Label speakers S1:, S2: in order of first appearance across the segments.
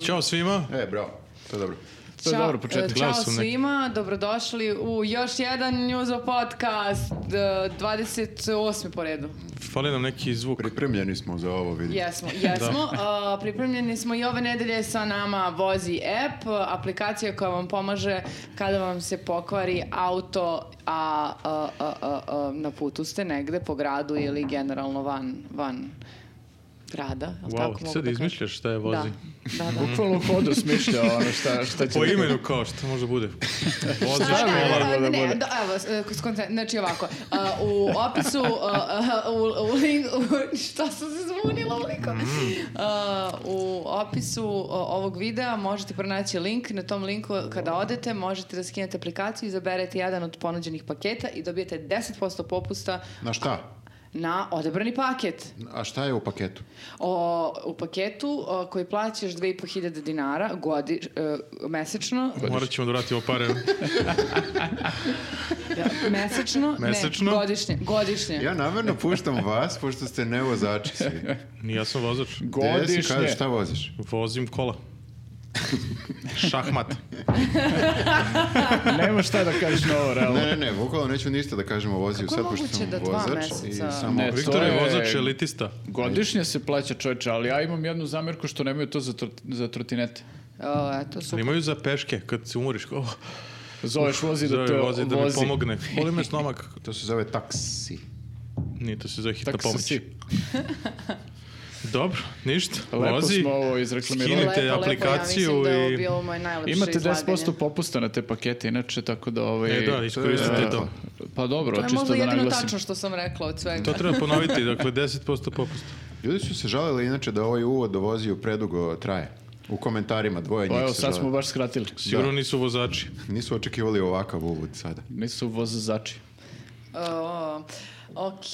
S1: Ćao svima.
S2: E, bravo. To je dobro.
S1: To je dobro, početak
S3: Ćao E,
S1: glasom neki.
S3: svima, dobrodošli u još jedan Njuzo podcast, e, 28. po redu.
S1: Fali nam neki zvuk.
S2: Pripremljeni smo za ovo, vidi.
S3: Jesmo, jesmo. E, pripremljeni smo i ove nedelje sa nama Vozi app, aplikacija koja vam pomaže kada vam se pokvari auto, a, a, a, a, a, na putu ste negde po gradu ili generalno van, van grada. jel tako
S1: Wow, ti
S3: mogu
S1: sad
S3: da
S1: izmišljaš šta je
S3: kažem?
S1: vozi.
S3: Da, da, da.
S2: Bukvalno hodu smišlja ono šta, šta će...
S1: Po
S2: biti.
S1: imenu kao što može bude. Vozi
S3: Da, da,
S1: škola.
S3: da,
S2: da
S3: ne,
S2: bude.
S3: da, evo, s- skonce- znači ovako, a, u opisu, a, a, u, u, link- u- šta sam se zvunila u linku?
S2: Mm.
S3: A, u opisu a, ovog videa možete pronaći link, na tom linku kada odete možete da skinete aplikaciju, izaberete jedan od ponuđenih paketa i dobijete 10% popusta
S2: Na šta?
S3: na odebrani paket.
S2: A šta je u paketu?
S3: O, u paketu o, koji plaćaš 2500 dinara godi, e, mesečno,
S1: Morat ćemo da vratimo pare.
S3: da, mesečno,
S1: Mesečno?
S3: ne, godišnje, godišnje.
S2: Ja namerno puštam vas, pošto ste ne vozači svi.
S1: Ni ja sam vozač.
S2: Gde si,
S4: Godišnje.
S2: kažeš šta voziš?
S1: Vozim kola.
S4: E,
S1: Šahmat.
S4: Nema šta da kažeš na ovo, realno.
S2: Ne, ne, ne, bukvalno neću ništa da kažem o voziju
S3: Kako je
S2: sad, pošto
S3: moguće
S2: sam
S3: da dva
S2: vozač. I
S3: meseca-
S2: samo...
S4: Ne,
S1: Viktor
S4: To
S1: je
S4: je-
S1: vozač elitista.
S4: Godišnje se plaća čoveče, ali ja imam jednu zamjerku što nemaju to za, tro, za trotinete.
S3: O, eto, super.
S1: Imaju za peške kad se umoriš. Oh,
S4: Zoveš vozi da te
S1: zove vozi da mi
S4: vozi.
S1: pomogne. Boli me stomak.
S2: To se zove taksi.
S1: Nije to se zove hitna
S4: Tako se
S1: pomoć.
S4: si.
S1: Dobro, ništa.
S4: Lepo
S1: vozi.
S4: smo ovo izreklamirali.
S1: Skinite
S3: Lepo, lepo,
S1: aplikaciju
S3: ja mislim da je ovo
S1: i...
S3: bilo moje najlepše
S4: Imate 10%
S3: izlaganje.
S4: popusta na te pakete, inače, tako da... Ovaj,
S1: E da, iskoristite
S2: E,
S1: to.
S4: Pa dobro,
S3: To je
S4: čisto
S3: možda
S4: da
S3: jedino
S4: naglasim.
S3: tačno što sam rekla od svega.
S1: To treba ponoviti, dakle 10% popusta.
S2: Ljudi su se žalili inače da ovaj uvod o voziju predugo traje. U komentarima dvoje
S4: Pa
S2: njih
S4: evo,
S2: se
S4: sad
S2: žale.
S4: smo baš skratili.
S1: Sigurno nisu vozači.
S2: Nisu očekivali ovakav uvod sada.
S4: Nisu vozači.
S3: O, ok.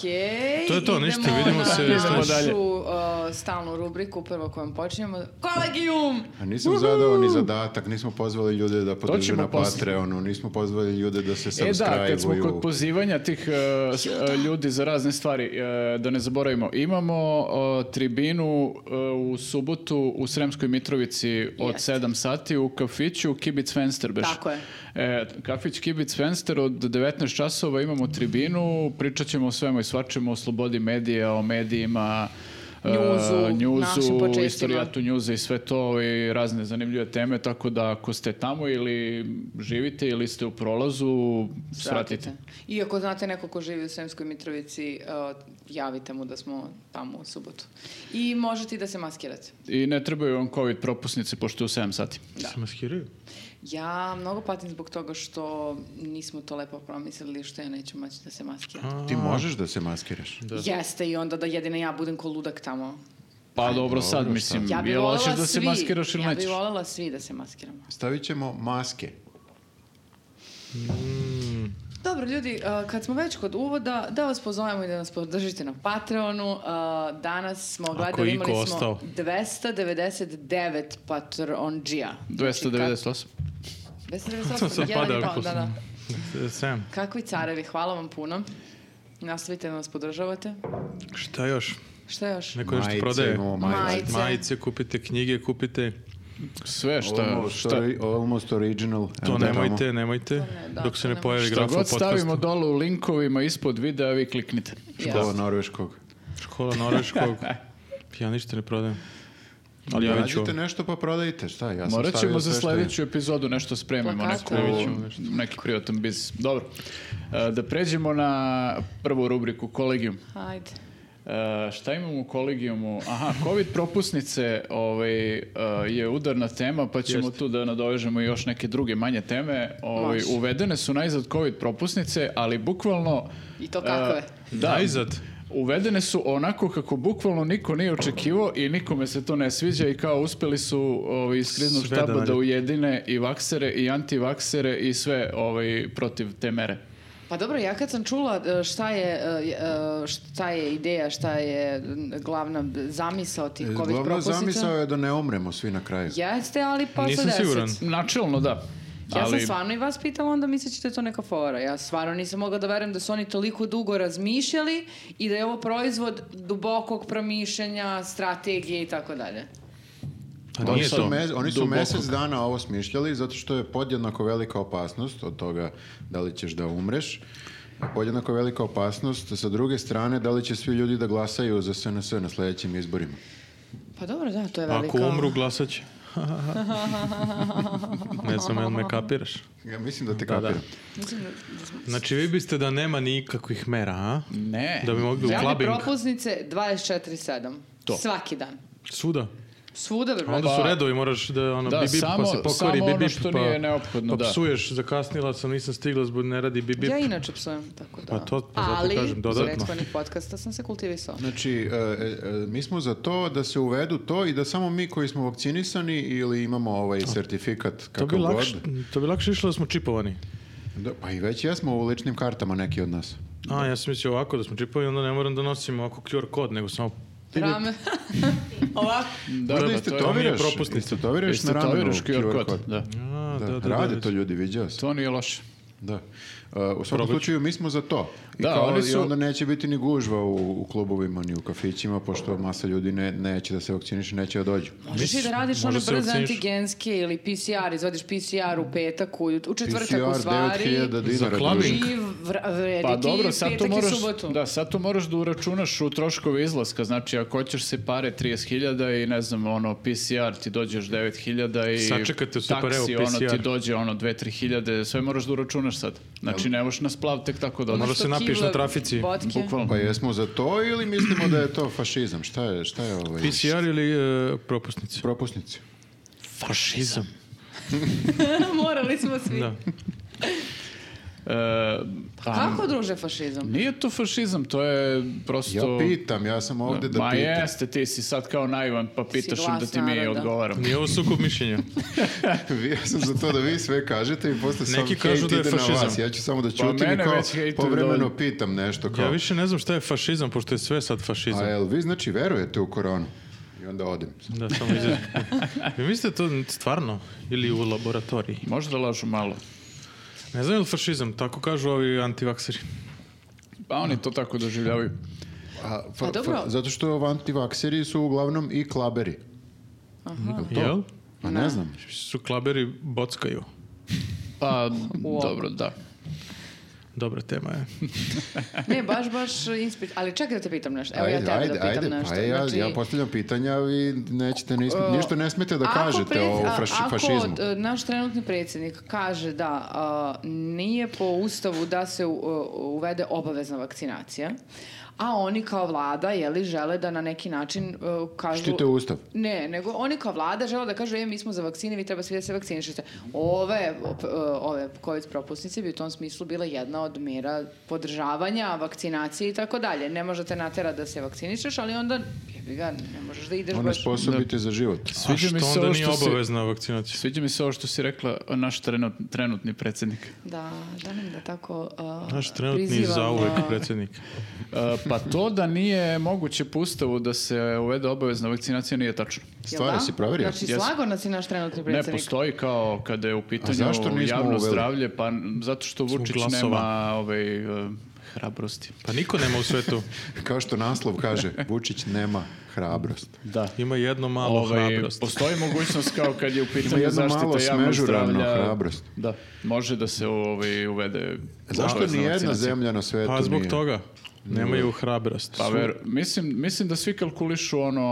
S1: To je to,
S3: idemo
S1: ništa, vidimo
S3: na
S1: se
S4: sledeće.
S3: našu
S4: dalje.
S3: o, stalnu rubriku, prvo kojom počinjemo. Kolegium!
S2: A nisam zadao ni zadatak, nismo pozvali ljude da podrže
S4: ćemo
S2: na
S4: posle.
S2: Patreonu, nismo pozvali ljude da se
S4: E da, kad smo
S2: subscribe-uju.
S4: kod pozivanja tih e, s- e, ljudi za razne stvari, e, da ne zaboravimo, imamo e, tribinu e, u subotu u Sremskoj Mitrovici od
S3: Jeste.
S4: 7 sati u kafiću Kibic Fenster. Beš.
S3: Tako je.
S4: E, kafić Kibic Fenster od 19 časova imamo tribinu, pričat ćemo o svemu i svačemu, o slobodi medija, o medijima, e,
S3: Njuzu, našim
S4: njuzu
S3: počecima.
S4: istorijatu tu njuze i sve to i razne zanimljive teme, tako da ako ste tamo ili živite ili ste u prolazu, svratite.
S3: I ako znate neko ko živi u Sremskoj Mitrovici, o, javite mu da smo tamo u subotu. I možete i da se maskirate.
S4: I ne trebaju vam COVID propusnice, pošto je u 7 sati.
S3: Da.
S1: Se maskiraju.
S3: Ja mnogo patim zbog toga što nismo to lepo promislili, što ja neću moći da se maskiram.
S2: Ti možeš da se maskiraš.
S1: Da.
S3: Jeste i onda da jedina ja budem ko ludak tamo.
S4: Pa dobro, sad
S2: dobro,
S4: mislim,
S3: Ja bi
S4: jel
S3: voljela
S4: hoćeš da se
S3: svi,
S4: maskiraš ili
S3: ja
S4: nećeš?
S3: bi voljela svi da se maskiramo.
S2: Stavit ćemo maske.
S3: Dobro, ljudi, a, kad smo već kod uvoda, da vas pozovemo i da nas podržite na Patreonu. A, Danas smo gledali,
S1: je
S3: imali smo
S1: iko ostao.
S3: 299 patronđija. Znači,
S4: 298.
S3: ka-
S1: To sad
S3: 298,
S1: pada
S3: jedan i pol,
S1: ako
S3: da, da.
S1: Sam,
S3: Kakvi carevi, hvala vam puno. Nastavite da nas podržavate.
S1: šta još?
S3: Šta još?
S1: Neko nešto
S2: Majice,
S1: prodaje?
S2: imamo majice.
S3: Majice.
S1: Majice, kupite knjige, kupite.
S4: Sve šta,
S2: Almost,
S4: šta,
S2: ori- almost original.
S1: To
S2: Evo,
S1: nemojte,
S2: tamo.
S1: nemojte.
S3: ne, da,
S1: dok se
S3: to
S1: ne
S3: ne
S1: pojavi
S4: šta
S1: graf u
S4: god
S1: podcastu.
S4: stavimo dole u linkovima ispod videa, vi kliknite. E,
S2: Škola
S3: Jeste.
S2: norveškog.
S1: Škola norveškog. ja ništa ne prodajem. Ali ja ću.
S2: Nađite nešto pa prodajte, šta? Ja sam
S4: Morat
S2: stavio
S4: ćemo za
S2: sve što je.
S4: sledeću epizodu nešto spremimo,
S3: Plakate.
S4: neku,
S3: Spremit
S1: ćemo nešto.
S4: neki privatan biznis. Dobro, E, da pređemo na prvu rubriku, kolegijum.
S3: Hajde.
S4: E, šta imamo u kolegijumu? Aha, COVID propusnice ovaj, e, je udarna tema, pa ćemo
S1: Jeste.
S4: tu da nadovežemo i još neke druge manje teme. Ovaj,
S3: Može.
S4: uvedene su najzad COVID propusnice, ali bukvalno...
S3: I to kakve?
S4: e, da,
S1: Najzad.
S4: Uvedene su onako kako bukvalno niko nije očekivao i nikome se to ne sviđa i kao uspeli su ovaj, iz kriznog
S1: Sve da
S4: štaba da
S1: naljute.
S4: ujedine i vaksere i antivaksere i sve ovaj, protiv te mere.
S3: Pa dobro, ja kad sam čula e, šta je, e, e, šta je ideja, šta je m, glavna zamisao tih COVID
S2: E, Glavna
S3: propusnica.
S2: zamisao je da ne umremo svi na kraju.
S3: Jeste, ali pa
S1: Nisam
S3: sa deset.
S1: siguran.
S4: Načelno da.
S3: Ja
S4: ali-
S3: sam stvarno i vas pitala, onda misleći da je to neka fora. Ja stvarno nisam mogla da verujem da su oni toliko dugo razmišljali i da je ovo proizvod dubokog promišljanja, strategije i tako dalje.
S1: A
S2: Oni
S1: Pa nije
S2: su,
S1: to.
S2: mez- oni su
S1: Duboko.
S2: mesec dana ovo smišljali zato što je podjednako velika opasnost od toga da li ćeš da umreš. Podjednako velika opasnost sa druge strane da li će svi ljudi da glasaju za SNS na sledećim izborima.
S3: Pa dobro, da, to je velika...
S1: Ako umru, glasat će. ne znam, jel me kapiraš?
S2: Ja mislim da te
S1: Da, da.
S2: kapiram.
S3: Mislim da- da smo-
S1: Znači, vi biste da nema nikakvih mera, a?
S4: Ne.
S1: Da bi mogli u
S3: Javne
S1: klabing.
S3: propusnice 24-7.
S4: To.
S3: Svaki dan.
S1: Svuda.
S3: Svuda, bre,
S1: A onda
S3: brate.
S1: Pa su redovi, moraš da ono,
S4: Da,
S1: bip, bip,
S4: samo-
S1: pa se pokvari,
S4: samo
S1: bip,
S4: ono
S1: bip,
S4: što
S1: pa,
S4: nije neophodno,
S1: pa
S4: da.
S1: psuješ, zakasnila sam, nisam stigla zbog ne radi bip, bip.
S3: Ja inače psujem, tako da.
S1: Pa to- pa zato kažem, dodatno.
S3: Ali, iz prethodnih podcasta sam se kultivisao.
S2: Znači, e, e, e, mi smo za to da se uvedu to i da samo mi koji smo vakcinisani ili imamo ovaj sertifikat
S1: To bi,
S2: kakav god.
S1: lakše, to bi lakše išlo da smo čipovani.
S2: Da, pa i već jesmo u ličnim kartama neki od nas.
S1: A, ja sam mislio ovako da smo čipovani, onda ne moram da nosim ovako QR kod, nego samo...
S3: Rame. Ovako.
S4: Da,
S2: Da,
S4: da,
S2: da,
S4: to je-
S2: istetoviraš,
S1: nije propusnica.
S2: istetoviraš na ramenu
S4: Istetoviraš QR kod,
S2: kod.
S4: da.
S1: A,
S2: Da, rade to ljudi, viđao sam.
S4: To nije loše.
S2: Da. Uh, u svakom slučaju, mi smo za to. I,
S4: Da,
S2: kao,
S4: oni su-
S2: I onda neće biti ni gužva u, u klubovima, ni u kafićima, pošto masa ljudi ne, neće da se vakciniše, neće da dođu.
S3: Možeš i da radiš
S1: može
S3: ono
S1: se
S3: brze
S1: vakciniš.
S3: antigenske ili PCR, izvadiš PCR u petak, u, u četvrtak u
S2: PCR
S3: stvari.
S2: 9000
S1: Za
S2: dinara.
S1: klabing.
S2: druže.
S3: I vr- vredi
S4: Pa
S3: E, ti
S4: dobro, sad
S3: petak
S4: tu
S3: i
S4: moraš,
S3: subotu.
S4: da, sad tu moraš da uračunaš u troškove izlaska, znači ako hoćeš se pare 30.000 i ne znam, ono, PCR ti dođeš 9.000 i
S1: Sačekate u super, evo,
S4: taksi, ono, ti
S1: PCR.
S4: dođe, ono, 2-3.000, sve moraš da uračunaš sad. Znači, ne možeš na splav tek tako da
S1: Moraš-
S4: odeš,
S1: se
S3: Sto
S1: napiješ
S3: kila
S1: na trafici.
S3: Vodke.
S4: bukvalno.
S2: Pa jesmo za to ili mislimo da je to fašizam? Šta je, šta je ovaj...
S1: PCR ili e, propusnice?
S2: Propusnici.
S1: Fašizam.
S3: Morali smo svi.
S1: Da.
S4: E, pa,
S3: Kako druže fašizam?
S4: Nije to fašizam, to je
S2: Ja
S4: prosto...
S2: pitam, ja sam ovde da
S4: Ma
S2: pitam.
S4: jeste, ti si sad kao naivan, pa pitaš
S3: glas
S4: da ti mi
S3: naroda.
S4: odgovaram.
S1: Nije ovo sukob mišljenja.
S2: Vi- ja sam za to da vi sve kažete i posle sam
S1: Neki kažu
S2: hejt
S1: da je
S2: ide na vas.
S1: fašizam.
S2: Ja ću samo da
S4: Pa
S2: ćutim i
S4: mene
S2: kao
S4: već hejtuju
S2: povremeno
S4: dovoljno.
S2: pitam nešto kao...
S1: Ja više ne znam šta je fašizam, pošto je sve sad
S2: A
S1: fašizam.
S2: jel vi znači verujete u koronu? I onda odem.
S1: Da, samo izađe. Vi mislite to stvarno? Ili u laboratoriji?
S4: Možda lažu malo.
S1: Ne znam je li fašizam, tako kažu ovi antivakseri.
S4: Pa oni to tako doživljavaju.
S2: A, fa-
S3: Pa dobro.
S2: fa- zato što antivakseri su uglavnom i klaberi. to?
S1: Jel?
S2: Pa ne znam.
S1: Su klaberi bockaju.
S4: Pa, dobro, da.
S1: Dobra tema je.
S3: Ne, baš, baš inspir... Ali čekaj da te pitam nešto. Evo ja tebe da pitam nešto.
S2: pa ja,
S3: Znači,
S2: ja postavljam pitanja, a vi nećete, nis-
S3: e,
S2: ništa ne smete da
S3: ako
S2: kažete
S3: pred-
S2: o
S3: a-
S2: fraš-
S3: ako,
S2: fašizmu.
S3: e, naš trenutni predsjednik kaže da a, nije po ustavu da se u- u- uvede obavezna vakcinacija, a oni kao vlada jeli, žele da na neki način e, kažu...
S2: Štite ustav.
S3: Ne, nego oni kao vlada žele da kažu, e, mi smo za vakcine, vi treba svi da se vakcinišete. Ove, op- e, ove COVID propusnice bi u tom smislu bila jedna od mjera podržavanja, vakcinacije i tako dalje. Ne možete natera da se vakcinišeš, ali onda, jebi ga, ne možeš da ideš
S2: Ono
S3: baš...
S2: sposobite za život.
S1: A
S4: Sviđa mi
S1: što
S4: se
S1: onda
S4: ovo
S1: nije
S4: što si-
S1: obavezna vakcinacija?
S4: Sviđa mi se ovo što si rekla, naš trenut- trenutni predsjednik.
S3: Da, da nam da tako uh,
S1: Naš trenutni
S3: prizivam,
S1: zauvek
S3: uh,
S1: predsjednik.
S4: E, pa to da nije moguće po ustavu da se uvede obavezna vakcinacija nije tačno.
S3: jel
S2: Stvari si proverio?
S3: Znači,
S4: Jesam.
S3: slago nas je naš trenutni
S4: Ne
S3: predsjednik.
S4: postoji kao kada je u
S2: A
S4: pitanju
S2: zašto nismo
S4: javno
S2: uveli?
S4: zdravlje, pa n- zato što Vučić
S1: glasova.
S4: nema ovaj, e, hrabrosti.
S1: Pa niko nema u svetu.
S2: Kao što naslov kaže, Vučić nema hrabrost.
S4: Da.
S1: Ima jedno malo
S4: Ovaj,
S1: hrabrost.
S4: postoji mogućnost kao kad je u
S2: Ima
S4: pitanju
S2: jedno malo ono,
S4: zaštita javnog
S2: smežurano
S4: zdravlja.
S2: hrabrost.
S4: Da, može da se ovaj, uvede
S2: Zašto
S4: obavezna
S2: ni jedna
S4: vakcinacija.
S2: zemlja na svetu
S1: Pa zbog
S2: nije?
S1: toga. Nemaju hrabrost.
S4: Pa ver, mislim, mislim da svi kalkulišu ono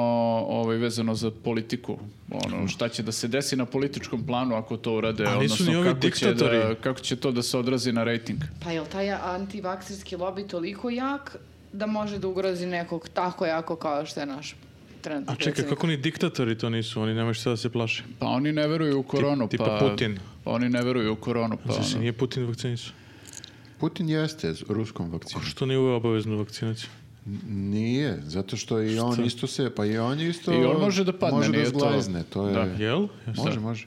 S4: ovaj, vezano za politiku. Ono, šta će da se desi na političkom planu ako to urade,
S1: A Pa nisu
S4: odnosno
S1: ni ovi
S4: kako će, da,
S1: diktatori.
S4: kako će to da se odrazi na rating.
S3: Pa je li taj antivakserski lobby toliko jak da može da ugrozi nekog tako jako kao što je naš trenutni
S1: A čekaj,
S3: predsjednik?
S1: kako ni diktatori to nisu? Oni nemaju šta da se plaše.
S4: Pa oni ne veruju u koronu.
S1: tipa
S4: pa,
S1: Putin.
S4: Pa oni ne veruju u koronu. Pa,
S1: Znači,
S4: ono,
S1: nije Putin vakcinisan.
S2: Putin jeste s ruskom vakcinom.
S1: Što nije uveo obaveznu vakcinaciju?
S2: N- Nije, zato što i on isto se, pa i on je isto
S4: I on može da padne,
S2: može da
S4: nije to-
S2: zglajzne, to je...
S4: Da.
S1: Jel? Ja sad
S2: Može, može.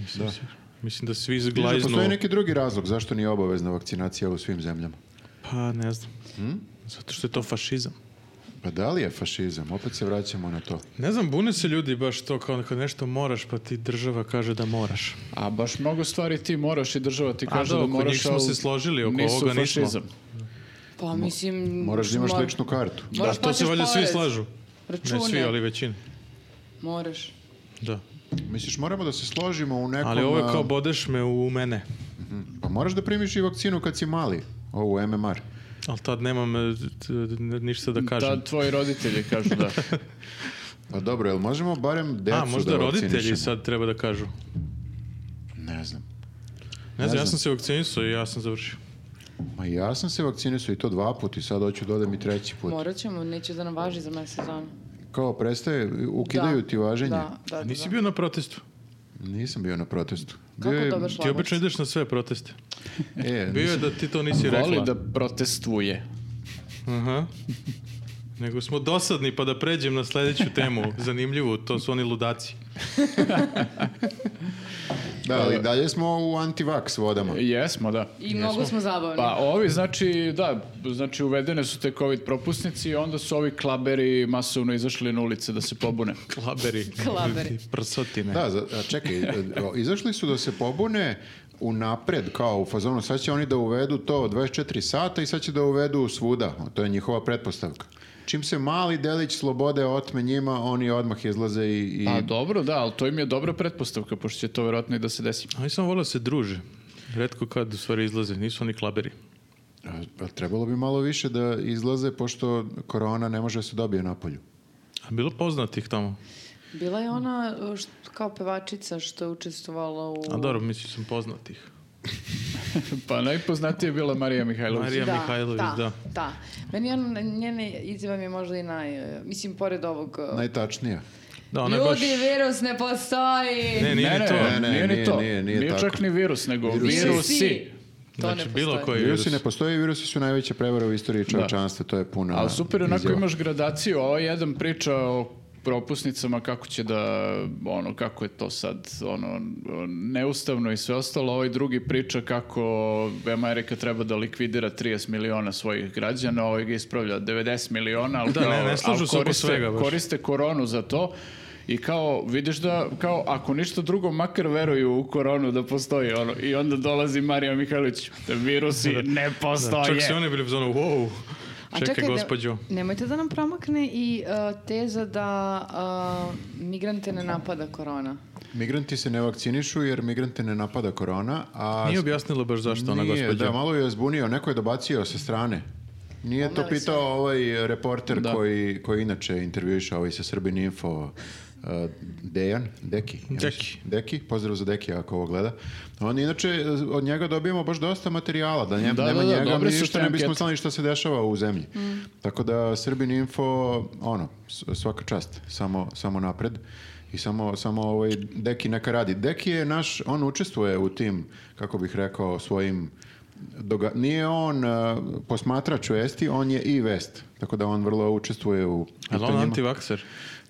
S1: nisam
S2: da.
S1: siguran. Mislim da svi
S2: Mislim da
S1: zglajznu...
S2: Postoji neki drugi razlog zašto nije obavezna vakcinacija u svim zemljama.
S1: Pa ne znam.
S4: Hm?
S1: Zato što je to fašizam.
S2: Pa da li je fašizam? Opet se vraćamo na to.
S1: Ne znam, bune se ljudi baš to kao kad nešto moraš pa ti država kaže da moraš.
S4: A baš mnogo stvari ti moraš i država ti
S1: A
S4: kaže
S1: da,
S4: da
S1: oko
S4: moraš.
S1: njih smo
S4: ali
S1: se složili, oko
S4: nisu
S1: ovoga nismo.
S4: fašizam.
S3: Pa mislim...
S2: Moraš da imaš
S3: mor-
S2: ličnu kartu.
S3: Moraš
S1: to se
S3: plaćaš
S1: valjda svi
S3: porez,
S1: slažu.
S3: Račune.
S1: Ne svi, ali većina.
S3: Moraš.
S1: Da.
S2: Misliš, moramo da se složimo u nekom...
S1: Ali ovo je
S2: a,
S1: kao bodeš me u mene.
S2: mhm. Pa moraš da primiš i vakcinu kad si mali, ovu MMR.
S1: Ali tad nemam e, t- t- ništa da kažem.
S4: Da, tvoji roditelji kažu da.
S2: Pa dobro, jel možemo barem decu
S1: A, možda
S2: da
S1: roditelji
S2: vakcinišemo?
S1: sad treba da kažu.
S2: Ne znam.
S1: Ne znam, ja
S2: znam.
S1: sam se vakcinisao i ja sam završio.
S2: Ma ja sam se vakcinisao i to dva put i sad hoću dodam i treći put.
S3: Morat ćemo, neće da nam važi za mesec dana.
S2: Kao prestaje, ukidaju
S3: Da,
S2: ti važenje.
S3: Da, da, da.
S1: Nisi
S3: da.
S1: bio na protestu.
S2: Nisam bio na protestu.
S3: Kako
S2: Bio je-
S3: dobar šlag?
S1: Ti obično ideš na sve proteste.
S2: E,
S1: Bio je
S2: nisam-
S1: da ti to nisi
S4: Voli
S1: rekla.
S4: da protestuje.
S1: Aha. Nego smo dosadni, pa da pređem na sledeću temu. Zanimljivu, to su oni ludaci.
S2: da, ali dalje smo u antivaks vodama.
S4: Jesmo, da.
S3: I mnogo smo zabavni.
S4: Pa ovi, znači, da, znači uvedene su te COVID propusnici i onda su ovi klaberi masovno izašli na ulice da se pobune.
S1: Klaberi.
S3: Klaberi.
S1: Prsotine.
S2: Da, za- a čekaj, e, o, izašli su da se pobune u napred, kao u fazonu, sad će oni da uvedu to 24 sata i sad će da uvedu svuda, to je njihova pretpostavka. Čim se mali delić slobode otme njima, oni odmah izlaze i... i...
S4: Pa dobro, da, ali to im je dobra pretpostavka, pošto će to verovatno i da se desi.
S1: Oni samo vole da se druže. Redko kad u stvari izlaze, nisu oni klaberi.
S2: A- a trebalo bi malo više da izlaze, pošto korona ne može da se dobije napolju.
S1: A bilo poznatih tamo.
S3: Bila je ona uh, št- kao pevačica što je učestvovala u...
S1: A dobro, mislim sam poznatih.
S4: Pa najpoznatija je bila Marija Mihajlović.
S1: Marija Mihajlović,
S3: ta,
S1: da.
S3: ta. Meni je ono, ona, njena izjava mi je možda i naj... uh, Mislim, pored ovog... uh,
S2: Najtačnija.
S1: Da, ona
S3: Ljudi,
S1: je baš...
S3: virus ne postoji!
S1: Ne, nije
S4: ne,
S1: ni
S4: ne,
S1: to.
S4: ne,
S2: Ne, ne,
S4: nije ni
S2: nije,
S4: to.
S2: nije, nije tako.
S4: čak ni virus, nego
S2: Virusi.
S4: virusi.
S3: To
S1: znači,
S3: ne
S1: bilo
S3: postoji.
S1: koji virus.
S2: Virusi ne postoje, virusi su najveća prevara u istoriji čovečanstva, to je puna
S4: Ali super, onako
S2: izjava.
S4: imaš gradaciju, ovo jedan priča o propusnicama kako će da, ono, kako je to sad, ono, neustavno i sve ostalo, ovaj drugi priča kako Amerika treba da likvidira 30 miliona svojih građana, ovaj ga ispravlja 90 miliona, ali,
S1: Da,
S4: kao-
S1: ne, ne slažu
S4: ali
S1: se oko
S4: koriste,
S1: svega baš.
S4: koriste koronu za to i kao, vidiš da, kao, ako ništa drugo, makar veruju u koronu da postoji, ono, i onda dolazi Marija Mihajlović, da virusi ne
S1: Da,
S4: postoje.
S1: čak su oni bili u zonu, wow,
S3: A
S1: čekaj,
S3: ne-
S1: gospođo.
S3: nemojte da nam promakne i uh, teza da uh, migrante ne napada korona.
S2: Migranti se ne vakcinišu jer migrante ne napada korona, a...
S1: Nije objasnila baš zašto ona
S2: Nije,
S1: gospođa.
S2: da, malo je zbunio, neko je dobacio sa strane. Nije to
S3: Pomeli
S2: pitao ovaj reporter
S4: Da.
S2: koji, koji inače intervjuiša ovaj sa Srbin Info, uh, Dejan, Deki. ja mislim.
S1: Deki.
S2: Deki, pozdrav za Deki ako ovo gleda. On inače, od njega dobijemo baš dosta materijala, da, njem-
S4: Da,
S2: nema
S4: da, da,
S2: njega,
S4: dobre
S2: mi
S4: su
S2: ništa
S4: te
S2: ne bismo
S4: ankete.
S2: znali šta se dešava u zemlji. Tako da Srbin Info, ono, s- svaka čast, samo, samo napred. I samo, samo ovaj Deki neka radi. Deki je naš, on učestvuje u tim, kako bih rekao, svojim doga- Nije on e, posmatrač vesti, on je i vest. Tako da on vrlo učestvuje u
S1: Ali on
S2: pitanjima.
S1: antivakser.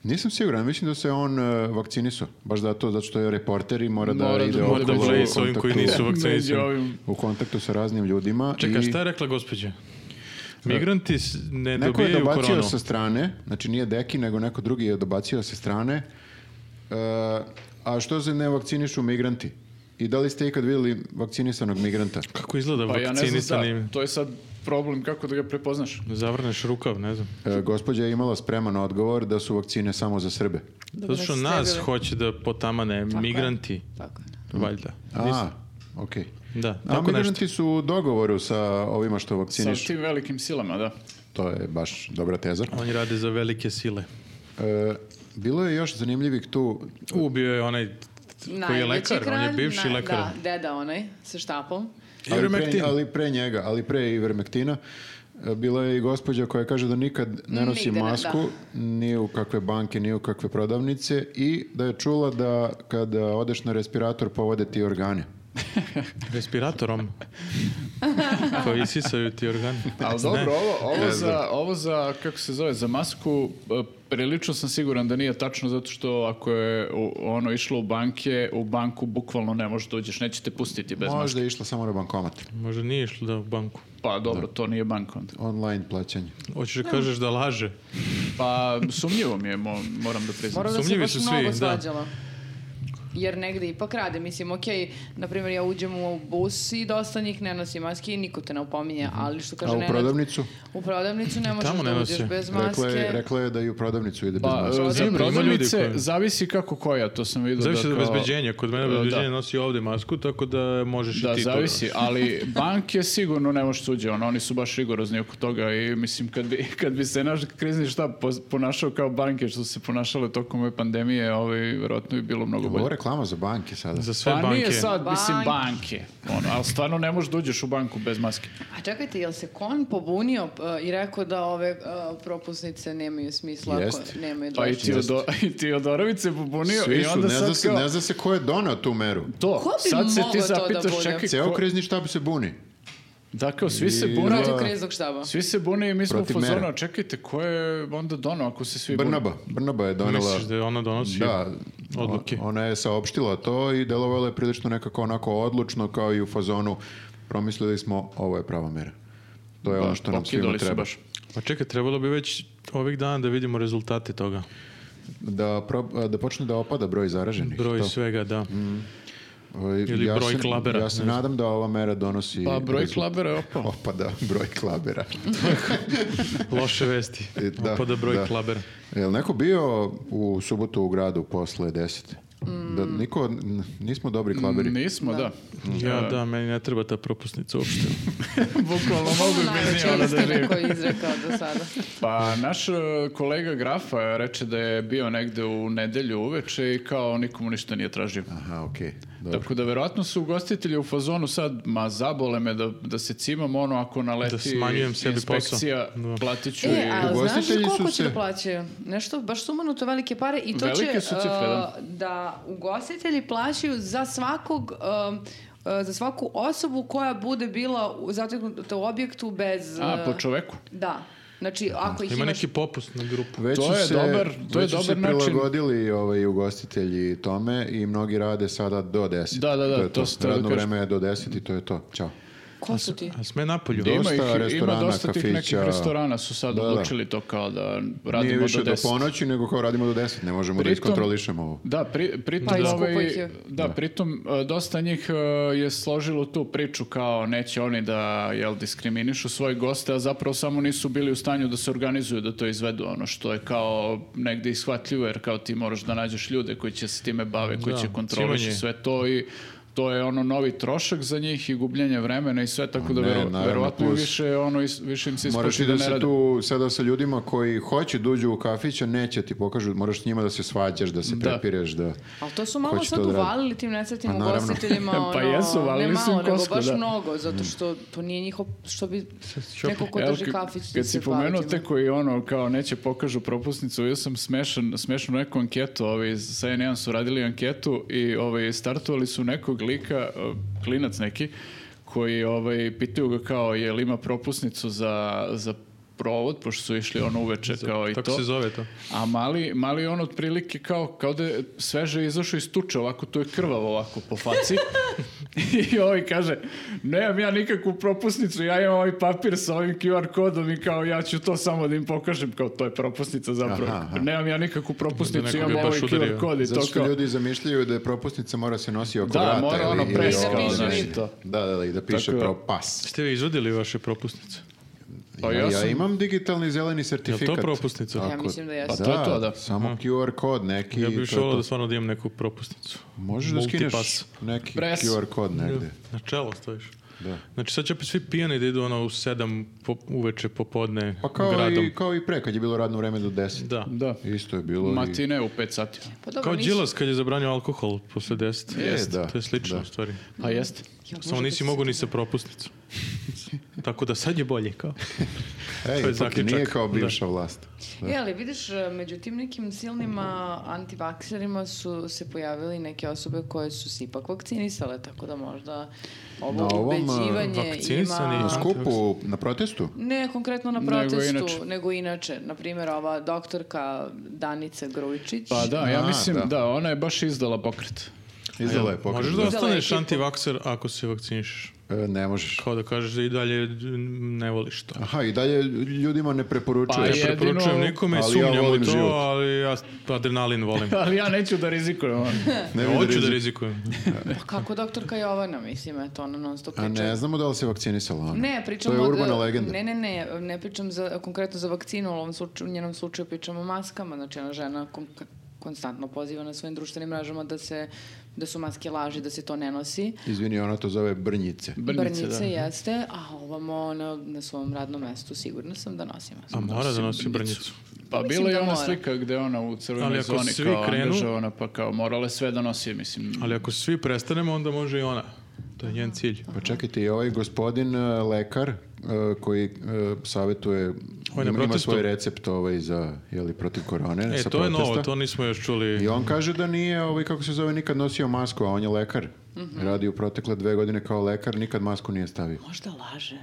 S2: Nisam siguran, mislim da se on e, vakcinisao. Baš zato, zato što je reporter i mora da
S4: Mora da-
S2: ide
S1: Mora da
S2: okolo
S1: pleje
S2: u
S1: s ovim koji
S2: kontaktu-
S1: nisu
S4: Među
S1: vakcinisani.
S4: ovim
S2: u kontaktu sa raznim ljudima.
S1: Čekaj,
S2: i- E,
S1: šta je rekla gospođa? Migranti s- ne
S2: Neko je
S1: dobijaju
S2: dobacio
S1: koronu.
S2: sa strane, znači nije Deki, nego neko drugi je dobacio sa strane. E, a što se ne vakcinišu migranti? I da li ste ikad vidjeli vakcinisanog migranta?
S1: Kako izgleda
S4: Pa ja ne znam,
S1: vakcinisani?
S4: da, to je sad problem kako da ga prepoznaš.
S1: Zavrneš rukav, ne znam.
S2: E, gospođa je imala spreman odgovor da su vakcine samo za Srbe.
S3: Dobro,
S1: Zato što
S3: da ste
S1: nas
S3: bili-
S1: hoće da potamane
S3: Tako je.
S1: migranti,
S3: Tako je.
S1: valjda.
S2: Mm. A, okej.
S1: Da,
S2: A
S1: tako nešto.
S2: migranti su u dogovoru sa ovima što
S4: Sa
S2: vakcinišu.
S4: tim velikim silama, da.
S2: To je baš dobra teza.
S1: Oni rade za velike sile.
S2: E, bilo je još zanimljivih tu...
S1: Ubio je onaj koji je
S3: Najveći
S1: lekar, on je
S3: kralj,
S1: bivši
S3: na-
S1: lekar.
S3: Da, deda onaj, sa štapom.
S2: Ali pre,
S1: Ivermectin.
S2: ali pre njega, ali pre Ivermektina, e, bila je i gospođa koja kaže da nikad ne nosi
S3: Nigde ne,
S2: masku, ni u kakve banke, ni u kakve prodavnice i da je čula da kada odeš na respirator povode ti organe.
S1: Respiratorom. koji isisaju ti organ.
S4: Ali dobro, ovo, ovo, za, ovo za, kako se zove, za masku, e, prilično sam siguran da nije tačno, zato što ako je u- ono išlo u banke, u banku bukvalno ne možeš da uđeš, neće te pustiti bez maske.
S2: Možda je išla samo na bankomat.
S1: Možda nije išlo da u banku.
S4: Pa dobro, to nije banka onda.
S2: Online plaćanje.
S1: Hoćeš da kažeš da laže.
S4: Pa sumnjivo mi je, mo- moram da priznam.
S3: Moram da se
S1: Sumnjivi
S3: baš
S1: su
S3: mnogo
S1: svi, da.
S3: svađala. Jer negde ipak rade. Mislim, okej, na primjer, ja uđem u bus i dosta njih ne nosi maske i niko te ne opominje, ali što kaže
S2: A u
S3: Nenad,
S2: prodavnicu?
S3: U prodavnicu ne možeš
S1: Mhm. tamo ne
S3: da
S1: nosi.
S3: uđeš bez maske.
S2: Rekla je, rekla je da i u prodavnicu ide bez
S4: Pa,
S2: maske.
S4: e, za
S1: Ima ljudi
S4: prodavnice,
S1: koji-
S4: zavisi kako koja, to sam vidio
S1: Zavisi
S4: da
S1: od
S4: kao-
S1: obezbeđenja. Kod mene
S4: E, da.
S1: obezbeđenje nosi ovde masku, tako da možeš i
S4: Da,
S1: ti to.
S4: zavisi, ali banke sigurno ne možeš uđe, ono, oni su baš rigorozni oko toga i mislim kad bi, kad bi se naš krizni štab pos- ponašao kao banke što su se ponašale tokom ove pandemije, ovaj, vjerojatno bi bilo mnogo
S2: Ovo je
S4: bolje.
S2: reklama za banke sada.
S1: Za sve
S4: Pa
S1: banke.
S4: nije sad, mislim,
S3: Banke.
S4: banke, ono, ali stvarno ne možeš da uđeš u banku bez maske.
S3: A čekajte, jel se kon pobunio e, i rekao da ove e, propusnice nemaju smisla ako
S2: Jeste.
S3: nemaju
S4: Pa i,
S3: dvojicu?
S4: Teodo, i Teodorović se pobunio
S2: Svi
S4: i
S2: su,
S4: onda
S2: ne zna,
S4: sad
S2: se,
S4: kao...
S2: ne zna se ko je donao tu meru.
S4: To,
S3: Ko bi
S4: sad se ti
S3: mogao to da
S4: zapitaš,
S3: bude?
S4: čekaj,
S2: Ceo
S4: ko-
S2: krizni štab se buni.
S4: da kao svi se
S2: I-
S4: bune,
S3: Protiv kriznog štaba.
S4: svi se bune i mi smo u
S2: Protiv
S4: fazonu,
S2: mera.
S4: a čekajte, ko je onda dono ako se svi bune?
S2: Brnaba. Brnaba je donela...
S1: Misliš da ona donosi?
S2: Da,
S1: Odluke.
S2: o- ona je saopštila to i delovalo je prilično nekako onako odlučno kao i u fazonu promislili smo ovo je prava mera. To je ono što nam svima
S4: Pokidali su
S2: treba.
S4: baš.
S1: Pa čekaj, trebalo bi već ovih dana da vidimo rezultate toga.
S2: Da, pro- da počne da opada broj zaraženih.
S1: Broj
S2: to.
S1: svega, da.
S4: Mm.
S2: Ovaj,
S1: ili broj
S2: se-
S1: klabera,
S2: Ja se
S1: ne znam.
S2: nadam da ova mera donosi...
S4: Pa broj
S2: rezultat.
S4: klabera je opao.
S2: Opada broj klabera.
S1: Loše vesti.
S2: I da,
S1: Opada broj
S2: da.
S1: klabera.
S2: Je li neko bio u subotu u gradu posle 10? Da, niko, n- nismo dobri klaberi.
S4: Nismo, Mm. da.
S1: Ja, da, meni ne treba ta propusnica uopšte.
S4: Bukvalno mogu
S3: Ono
S4: bez
S3: najveće
S4: nje ono da
S3: istine
S4: živim.
S3: koju je izrekao do sada.
S4: Pa naš e, kolega Grafa reče da je bio negde u nedelju uveče i kao nikomu ništa nije tražio.
S2: Aha, okej. Dobro.
S4: Tako da verovatno su ugostitelji u fazonu sad, ma zabole me da, da se cimam ono ako naleti
S1: Da smanjujem sebi posao.
S4: inspekcija,
S1: Da.
S4: platit ću
S3: E,
S4: i-
S3: a znaš
S2: Ugostitelji
S3: koliko
S2: su
S3: će da
S2: se-
S3: plaćaju? Nešto, baš sumano to velike pare. I to
S4: Velike
S3: će,
S4: su cifre,
S3: e,
S4: da.
S3: da ugostitelji plaćaju za svakog... e, e, za svaku osobu koja bude bila u- zateknuta u objektu bez...
S4: A,
S3: e,
S4: po čoveku.
S3: Da. Znači, ako ih
S1: Ima
S3: imaš...
S1: neki popust na grupu.
S2: Već
S4: To
S2: su
S4: je
S2: se,
S4: dobar- to je
S2: već su
S4: dobar
S2: se
S4: način.
S2: prilagodili ovaj, ugostitelji tome i mnogi rade sada do 10.
S4: Da, da, da,
S2: To, je
S4: to
S2: to,
S4: sam teo da
S2: Radno
S4: kažem.
S2: vreme je do 10 i to je to. Ćao.
S3: Ko su ti?
S1: A sme napolju.
S2: Da,
S4: Ima,
S2: Dosta
S4: ih, ima
S2: restorana,
S4: dosta tih nekih
S2: kafića.
S4: restorana su sad
S2: Da, da.
S4: odlučili to kao da radimo
S2: Nije više
S4: do
S2: do,
S4: 10.
S2: ponoći, nego kao radimo do 10. Ne možemo da
S4: Pritom-
S2: iskontrolišemo ovo.
S4: Da, pri, pritom,
S3: Pa i skupo
S4: ovaj,
S3: ih je.
S4: da, pritom e, dosta njih e, je složilo tu priču kao neće oni da jel, diskriminišu svoje goste, a zapravo samo nisu bili u stanju da se organizuju da to izvedu, ono što je kao negde ishvatljivo, jer kao ti moraš da nađeš ljude koji će se time bave, koji
S1: Da,
S4: će kontroliši
S1: cimanje.
S4: sve to i to je ono novi trošak za njih i gubljenje vremena i sve, tako da
S2: ne,
S4: vero,
S2: naravno,
S4: verovatno
S2: plus-
S4: više, ono, is- više im se
S2: Moraš
S4: ispoči
S2: ti
S4: da
S2: da
S4: ne
S2: se
S4: rade.
S2: tu sada sa ljudima koji hoće da uđu u kafić, a neće ti pokažu, moraš s njima da se svađaš, da se
S4: Da.
S2: prepireš, da...
S3: Ali to su malo
S2: će
S3: sad
S2: to da radi?
S3: uvalili tim nesretnim
S2: Pa naravno.
S3: ugostiteljima.
S4: Pa
S3: ono,
S4: jesu, uvalili
S3: ne
S4: su im
S3: malo, nego
S4: kosku,
S3: baš
S4: da.
S3: mnogo, zato što to nije njihov, što bi neko ko
S4: Evo,
S3: drži
S4: kad-
S3: kafić će
S4: Kad
S3: se
S4: si
S3: hvaliti
S4: pomenuo
S3: ima.
S4: te koji ono kao neće pokažu propusnicu, ja sam smešan, smešnu neku anketu, ovi sa N1 su radili anketu i ovaj, startovali su nekog lika, eh, klinac neki, koji ovaj, pitaju ga kao je li ima propusnicu za, za provod, pošto su išli ono uveče kao i
S1: Tako
S4: to.
S1: se zove to.
S4: A mali, mali je on otprilike kao, kao da je sveže izašao iz tuče, ovako tu je krvavo ovako po faci. I ovaj kaže, nemam ja nikakvu propusnicu, ja imam ovaj papir sa ovim QR kodom i kao ja ću to samo da im pokažem, kao to je propusnica zapravo.
S2: Aha, aha.
S4: Nemam ja nikakvu
S1: Da
S4: propusnicu,
S1: nekoga
S4: imam
S1: baš
S4: ovaj QR
S1: udario.
S4: kod i to
S2: Zato što
S4: kao...
S2: ljudi zamišljaju da je propusnica mora se nosi oko
S4: Da,
S2: vrata.
S4: mora
S2: ili-
S4: ono
S2: ili
S4: press
S2: ovo,
S3: kao,
S2: ono,
S3: znaš.
S2: nešto. Da, da, da, i da piše
S4: Tako da.
S2: pro pas.
S1: Ste vi izvadili vaše propusnice?
S4: Pa
S2: ja,
S4: ja sam-
S2: imam digitalni zeleni sertifikat.
S1: propusnica? Ja
S3: mislim da jeste.
S4: Pa to je to, da.
S2: Samo QR kod neki.
S1: Mhm. Ja
S2: to
S1: bih
S2: je
S1: išao
S2: to.
S1: da stvarno da imam neku propusnicu.
S2: Možeš da skineš
S1: Multipass.
S2: neki
S4: Press.
S2: QR kod negde.
S1: Na čelo stojiš.
S2: Da.
S1: Znači sad će opet svi pijani da idu ono u sedam po, uveče popodne
S2: Pa kao
S1: gradom.
S2: i, kao i pre, kad je bilo radno vreme do 10.
S1: Da.
S4: Da.
S2: Isto je bilo i...
S4: Matine u 5 sati.
S3: Pa dobro,
S1: Kao
S3: nisu-
S1: Đilas kad je zabranio alkohol posle 10.
S2: E, da.
S1: To je slično
S2: Da.
S1: u stvari.
S4: Pa jeste.
S3: Ja,
S1: Samo
S3: možda
S1: nisi
S3: bi-
S1: mogu ni sa propusnicom. Tako da sad je bolje kao.
S2: Ej,
S1: To je
S2: ipak i
S1: zaključak.
S2: nije kao bivša vlast.
S3: E, ali vidiš, među tim nekim silnima antivakserima su se pojavili neke osobe koje su se ipak vakcinisale, tako da možda
S2: Na
S3: ovo
S2: ovom, e,
S3: ubeđivanje
S1: vakcinisani-
S3: ima...
S2: Na skupu, na protestu?
S3: Ne konkretno na
S4: Nego
S3: protestu, nego
S4: inače.
S3: inače. Na primjer, ova doktorka Danica Grujičić.
S4: Pa da, ja
S2: A,
S4: mislim,
S2: da.
S4: da, ona je baš izdala pokret.
S2: Izdala je pokret.
S1: Možeš
S2: da.
S1: da ostaneš
S3: ekipu.
S1: antivakser ako se vakcinišeš.
S2: E, Ne možeš.
S1: Kao da kažeš da i dalje ne voliš to.
S2: Aha, i dalje ljudima ne preporučuješ.
S1: Ne
S4: jedino-
S1: preporučujem nikome,
S2: Ali ja
S1: sumnjam u
S2: volim
S1: to,
S2: život.
S1: ali ja adrenalin volim.
S4: Ali ja neću da rizikujem. ono.
S2: Ne bih da
S1: Hoću da
S2: rizik-
S1: rizikujem.
S3: Pa kako doktorka Jovana, mislim, eto, ona non stop
S2: A
S3: priča.
S2: ne znamo da li se vakcinisala ona.
S3: Ne, pričam...
S2: To je
S3: od-
S2: urbana legenda.
S3: Ne, ne, ne, ne pričam za, konkretno za vakcinu, ali u, ovom slučaju, u njenom slučaju pričam o maskama, znači ona žena kon- konstantno poziva na svojim društvenim mrežama da se da su maske laži, da se to ne nosi.
S2: Izvini, ona to zove brnjice.
S4: Brnjice, da.
S1: Mhm.
S3: jeste, a ovamo na, na svom radnom mestu sigurno sam da nosim masku.
S1: A mora da nosi brnjicu.
S4: Pa
S3: Mislim
S4: bila je
S3: da
S4: ona
S3: mora.
S4: slika gde je ona u
S1: Ali
S4: crvenoj
S1: ako
S4: zoni
S1: svi
S4: kao
S1: krenu-
S4: angažovana, pa kao morala je sve da nosi, mislim.
S1: Ali ako svi prestanemo, onda može i ona. To je njen cilj.
S2: Pa čekajte, i ovaj gospodin e, lekar e, koji e, savjetuje,
S1: na
S2: ima, ima
S1: protestu.
S2: svoj recept ovaj za, jeli, protiv korone,
S1: E,
S2: sa
S1: to je
S2: protesta.
S1: novo, to nismo još
S2: I
S1: čuli.
S2: on kaže da nije, ovaj, kako se zove, nikad nosio masku, a on je lekar. Radi u protekle dve godine kao lekar, nikad masku nije stavio.
S3: Možda laže.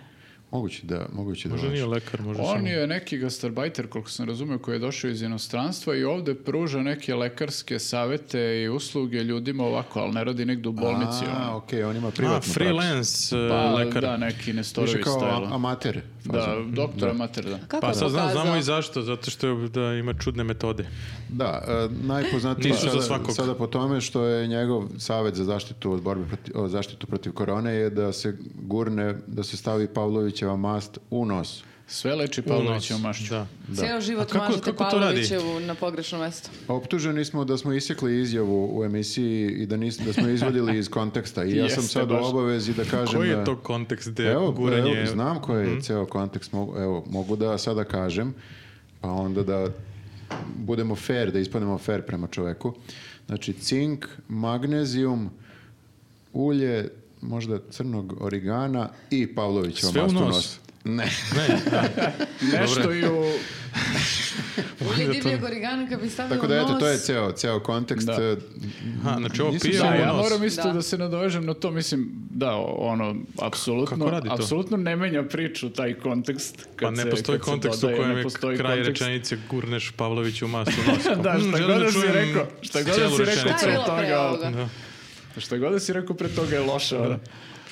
S2: Moguće da, moguće da
S1: Možda
S2: laže.
S1: nije lekar, možda
S4: On
S1: samo...
S4: je neki gastarbajter, koliko sam razumio, koji je došao iz inostranstva i ovde pruža neke lekarske savete i usluge ljudima ovako, ali ne radi nigde u bolnici. ono.
S2: A, okej, on ima privatnu
S1: A,
S2: praksu.
S1: freelance e,
S4: Pa,
S1: lekar.
S4: da, neki
S2: Više
S4: Nestorović
S2: kao a-
S4: stajalo.
S2: amater.
S4: Da,
S2: fazon.
S4: doktor amater, da.
S3: Kako
S1: Pa
S3: je
S1: sad znam,
S3: pokazao?
S1: znamo i zašto, zato što je- da ima čudne metode.
S2: Da, e, najpoznatiji
S1: Nisu za
S2: sada,
S1: svakog.
S2: sada po tome što je njegov savjet za zaštitu od borbe proti- o, zaštitu protiv korone je da se gurne, da se stavi Pavlovićeva mast u nos.
S4: Sve leči
S2: Pa,
S1: U nos,
S4: Pavlovićevom mašću.
S1: Ono, Da.
S3: Ceo život
S1: A kako-
S3: mažete
S1: kako to radi?
S3: Pavlovićevu na pogrešno mesto.
S2: Optuženi smo da smo isekli izjavu u emisiji i da, nis, da smo izvodili iz konteksta. I ja sam
S4: Jeste,
S2: sad u
S4: baš.
S2: obavezi da kažem...
S1: Koji je
S2: da-
S1: to kontekst gde
S2: Evo,
S1: guranje... Mhm.
S2: evo, znam koji je ceo kontekst. Mogu, evo, mogu da sada kažem, pa onda da budemo fair, da ispademo fair prema čoveku. Znači, cink, magnezijum, ulje, možda crnog origana i Pavlovićeva
S1: Sve u
S2: mast u
S1: nos.
S2: nos. Ne.
S1: Ne, da.
S4: Nešto i u...
S3: Ili divljeg origana kad bi stavio
S2: Tako da,
S3: u nos.
S2: eto, to je ceo, ceo kontekst.
S4: Da.
S2: E,
S1: Aha, znači ovo
S2: Nisam
S1: pije
S4: Da,
S2: siguran.
S1: u
S4: ja
S1: nos.
S4: moram isto
S3: Da.
S4: da. se nadovežem na to, mislim, da, ono,
S1: kako
S4: apsolutno,
S1: radi to?
S4: apsolutno ne menja priču taj kontekst.
S1: Pa
S4: kad
S1: ne
S4: se-
S1: postoji
S4: kad se
S1: kontekst u
S4: dodaje,
S1: kojem
S4: ne
S1: je
S4: postoji
S1: kraj
S4: kontekst.
S1: rečenice gurneš Pavloviću masu u nos. Kao,
S4: Da,
S1: "Mm,
S4: šta
S1: želim
S4: god da si
S1: čujem
S4: rekao, šta god da
S1: celu
S4: si rekao
S1: rečenicu."
S3: Šta je
S4: pre
S3: bilo pre
S4: toga,
S3: ovoga?
S1: Da.
S4: Šta god da si rekao pre toga je loše, ono.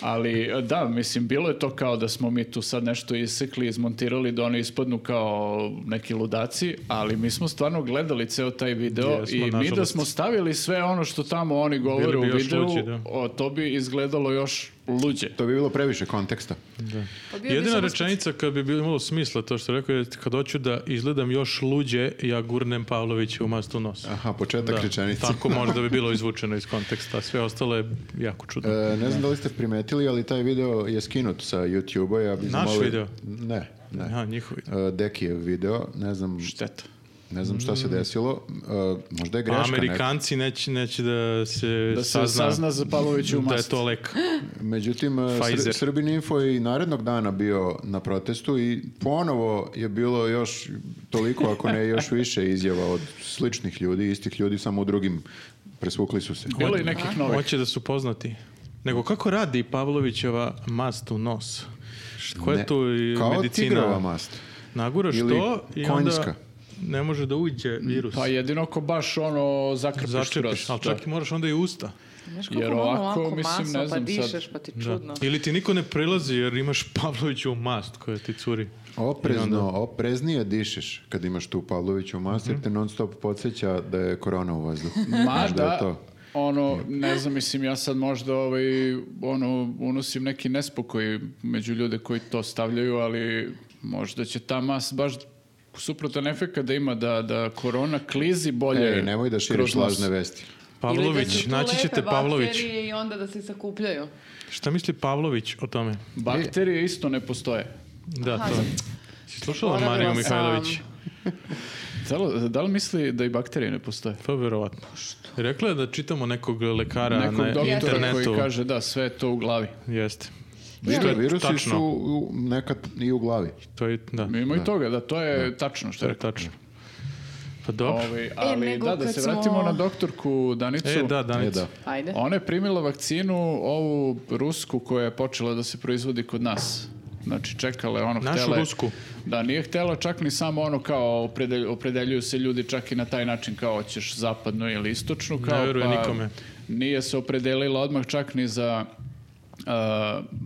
S4: Ali, da, mislim, bilo je to kao da smo mi tu sad nešto isekli, izmontirali da oni ispadnu kao neki ludaci, ali mi smo stvarno gledali ceo taj video
S1: Jesmo,
S4: i mi da
S1: nažalost.
S4: smo stavili sve ono što tamo oni govore
S1: Bili
S4: u
S1: bi još
S4: videu,
S1: luđi, da.
S4: o, to bi izgledalo još luđe.
S2: to bi bilo previše konteksta.
S3: Pa bio bi
S1: Jedina
S3: samo
S1: rečenica kad bi bilo imalo smisla to što je rekao je kad hoću da izgledam još luđe, ja gurnem Pavloviću u mastu u nos.
S2: Aha, početak
S1: Da,
S2: rečenice.
S1: Tako možda bi bilo izvučeno iz konteksta, sve ostalo je jako čudno.
S2: E, ne znam da li ste primetili, ali taj video je skinut sa YouTube-a. Ja bih
S1: Naš
S2: zamolio-
S1: video?
S2: Ne, ne.
S1: Aha, njihovi.
S2: E, Dekijev video, ne znam,
S4: Šteta.
S2: ne znam šta
S1: Mm.
S2: se desilo, E, možda je
S1: A
S2: greška neka.
S1: Amerikanci neće, neće da se
S4: Da se
S1: sazna,
S4: sazna za Pavlovićevu
S1: da je
S4: mast.
S1: to lek.
S2: Međutim, e, Sr
S1: Pfizer.
S2: Srbin Info je i narednog dana bio na protestu i ponovo je bilo još toliko, ako ne još više izjava od sličnih ljudi, istih ljudi, samo u drugim presvukli su se.
S4: Bilo je i nekih novih.
S1: Hoće da su poznati. Nego kako radi Pavlovićeva mast u nos? Koja je
S2: Ne,
S1: tu i
S2: Kao
S1: medicina?
S2: tigrova mast.
S1: Naguraš
S2: Ili
S1: to i onda
S2: konjska.
S1: ne može da uđe virus.
S4: Pa jedino ako baš ono zakrpiš
S1: Začepiš,
S4: skroz,
S1: ali
S4: da.
S1: čak i moraš onda i usta.
S3: Znaš kako
S4: Jer
S3: malo
S4: ovako,
S3: ovako
S4: mislim,
S3: masno,
S4: ne znam
S3: pa
S4: sad.
S3: dišeš, pa ti čudno.
S1: Ili ti niko ne prilazi jer imaš Pavlovićevu mast koja ti curi.
S2: Oprezno, opreznije dišeš kad imaš tu Pavloviću mast, jer te
S1: Mhm.
S2: non stop podsjeća da je korona u vazduhu.
S4: Ma
S2: Možda je
S4: da,
S2: to.
S4: ono, ne znam, mislim, ja sad možda ovaj, ono, unosim neki nespokoj među ljude koji to stavljaju, ali možda će ta mas baš suprotan efekat da ima da, da korona klizi bolje.
S2: Ej, nemoj da širiš
S4: kroz nos.
S2: lažne vesti.
S3: Ili da
S1: Pavlović,
S3: su tu
S1: naći ćete
S3: lepe
S1: Pavlović.
S3: bakterije I onda da se sakupljaju.
S1: Šta misli Pavlović o tome?
S4: Bakterije isto ne postoje.
S1: Da, to. Si slušala
S3: Zaboravila
S1: Mariju
S3: sam.
S1: Mihajlović?
S3: um,
S4: Da li, da li misli da i bakterije ne postoje?
S1: Pa verovatno. Rekla je da čitamo nekog lekara
S4: Nekog
S1: na
S4: doktora
S1: internetu.
S4: koji kaže da, sve je to u glavi.
S1: Jeste. Što
S2: Viro,
S1: je
S2: virusi
S1: tačno.
S2: su u- nekad i u glavi.
S1: To je, da,
S4: Ima i toga, da, to je tačno što
S1: to
S4: je
S1: je
S4: rekao.
S1: tačno. Pa dobro.
S4: Ovaj, ali
S3: E, nego
S4: da, da
S3: kad
S4: se
S3: smo-
S4: vratimo na doktorku Danicu.
S1: E, da, Danica.
S2: E, da.
S3: Ajde.
S4: Ona je primila vakcinu, ovu rusku koja je počela da se proizvodi kod nas. Znači, čekala je ono...
S1: Našu
S4: htela je-
S1: rusku.
S4: Da, nije htela čak ni samo ono kao opredelj- opredeljuju se ljudi čak i na taj način kao hoćeš zapadnu ili istočnu. Kao, pa
S1: Ne veruje nikome.
S4: Nije se opredelila odmah čak ni za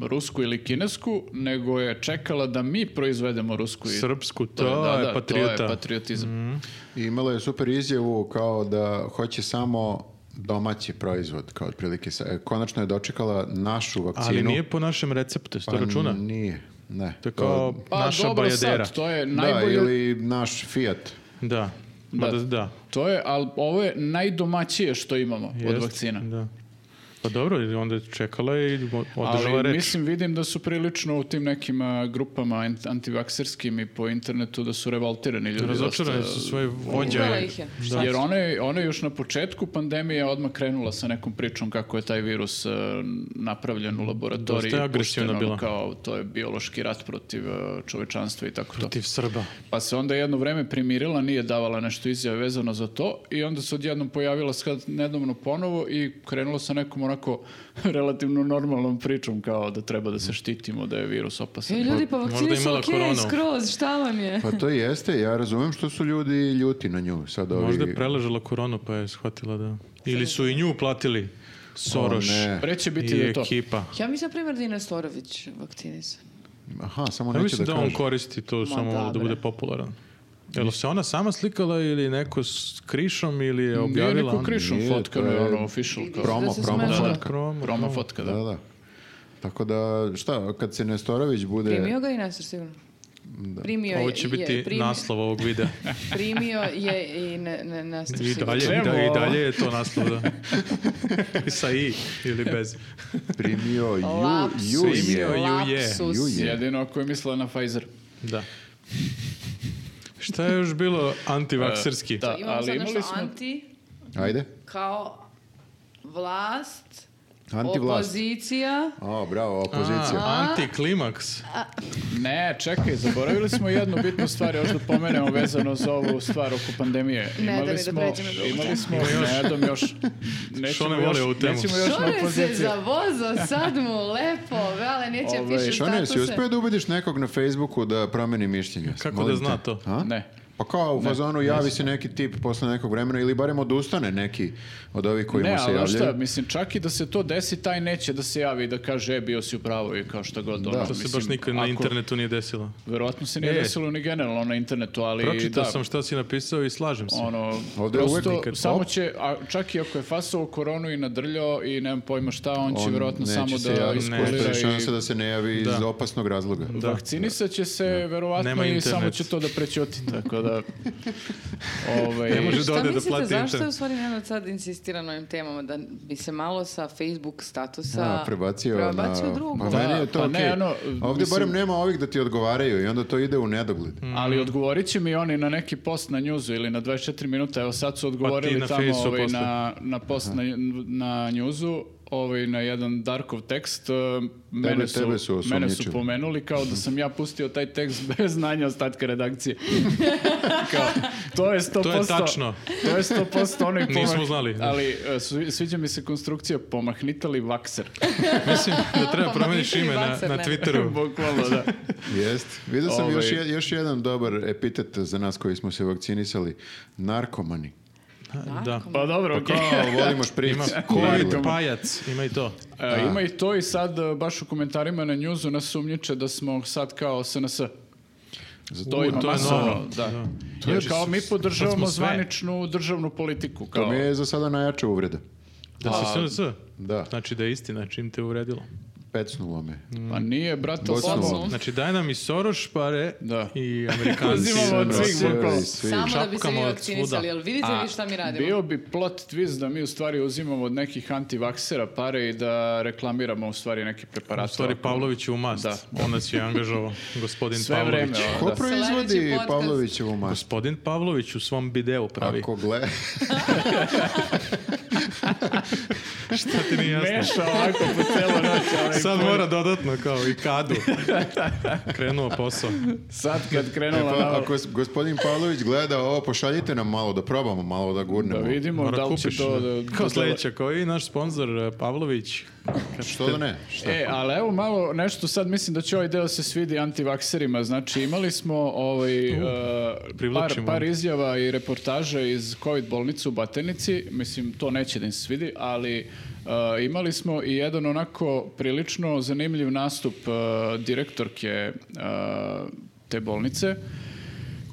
S4: uh, rusku ili kinesku, nego je čekala da mi proizvedemo rusku. i-
S1: Srpsku, to,
S4: da, da,
S1: je
S4: to
S1: patriota.
S4: patriotizam.
S2: I imala je super izjavu kao da hoće samo domaći proizvod, kao otprilike. sa- e, Konačno je dočekala našu vakcinu.
S1: Ali nije po našem receptu, što
S2: Pa
S1: računa.
S2: Nije, ne.
S1: To je kao
S4: Pa
S1: naša
S4: dobro
S1: bajadera.
S4: sad, to je
S2: Da,
S4: najbolje...
S2: ili naš Fiat.
S1: Da. Ma
S4: Da.
S1: da, da.
S4: To je, ali ovo je najdomaćije što imamo od
S1: Jest,
S4: vakcina.
S1: Da. Pa dobro, ili onda je čekala je i mo- održala
S4: Ali
S1: reč.
S4: mislim, vidim da su prilično u tim nekim a, grupama ant- antivakserskim i po internetu da su revoltirani ljudi.
S1: Razočarani
S4: dosta.
S1: su svoje vođe.
S3: Ubila ih je.
S1: Da.
S4: Jer ona je, ona je još na početku pandemije odmah krenula sa nekom pričom kako je taj virus e, napravljen u laboratoriji.
S1: Dosta je agresivna
S4: pušten, ono,
S1: bila.
S4: Kao, to je biološki rat protiv e, čovečanstva i tako to.
S1: Protiv Srba.
S4: Pa se onda jedno vreme primirila, nije davala nešto izjave vezano za to i onda se odjednom pojavila sad nedavno ponovo i krenula sa nekom onako relativno normalnom pričom kao da treba
S2: Mm.
S4: da se štitimo, da je virus opasan.
S3: E, ljudi, pa
S1: Možda
S3: vakcine su
S1: imala
S3: okej,
S1: koronu.
S3: skroz, šta vam je?
S2: Pa to jeste, ja razumem što su ljudi ljuti na nju. Sad
S4: Pa
S2: ovi...
S1: Možda je preležala koronu pa je shvatila da... Ili su i nju platili. Soroš
S2: O, ne.
S4: Pre će Pa biti
S1: i
S4: da to.
S1: ekipa.
S3: Ja mislim, na primjer, da je Ines Lorović vakcinisan.
S2: Aha, samo
S1: Ja
S2: neće da,
S1: mislim da, on
S2: kaže.
S1: koristi to samo
S3: da,
S1: malo da
S3: bre.
S1: bude popularan. Jel se ona sama slikala ili neko s krišom ili je objavila?
S4: Nije neko
S1: on-
S4: krišom
S2: Nije,
S4: fotkano,
S2: to je
S4: ono, official. Kao.
S2: Promo,
S3: Da se
S2: promo
S3: smrzla.
S1: Da,
S2: fotka.
S1: promo,
S4: Promo
S1: promo.
S4: fotka, da.
S2: Da, da. Tako da, šta, kad se Nestorović bude...
S3: Primio ga i Nestor sigurno. Primio
S1: Ovo
S3: je,
S1: će
S3: je,
S1: biti
S3: primio-
S1: naslov ovog videa.
S3: Primio je i ne, ne, Nestor
S1: I
S3: sigurno.
S1: dalje, i,
S4: Čemu
S1: da, i
S4: ovo?
S1: dalje je to naslov, da. Sa i ili bez.
S2: Primio ju,
S3: Lapsus,
S2: ju
S1: Primio
S2: je.
S1: ju je.
S3: lapsus.
S2: Ju je.
S4: Jedino ako je mislila na Pfizer.
S1: Da. Šta je još bilo antivakserski?
S4: E, Da,
S3: Imamo
S4: ali
S3: sad
S4: imali
S3: nešto
S4: smo...
S3: anti,
S2: Ajde,
S3: kao vlast,
S2: antivlast.
S3: opozicija.
S2: O, bravo,
S1: A,
S2: opozicija.
S1: antiklimaks.
S4: Ne, čekaj, zaboravili smo jednu bitnu stvar još da pomenemo vezano za ovu stvar oko pandemije.
S3: Ne, da mi da
S4: smo,
S3: pređemo drugu
S4: imali
S3: temu.
S4: smo, ne, dam još, nećemo
S1: Šone voli
S4: još,
S1: ovu temu.
S4: nećemo još na
S3: Šone se
S4: opoziciju.
S3: zavozao, sad mu lepo, vele, neće
S4: Ovaj,
S3: piše
S2: Šone, si
S3: statuse.
S2: uspio da ubediš nekog na Facebooku da promeni mišljenje?
S1: Kako
S2: Molim
S1: da zna
S2: te.
S1: to?
S2: A?
S4: Ne.
S2: Pa kao u fazonu javi se neki tip posle nekog vremena ili barem odustane neki od ovih koji
S4: Ne,
S2: mu se
S4: ali znaš šta,
S2: javljaju.
S4: mislim, čak i da se to desi, taj neće da se javi i da kaže, e, bio si u pravu i kao šta god. ono,
S1: To se
S4: mislim,
S1: baš nikad na
S4: ako-
S1: internetu nije desilo.
S4: Verovatno se nije
S1: E.
S4: desilo ni generalno na internetu, ali
S1: Pročitao
S4: da,
S1: sam šta si napisao i slažem se.
S4: ono,
S2: Ovde je
S4: prosto,
S2: uvek nikad-
S4: samo
S2: Op.
S4: će, a, čak i ako je fasovo koronu i nadrljao i nemam pojma šta, on, će
S2: On
S4: verovatno
S2: neće
S4: samo
S2: se
S4: da
S2: javiti, postoji
S4: iskulira i
S2: šansa da se ne javi iz opasnog razloga.
S1: Da.
S4: Vakcinisat će se verovatno
S1: Nema
S4: i
S1: internet.
S4: samo će to da prećuti, tako da... ovaj,
S1: Ne može da
S3: E, Šta
S1: ode da
S3: mislite,
S1: plati
S3: zašto je u
S1: internet.
S3: stvari Nenad sad insistira na ovim temama, da bi se malo sa Facebook statusa
S2: Da, prebacio,
S3: prebacio
S2: na...
S3: drugo?
S2: Pa
S4: Da,
S2: meni je to
S4: pa ne,
S2: okej.
S4: ono,
S2: Ovdje
S4: mislim-
S2: barem nema ovih da ti odgovaraju i onda to ide u nedogled.
S4: Ali odgovorit će mi oni na neki post na njuzu ili na 24 minuta, evo sad su odgovorili
S1: na
S4: tamo
S1: Fejsu
S4: ovaj,
S1: posle.
S4: na, na post na, na njuzu, ovaj, na jedan Darkov tekst, eh, mene, su,
S2: tebe su
S4: mene su
S2: osumnjičili.
S4: pomenuli kao da sam ja pustio taj tekst bez znanja ostatka redakcije. kao, to je 100%.
S1: To je tačno.
S4: To je 100% onaj pomah.
S1: Nismo znali.
S4: Ali eh, svi- sviđa mi se konstrukcija pomahnitali vakser.
S1: Mislim da treba
S3: Pa
S1: promeniš
S3: nisi
S1: ime na,
S3: vakser,
S1: na
S3: ne.
S1: Twitteru.
S4: Bukvalno, da.
S2: Jest. Vidio sam još,
S4: Ovaj-
S2: je- još jedan dobar epitet za nas koji smo se vakcinisali. Narkomani.
S1: Da.
S4: Pa dobro, okej.
S2: Kao, volimo špric. Dakle,
S1: Ima
S2: Narkomani.
S1: covid pajac, ima i to.
S4: E, ima i to i sad e, baš u komentarima na njuzu nas sumnjiče da smo sad kao SNS.
S2: Zato-
S4: To ima
S1: to je
S4: masovno,
S1: novo.
S4: Da.
S1: Da.
S4: To je kao mi podržavamo
S1: smo sve.
S4: zvaničnu državnu politiku. Kao.
S2: To mi je za sada najjača uvreda.
S1: Da si SNS.
S2: Da,
S1: Znači da je istina, čim te uredilo.
S2: pecnulo me.
S4: Pa nije, brate,
S2: Bosnu.
S4: samo...
S1: Znači daj nam i Soroš pare
S4: Hm? Da.
S1: i Amerikanci. Ono,
S4: Uzimamo od
S1: Sve.
S4: svih
S2: Sve,
S4: bukvalno.
S2: svi.
S3: Samo da bi se
S1: Šapkamo
S3: vi
S1: od
S3: vakcinisali,
S1: svuda.
S3: jel vidite
S4: A,
S3: vi šta mi radimo?
S4: Bio bi plot twist da mi u stvari uzimamo od nekih antivaksera pare i da reklamiramo u stvari neke
S1: U
S4: preparate.
S1: stvari Pavlović je u mast.
S4: Da.
S1: On nas je angažovao, gospodin
S4: Sve
S1: Pavlović.
S4: vreme. ono,
S2: Ko
S4: da.
S3: Sledeći
S2: proizvodi
S3: podcast.
S2: Pavlovićevu masu?
S1: Gospodin Pavlović u svom bideu pravi.
S2: Ako gle...
S1: Šta ti nije jasno?
S4: Meša ovako po celo noć. ovaj
S1: Sad
S4: pun-
S1: mora dodatno kao i kadu. Krenuo posao.
S4: Sad kad
S2: E,
S4: krenula
S2: pa,
S4: na...
S2: ako s- gospodin Pavlović gleda ovo, pošaljite nam malo da probamo, malo da
S4: Da
S2: gurnemo.
S4: vidimo
S1: Mora
S4: da li će
S1: kupiš.
S4: to...
S1: da.
S4: Da,
S1: Kao
S4: da-
S1: sledeća, koji je naš sponsor eh, Pavlović?
S2: Što da ne? Šta?
S4: E, ali evo malo nešto sad mislim da će ovaj deo se svidi antivakserima. Znači imali smo ovaj, e, par,
S1: privlačimo.
S4: par izjava i reportaža iz COVID bolnice u Baternici. Mislim, to neće da im se svidi, ali e, imali smo i jedan onako prilično zanimljiv nastup e, direktorke e, te bolnice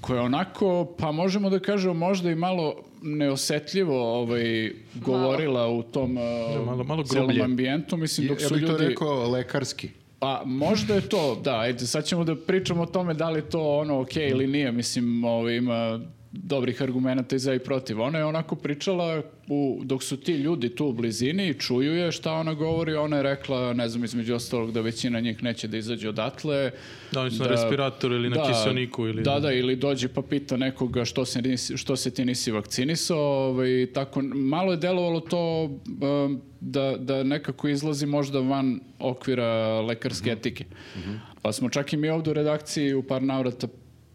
S4: koja je onako, pa možemo da kažemo možda i malo neosetljivo ovaj, govorila u tom e,
S1: malo- malo
S4: celom
S1: grublje.
S4: ambijentu, mislim,
S2: Ja
S4: dok su
S2: bih to
S4: ljudi...
S2: rekao lekarski.
S4: Pa možda je to, da, ajde, sad ćemo da pričamo o tome da li je to ono ok ili nije, mislim, ovo, ima dobrih argumenta i za i protiv. Ona je onako pričala u, dok su ti ljudi tu u blizini i čuju je šta ona govori, ona je rekla, ne znam, između ostalog da većina njih neće da izađe odatle.
S1: Da, oni su Znači na respiratoru ili na kiseoniku ili-
S4: Da, da, ili dođe pa pita nekoga što se, nisi- što se ti nisi vakcinisao, ovaj, tako, malo je delovalo to um, da, da nekako izlazi možda van okvira lekarske
S1: Mhm.
S4: etike. Pa smo čak i mi ovdje u redakciji u par navrata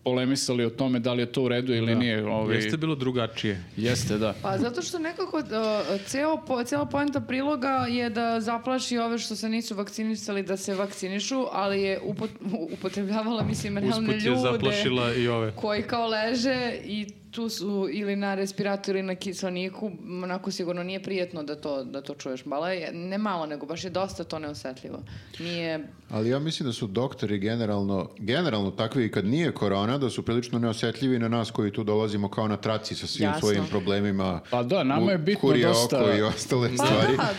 S4: polemisali o tome da li je to u redu ili nije. Ovaj,
S1: Jeste bilo drugačije.
S4: jeste, da.
S3: Pa zato što nekako uh, ceo, po, cela poenta priloga je da zaplaši ove što se nisu vakcinisali da se vakcinišu, ali je upot, upotrebljavala, mislim, realne
S1: Usput je
S3: ljude
S1: zaplašila i ove.
S3: koji kao leže i tu su ili na respiratoru ili na kiselniku, onako sigurno nije prijetno da to, da to čuješ. Bala je, ne malo, nego baš je dosta to neosetljivo. Nije,
S2: Ali ja mislim da su doktori generalno, generalno takvi i kad nije korona, da su prilično neosetljivi na nas koji tu dolazimo kao na traci sa svim
S3: Jasno.
S2: svojim problemima.
S4: Pa da, nama
S2: u
S4: je bitno
S2: kurje
S4: dosta-
S2: oko i ostale
S3: Pa
S2: stvari.
S3: da.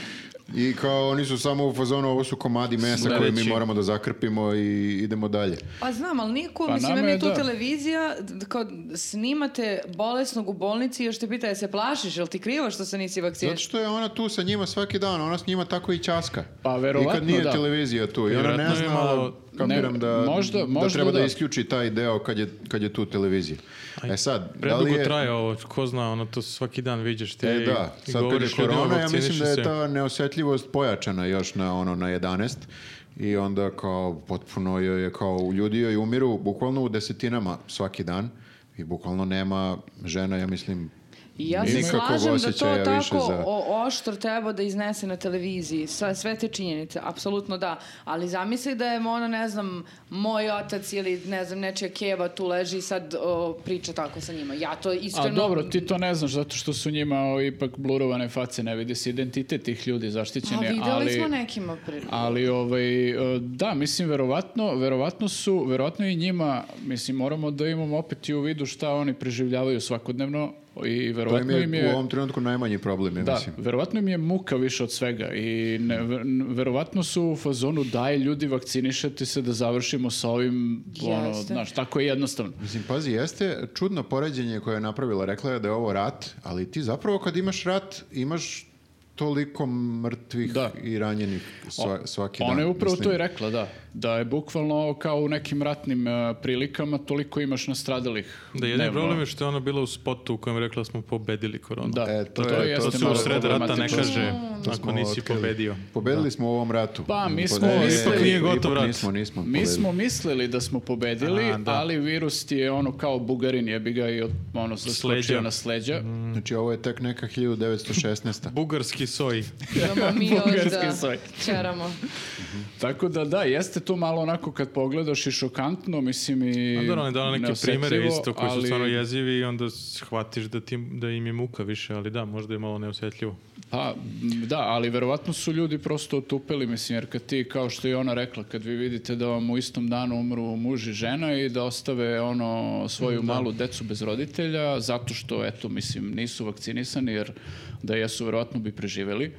S2: I kao oni su samo u fazonu, ovo su komadi mesa koje mi
S4: Sledeći.
S2: moramo da zakrpimo i idemo dalje.
S3: Pa znam, ali nije cool.
S4: Pa
S3: Mislim,
S4: nama
S3: meni
S4: je
S3: je tu
S4: da.
S3: televizija, d- kao snimate bolesnog u bolnici i još te pita, je se plašiš, jel ti krivo što se nisi
S2: Zato
S3: vakciniš?
S2: što je ona tu sa njima svaki dan, ona s njima tako i časka.
S4: Pa, verovatno
S2: I kad nije
S4: da.
S2: televizija tu. I ona ne
S1: Vjerojatno je
S2: zna,
S1: malo-
S2: kapiram
S4: Ne,
S2: da,
S4: možda-
S2: da
S4: možda
S2: treba da.
S4: da.
S2: isključi taj deo kad je, kad je tu televizija. e sad, da
S1: Predugo
S2: li je...
S1: traje ovo, ko zna, ono to svaki dan viđaš ti
S2: E
S1: i-
S2: da,
S1: i
S2: sad kad je
S1: govoriš ljudima,
S2: korona, ja mislim da
S1: "Vakciniši
S2: je
S1: se."
S2: ta neosetljivost pojačana još na ono na 11 i onda kao potpuno joj je kao ljudi joj umiru bukvalno u desetinama svaki dan i bukvalno nema žena, ja mislim,
S3: I ja se
S2: nikakvog
S3: slažem da to
S2: osjećaja više
S3: tako
S2: za-
S3: o, oštro treba da iznese na televiziji. Sa, sve te činjenice, apsolutno da. Ali zamisli da je ono, ne znam, moj otac ili ne znam, nečija keva tu leži i sad o, priča tako sa njima. Ja to
S4: A
S3: iskreno...
S4: dobro, ti to ne znaš zato što su njima ovaj, ipak blurovane face, ne vidi se identitet tih ljudi
S3: A
S4: zaštićeni,
S3: videli
S4: ali...
S3: smo nekima pri...
S4: Ali ovaj e, da, mislim verovatno, verovatno su, verovatno i njima, mislim moramo da imamo opet i u vidu šta oni preživljavaju svakodnevno i
S2: to im
S4: verovatno im
S2: je u
S4: je
S2: ovom trenutku najmanji problem, ja
S4: da,
S2: mislim.
S4: verovatno im je muka više od svega i ne, ver- n- verovatno su u fazonu daj ljudi vakcinišete se da završimo sa ovim, ono,
S3: Jeste.
S4: znaš, tako je jednostavno.
S2: Mislim, pazi, jeste čudno poređenje koje je napravila. Rekla je da je ovo rat, ali ti zapravo kad imaš rat, imaš toliko mrtvih
S4: Da.
S2: i ranjenih sva- svaki dan.
S4: Ona je upravo
S2: mislim.
S4: to i rekla, da. Da je bukvalno kao u nekim ratnim e, prilikama toliko imaš nastradalih.
S1: Da, jedan
S4: dnevno.
S1: problem je što je ona bila u spotu u kojem je rekla da smo pobedili koronu.
S4: Da,
S2: E, to
S4: to,
S2: je- to
S4: jeste
S1: To se
S2: malo
S1: u sred rata ne
S4: problematično.
S1: kaže
S2: To smo
S1: ako nisi
S2: otkrili.
S1: pobedio.
S2: Pobedili smo u ovom ratu.
S4: Pa, mi smo-
S2: Pobedili-
S4: mi smo-
S2: Ipak
S1: nije gotov
S2: ipak
S1: rat.
S2: Nismo, nismo.
S4: Mi
S2: pobedili.
S4: smo mislili da smo pobedili,
S1: A, da.
S4: ali virus ti je ono kao bugarin, je bi ga i od, ono,
S1: Sleđa.
S4: zaskočio na sleđa.
S1: Mhm.
S2: Znači, ovo je tek neka 1916.
S1: Bugarski soj.
S3: Imamo mi još
S4: Bugarski
S3: da
S4: soj.
S3: čeramo.
S4: Tako da da, jeste to malo onako kad pogledaš i šokantno, mislim i
S1: A Pa dobro, ona je dala neke
S4: neosetljivo,
S1: primere isto koji su
S4: ali-
S1: stvarno jezivi i onda shvatiš da, ti, da im je muka više, ali da, možda je malo neosjetljivo.
S4: Pa, m, da, ali verovatno su ljudi prosto otupeli, mislim, jer kad ti, kao što je ona rekla, kad vi vidite da vam u istom danu umru muž i žena i da ostave ono svoju malu decu bez roditelja, zato što, eto, mislim, nisu vakcinisani, jer da jesu, verovatno bi preživeli.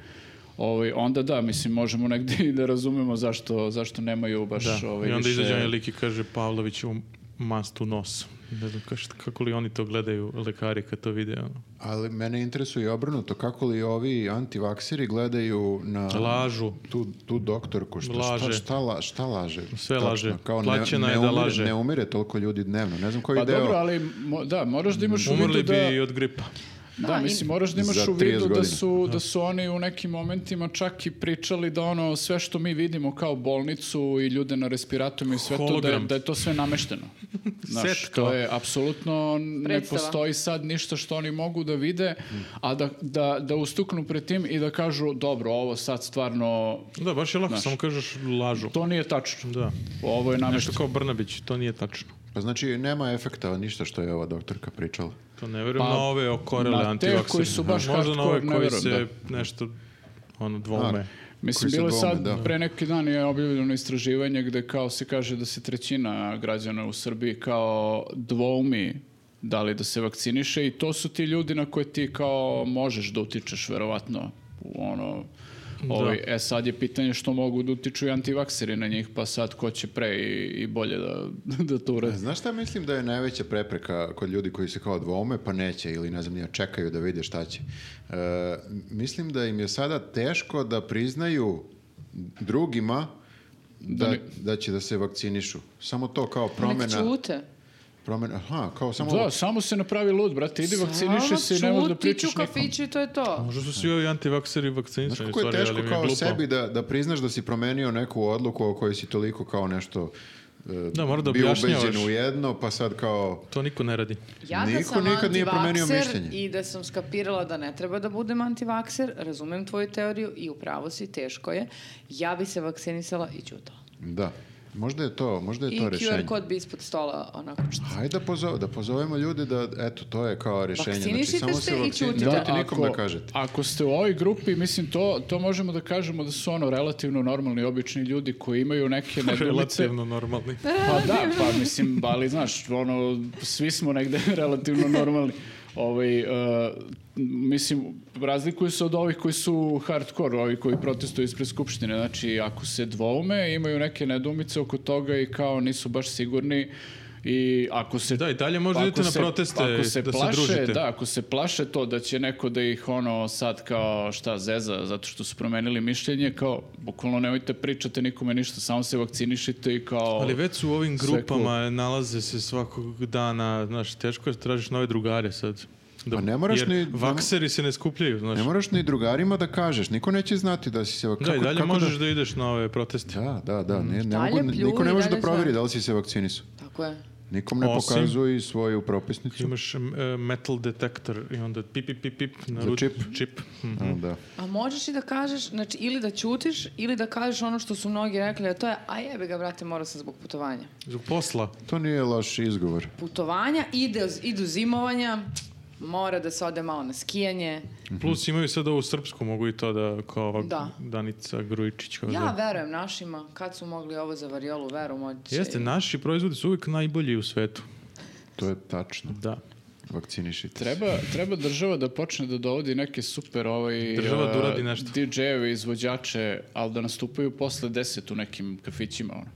S4: Ovaj, onda da, mislim, možemo negdje i da razumemo zašto, zašto nemaju baš
S1: Da.
S4: ovaj,
S1: I onda
S4: više-
S1: izađe onaj lik i kaže Pavlović u mastu nos. Ne znam kaš- kako li oni to gledaju, lekari kad to vide. ono.
S2: Ali mene interesuje i obrnuto kako li ovi antivakseri gledaju na
S1: Lažu.
S2: tu, tu doktorku. Šta, šta-
S1: Laže.
S2: Šta, la- šta laže?
S1: Sve
S2: Tačno,
S1: laže.
S2: Kao ne-
S1: Plaćena
S2: ne,
S1: je da
S2: umire-
S1: laže.
S2: Ne umire toliko ljudi dnevno. Ne znam koji
S4: Pa
S2: deo.
S4: dobro, ali mo- da, moraš da imaš u vidu
S1: Umrli
S4: da...
S1: bi i od gripa.
S4: Da, mislim, moraš da imaš
S2: Za
S4: u
S2: 30
S4: vidu da
S2: godina.
S4: su, da su oni u nekim momentima čak i pričali da ono sve što mi vidimo kao bolnicu i ljude na respiratorima i sve to, da je,
S1: Hologram.
S4: da je to sve namešteno. Znaš,
S1: Set kao.
S4: to je apsolutno ne
S3: Predstava.
S4: postoji sad ništa što oni mogu da vide, a da, da, da ustuknu pred tim i da kažu dobro, ovo sad stvarno,
S1: Da, baš je lako, samo kažeš lažu.
S4: to nije tačno.
S1: Da.
S4: Ovo je
S1: Nešto
S4: namešteno.
S1: kao Brnabić, to nije tačno.
S2: Pa znači, nema efekta ništa što je ova doktorka pričala.
S1: To ne verujem
S4: Pa,
S1: na ove okorele
S4: na te
S1: antivaksere.
S4: koji su baš
S1: Možda na ove
S4: hardcore, ne
S1: koji
S4: verujem,
S1: se nešto ono dvome.
S4: Mislim,
S2: koji se
S4: bilo je sad,
S2: dvoume, da.
S4: pre neki dan je objavljeno istraživanje gde kao se kaže da se trećina građana u Srbiji kao dvoumi da li da se vakciniše i to su ti ljudi na koje ti kao možeš da utičeš verovatno u ono ovaj, E sad je pitanje što mogu da utiču i antivakseri na njih, pa sad ko će pre i, i bolje da, da to uradi.
S2: Znaš šta mislim da je najveća prepreka kod ljudi koji se kao dvoume pa neće ili ne znam nije, čekaju da vide šta će? E, m- mislim da im je sada teško da priznaju drugima da,
S4: Da ne-
S2: da će da se vakcinišu. Samo to kao
S3: Nek
S2: promena.
S3: ćute.
S2: promena aha, kao samo...
S4: Da, samo se napravi lud, brate, idi vakciniši se i nemoj da
S3: Samo
S4: pričaš
S3: ćuti, ću
S4: nikom.
S3: kafiću i to je to.
S1: Možda su svi ovi antivakseri
S2: Znaš
S1: vakcinisani,
S2: kako je
S1: sorry,
S2: teško
S1: ali mi je
S2: kao
S1: glupo.
S2: sebi da, da priznaš da si promenio neku odluku o kojoj si toliko kao nešto e,
S1: Da, mora da
S2: bio
S1: objašnjavaš.
S2: ubeđen u jedno, pa sad kao...
S1: To niko ne radi.
S4: Pa,
S3: Ja da
S2: Niko
S3: sam
S2: nikad nije promenio
S3: antivakser
S2: mišljenje.
S3: i da sam skapirala da ne treba da budem antivakser, razumem tvoju teoriju i upravo si, teško je. Ja bi se vakcinisala i ćutala.
S2: Da, možda je to, možda je
S3: I
S2: to
S3: QR
S2: rešenje.
S3: kod bi ispod stola onako što
S2: Hajde da, pozove, da pozovemo ljude da, eto, to je kao rešenje.
S3: Vakcinišite
S2: samo
S3: se
S2: se
S3: i
S2: vakcini-
S3: ćutite.
S2: Nemojte
S4: Da,
S2: nikom
S4: ako-
S2: da kažete.
S4: Ako ste u ovoj grupi, mislim, to, to možemo da kažemo da su ono relativno normalni, obični ljudi koji imaju neke nedumice.
S1: Relativno normalni.
S4: Pa da, pa mislim, ali znaš, ono, svi smo negde relativno normalni. Ovaj, e, mislim, razlikuju se od ovih koji su hardcore, ovi koji protestuju ispred Skupštine. Znači, ako se dvoume, imaju neke nedumice oko toga i kao nisu baš sigurni i ako se
S1: Da, i dalje možda
S4: Pa Ako
S1: idete na
S4: se-
S1: proteste
S4: ako se
S1: da se
S4: plaše,
S1: družite.
S4: Da, ako se plaše to da će neko da ih ono sad kao šta zeza zato što su promenili mišljenje, kao bukvalno nemojte pričate nikome ništa, samo se vakcinišite i kao...
S1: Ali već su u ovim
S4: Sve cool.
S1: grupama nalaze se svakog dana, znaš, teško je da tražiš nove drugare sad. Da,
S2: Pa ne moraš
S1: jer
S2: ni-
S1: vakseri se ne skupljaju, znaš.
S2: Ne moraš ni drugarima da kažeš, niko neće znati da si se... vak-
S1: Da, i
S2: kako-
S1: dalje
S2: kako
S1: možeš da... ideš na ove proteste.
S2: Da, da, da, ne, ne
S3: Dalje
S2: mogu, niko
S3: pljuj,
S2: ne može da
S3: dalje
S2: proveri
S3: sve.
S2: da li si se vakcinisu.
S3: Tako je.
S2: Nikom ne
S1: Osim-
S2: pokazuju i svoju propisnicu.
S1: Imaš m, e, metal detektor i onda pip, pip, pip, pip, naruč,
S2: čip.
S1: čip. Mhm.
S2: A, da.
S3: A možeš i da kažeš, znači ili da ćutiš ili da kažeš ono što su mnogi rekli, a to je a jebe ga brate, morao sam zbog putovanja.
S1: Zbog posla.
S2: To nije loš izgovor.
S3: Putovanja, ide, idu zimovanja, mora da se ode malo na skijanje.
S1: Plus imaju sad ovu srpsku, mogu i to da kao ova
S3: Da.
S1: Danica Grujičić. Kao
S3: Ja
S1: da.
S3: verujem našima, kad su mogli ovo za variolu, veru moći.
S1: Jeste, naši proizvodi su uvijek najbolji u svetu.
S2: To je tačno.
S1: Da.
S2: Vakcinišite se.
S4: Treba, treba država da počne da dovodi neke super ovaj,
S1: Država da uradi nešto.
S4: DJ-eve, izvođače, ali da nastupaju posle 10 u nekim kafićima. Ono.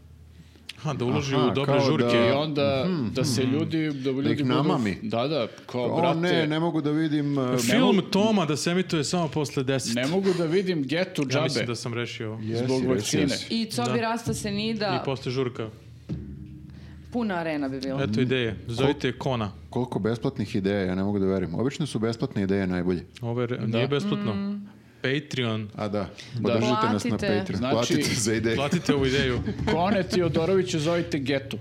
S1: Ha, da uloži
S2: Aha,
S1: u dobre
S2: kao
S1: žurke.
S2: da-
S4: I onda
S1: Mhm.
S4: da se ljudi... Da, ljudi
S2: ih
S4: budu-
S2: namami.
S4: Da, da,
S1: pa,
S4: kao
S2: O
S4: brate...
S2: ne, ne mogu da vidim... e,
S1: Film Toma da se emituje samo posle 10.
S4: Ne mogu da vidim getu
S1: Ja
S4: džabe.
S1: mislim da sam rešio ovo.
S2: jesi,
S4: zbog
S2: jesi,
S4: vakcine.
S2: jesi.
S3: I Cobi
S1: Da.
S3: Rasta se
S1: I
S3: nida,
S1: posle žurka.
S3: puna arena bi bila.
S1: Eto ideje. Zovite je Kona.
S2: Koliko besplatnih ideja, ja ne mogu da verujem. Obično su besplatne ideje najbolje.
S1: Ovo je, re- nije besplatno.
S3: Mm.
S1: Patreon.
S2: A da, podržite nas na
S3: Platite.
S2: Patreon.
S4: Znači-
S2: Platite za ideje.
S1: Platite ovu ideju.
S4: Kone Tiodoroviću zovite getu.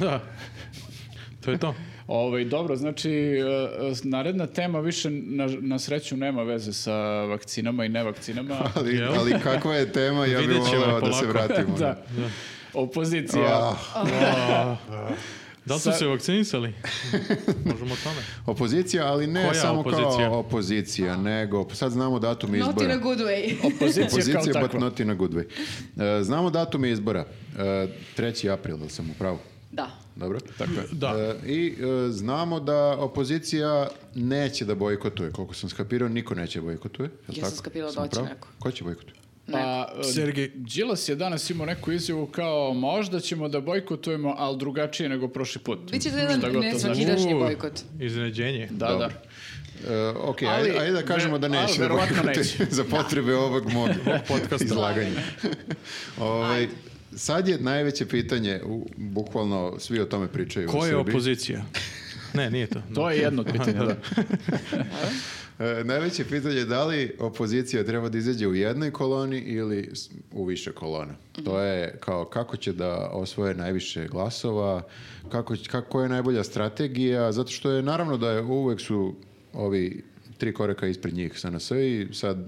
S1: da. To je to.
S4: Ovaj, dobro, znači, e, e, naredna tema više na, na sreću nema veze sa vakcinama i nevakcinama.
S2: Ali,
S1: Jel?
S2: ali kakva je tema, ja bih
S1: Vidjet ćemo
S2: voleo da se
S1: polako.
S2: vratimo.
S4: da. Opozicija.
S2: Ah,
S1: Da li su
S4: Sa-
S1: se vakcinisali? Možemo o tome.
S2: opozicija, ali ne
S1: Koja
S2: samo
S1: opozicija?
S2: kao opozicija, nego sad znamo datum
S3: Not in
S2: izbora.
S3: a good way.
S4: Opozicija, kao
S2: Opozicija, but
S4: takva.
S2: not in a good way. E, znamo datum izbora. E, 3. april, jel sam u pravu?
S3: da.
S2: Dobro?
S1: Da.
S2: E, I e, znamo da opozicija neće da bojkotuje. Koliko sam skapirao, niko neće bojkotuje. jel
S3: Ja sam
S2: tako?
S3: skapirala da
S2: Sam u
S3: hoće
S2: pravu?
S3: neko.
S2: Ko će bojkotuje?
S4: Pa, e,
S1: Sergej.
S4: Đilas je danas imao neku izjavu kao možda ćemo da bojkotujemo, ali drugačije nego prošli put.
S3: Biće to
S4: Šta
S3: jedan
S4: god to znači.
S3: nesvakidašnji
S1: znači. U.
S3: bojkot.
S1: Iznenađenje.
S4: Da,
S2: Dobro.
S4: da.
S2: E, ok,
S4: Ali,
S2: ajde, ajde da kažemo
S4: ver-
S2: da
S4: ali
S2: neće da
S4: verovatno
S2: bojkotuje
S4: neće.
S2: za potrebe ovog mog
S1: podcasta.
S2: izlaganja. Ovaj, sad je najveće pitanje, u, bukvalno svi o tome pričaju u
S1: Ko je
S2: Srbiji.
S1: opozicija? Ne, nije to.
S4: To je jedno od pitanja, da.
S2: E, najveće pitanje je da li opozicija treba da izađe u jednoj koloni ili s- u više kolona. To je kao kako će da osvoje najviše glasova, kako, će- kako je najbolja strategija, zato što je naravno da je uvek su ovi tri koraka ispred njih SNS i sad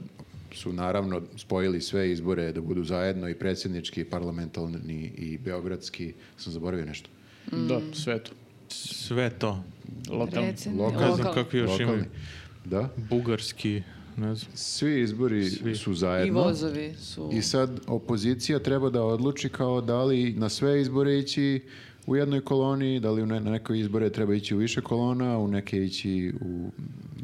S2: su naravno spojili sve izbore da budu zajedno i predsjednički, i parlamentalni i beogradski, sam zaboravio nešto.
S3: Mm.
S4: Da, sve to.
S1: Sve to.
S4: Lokalno.
S3: Recen-
S2: Lokalni.
S1: Ne znam
S3: lokal.
S1: kako još
S2: Lokalni.
S1: imaju.
S2: Da.
S1: Bugarski, ne znam.
S2: Svi izbori su zajedno.
S3: I vozovi su...
S2: I sad opozicija treba da odluči kao da li na sve izbore ići u jednoj koloni, da li u ne- na neke izbore treba ići u više kolona, u neke ići u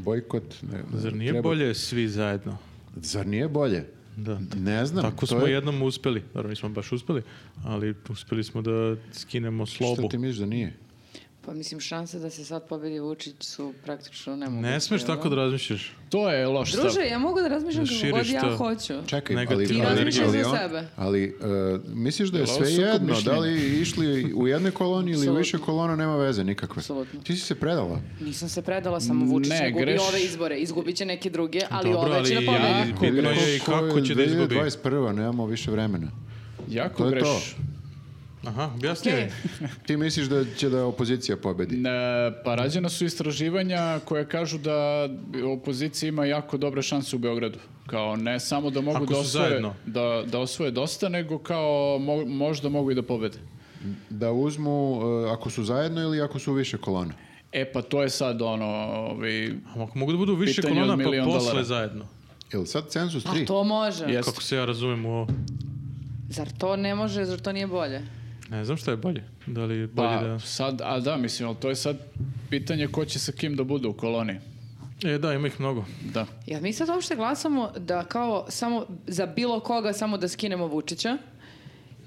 S2: bojkot. ne-
S1: Zar nije
S2: treba-
S1: bolje svi zajedno?
S2: Zar nije bolje?
S1: Da.
S2: Ne znam.
S1: Tako
S2: to
S1: smo
S2: je-
S1: jednom uspeli. Naravno nismo baš uspeli, ali uspeli smo da skinemo
S2: Šta
S1: slobu.
S2: ti misliš da nije?
S3: Pa mislim, šanse da se sad pobedi Vučić su praktično nemoguće.
S1: Ne smeš
S3: jel
S1: tako da razmišljaš.
S4: To je loš stav.
S3: Druže, ja mogu da razmišljam
S1: Da
S3: kako god
S1: širiš
S3: ja
S1: to.
S3: hoću.
S2: Čekaj,
S1: Negativno. I
S2: ali, ali,
S1: razmišljaj
S2: ali,
S3: za
S2: on-
S3: sebe.
S2: ali e, misliš da je
S4: Jel' ovo
S2: sve
S4: sukob
S2: jedno, da
S4: mišljenja?
S2: li išli u jednoj koloni ili u
S3: Apsolutno.
S2: više kolona, nema veze nikakve.
S3: Apsolutno.
S2: Ti si se predala.
S3: Nisam se predala, samo Vučić
S4: Ne,
S3: ne, gubi
S4: greš.
S3: ove izbore. Izgubit će neke druge, ali
S1: Dobro,
S3: ove će da
S1: ali
S3: pobedi.
S1: ja- Bitno je i kako će da izgubi.
S2: 21. nemamo više vremena.
S4: Jako
S2: To je
S4: greš.
S2: to.
S1: Aha, objasni
S3: Okej.
S1: mi.
S2: Ti misliš da će da opozicija pobedi?
S4: Ne, pa rađena su istraživanja koje kažu da opozicija ima jako dobre šanse u Beogradu. Kao ne samo da mogu
S1: Ako
S4: da
S1: su
S4: osvoje,
S1: zajedno.
S4: da, da osvoje dosta, nego kao mo- možda mogu i da pobede.
S2: Da uzmu, e, ako su zajedno ili ako su u više kolona?
S4: E pa to je sad ono, ovi,
S1: A Ako mogu da budu više
S4: Pitanje od
S1: kolona, pa
S4: milion
S1: posle
S4: dolara.
S1: zajedno.
S2: Jel sad cenzus 3?
S3: A to može.
S4: Jeste.
S1: Kako se ja razumem u ovo.
S3: Zar to ne može, zar to nije bolje?
S1: Ne znam šta je bolje. Da li je bolje
S4: pa
S1: da...
S4: sad, a da mislim, ali to je sad pitanje ko će sa kim da bude u koloni.
S1: E, da, ima ih mnogo.
S4: Da.
S3: Ja mi sad uopšte glasamo da kao samo za bilo koga samo da skinemo Vučića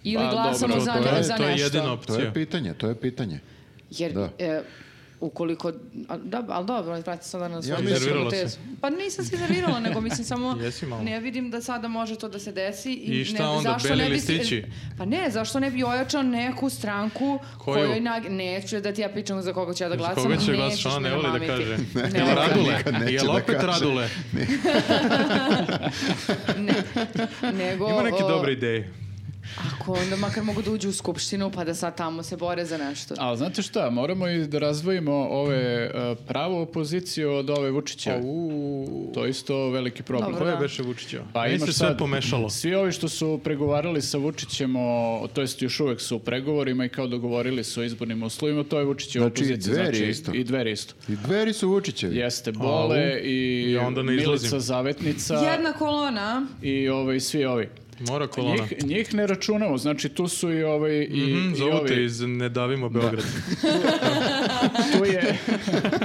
S3: ili
S4: Pa,
S3: glasamo
S4: dobro,
S3: za,
S4: to
S3: ne-
S2: je-
S3: za
S1: to je
S3: nešto.
S1: jedina
S2: To je
S1: opcija.
S2: pitanje, to je pitanje.
S3: Jer
S2: Da.
S3: e, ukoliko... a, da, ali dobro, vrati sada na
S2: mislim-
S3: svoju izvirnu
S1: Iznervirala se.
S3: tezu. Pa nisam se iznervirala, nego mislim samo
S1: Jesi malo.
S3: ne vidim da sada može to da se desi.
S1: I šta onda,
S3: zašto
S1: beli
S3: ne bi-
S1: listići?
S3: Pa ne, zašto ne bi ojačao neku stranku
S1: Koju?
S3: kojoj... nag- Neću da ti ja pričam za koga ću ja da
S1: Za
S3: glasam.
S1: koga će glas
S3: nećeš
S1: član
S3: me
S1: ne voli da
S3: namamiti.
S1: kaže?
S3: Ne,
S1: Jel
S3: ne.
S1: radule?
S2: nikad neće
S1: Jel
S2: da
S1: opet
S2: kaže.
S1: radule?
S3: Nego,
S1: Ima neke
S3: o,
S1: dobre ideje.
S3: Ako onda makar mogu da uđu u skupštinu pa da sad tamo se bore za nešto.
S4: Ali znate šta, moramo i da razdvojimo ove uh, pravu opoziciju od ove Vučića. To je isto veliki problem.
S3: Dobro,
S1: Ko pa, je
S3: da.
S1: Beše Vučićeva?
S4: Pa
S1: Meni
S4: imaš
S1: se sve
S4: sad-
S1: pomešalo.
S4: Svi ovi što su pregovarali sa Vučićem, o, to jest još uvek su u pregovorima i kao dogovorili su o izbornim uslovima, to je Vučićeva
S2: Znači, i
S4: opozicija.
S2: Dveri isto.
S4: I dveri isto.
S2: I dveri su Vučićevi.
S4: Jeste, Bole
S1: Au.
S4: i,
S1: I onda ne
S4: Milica
S1: izlazim.
S4: Zavetnica
S3: Jedna kolona.
S4: i ovaj, svi ovi.
S1: Mora kolona.
S4: Njih, njih ne računamo, znači tu su i ovaj i,
S1: Mhm,
S4: i
S1: Zovu te
S4: ovi.
S1: iz Ne davimo Beograd.
S4: Tu je,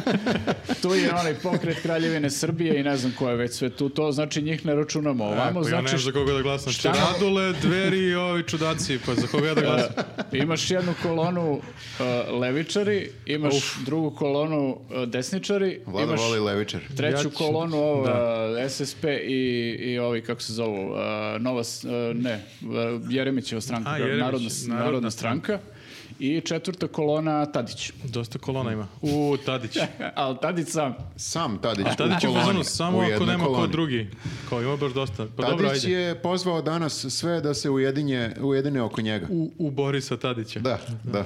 S4: tu je onaj pokret Kraljevine Srbije i ne znam ko je već sve tu. To znači njih ne računamo. Ovamo
S1: Ako Pa ja ne
S4: znači
S1: znam za koga da glasam. Šta
S4: šta nam-
S1: radule, dveri i ovi čudaci, pa za koga ja da glasam?
S4: Imaš jednu kolonu uh, levičari, imaš drugu kolonu uh, desničari,
S2: Vlada
S4: imaš
S2: voli levičar.
S4: treću
S1: Ja ću-
S4: kolonu ovo, uh, SSP i, i ovi, kako se zovu, uh, Nova, s- uh, ne, uh, Jeremićeva stranka,
S1: A,
S4: kao
S1: Jeremić,
S4: narodna, s-
S1: narodna
S4: narodna stranka. I četvrta kolona Tadić.
S1: Dosta kolona ima. U, Tadić.
S4: Ali Tadić sam.
S2: Sam Tadić u
S1: Tadić je u
S2: koloni,
S1: fazonu samo
S2: u
S1: ako
S2: jednoj
S1: nema ko
S2: koloni.
S1: drugi. Kao ima baš dosta. Pa dobro,
S2: Tadić
S1: ajde.
S2: je pozvao danas sve da se ujedinje, ujedine oko njega.
S1: U, u Borisa Tadića.
S2: Da, da.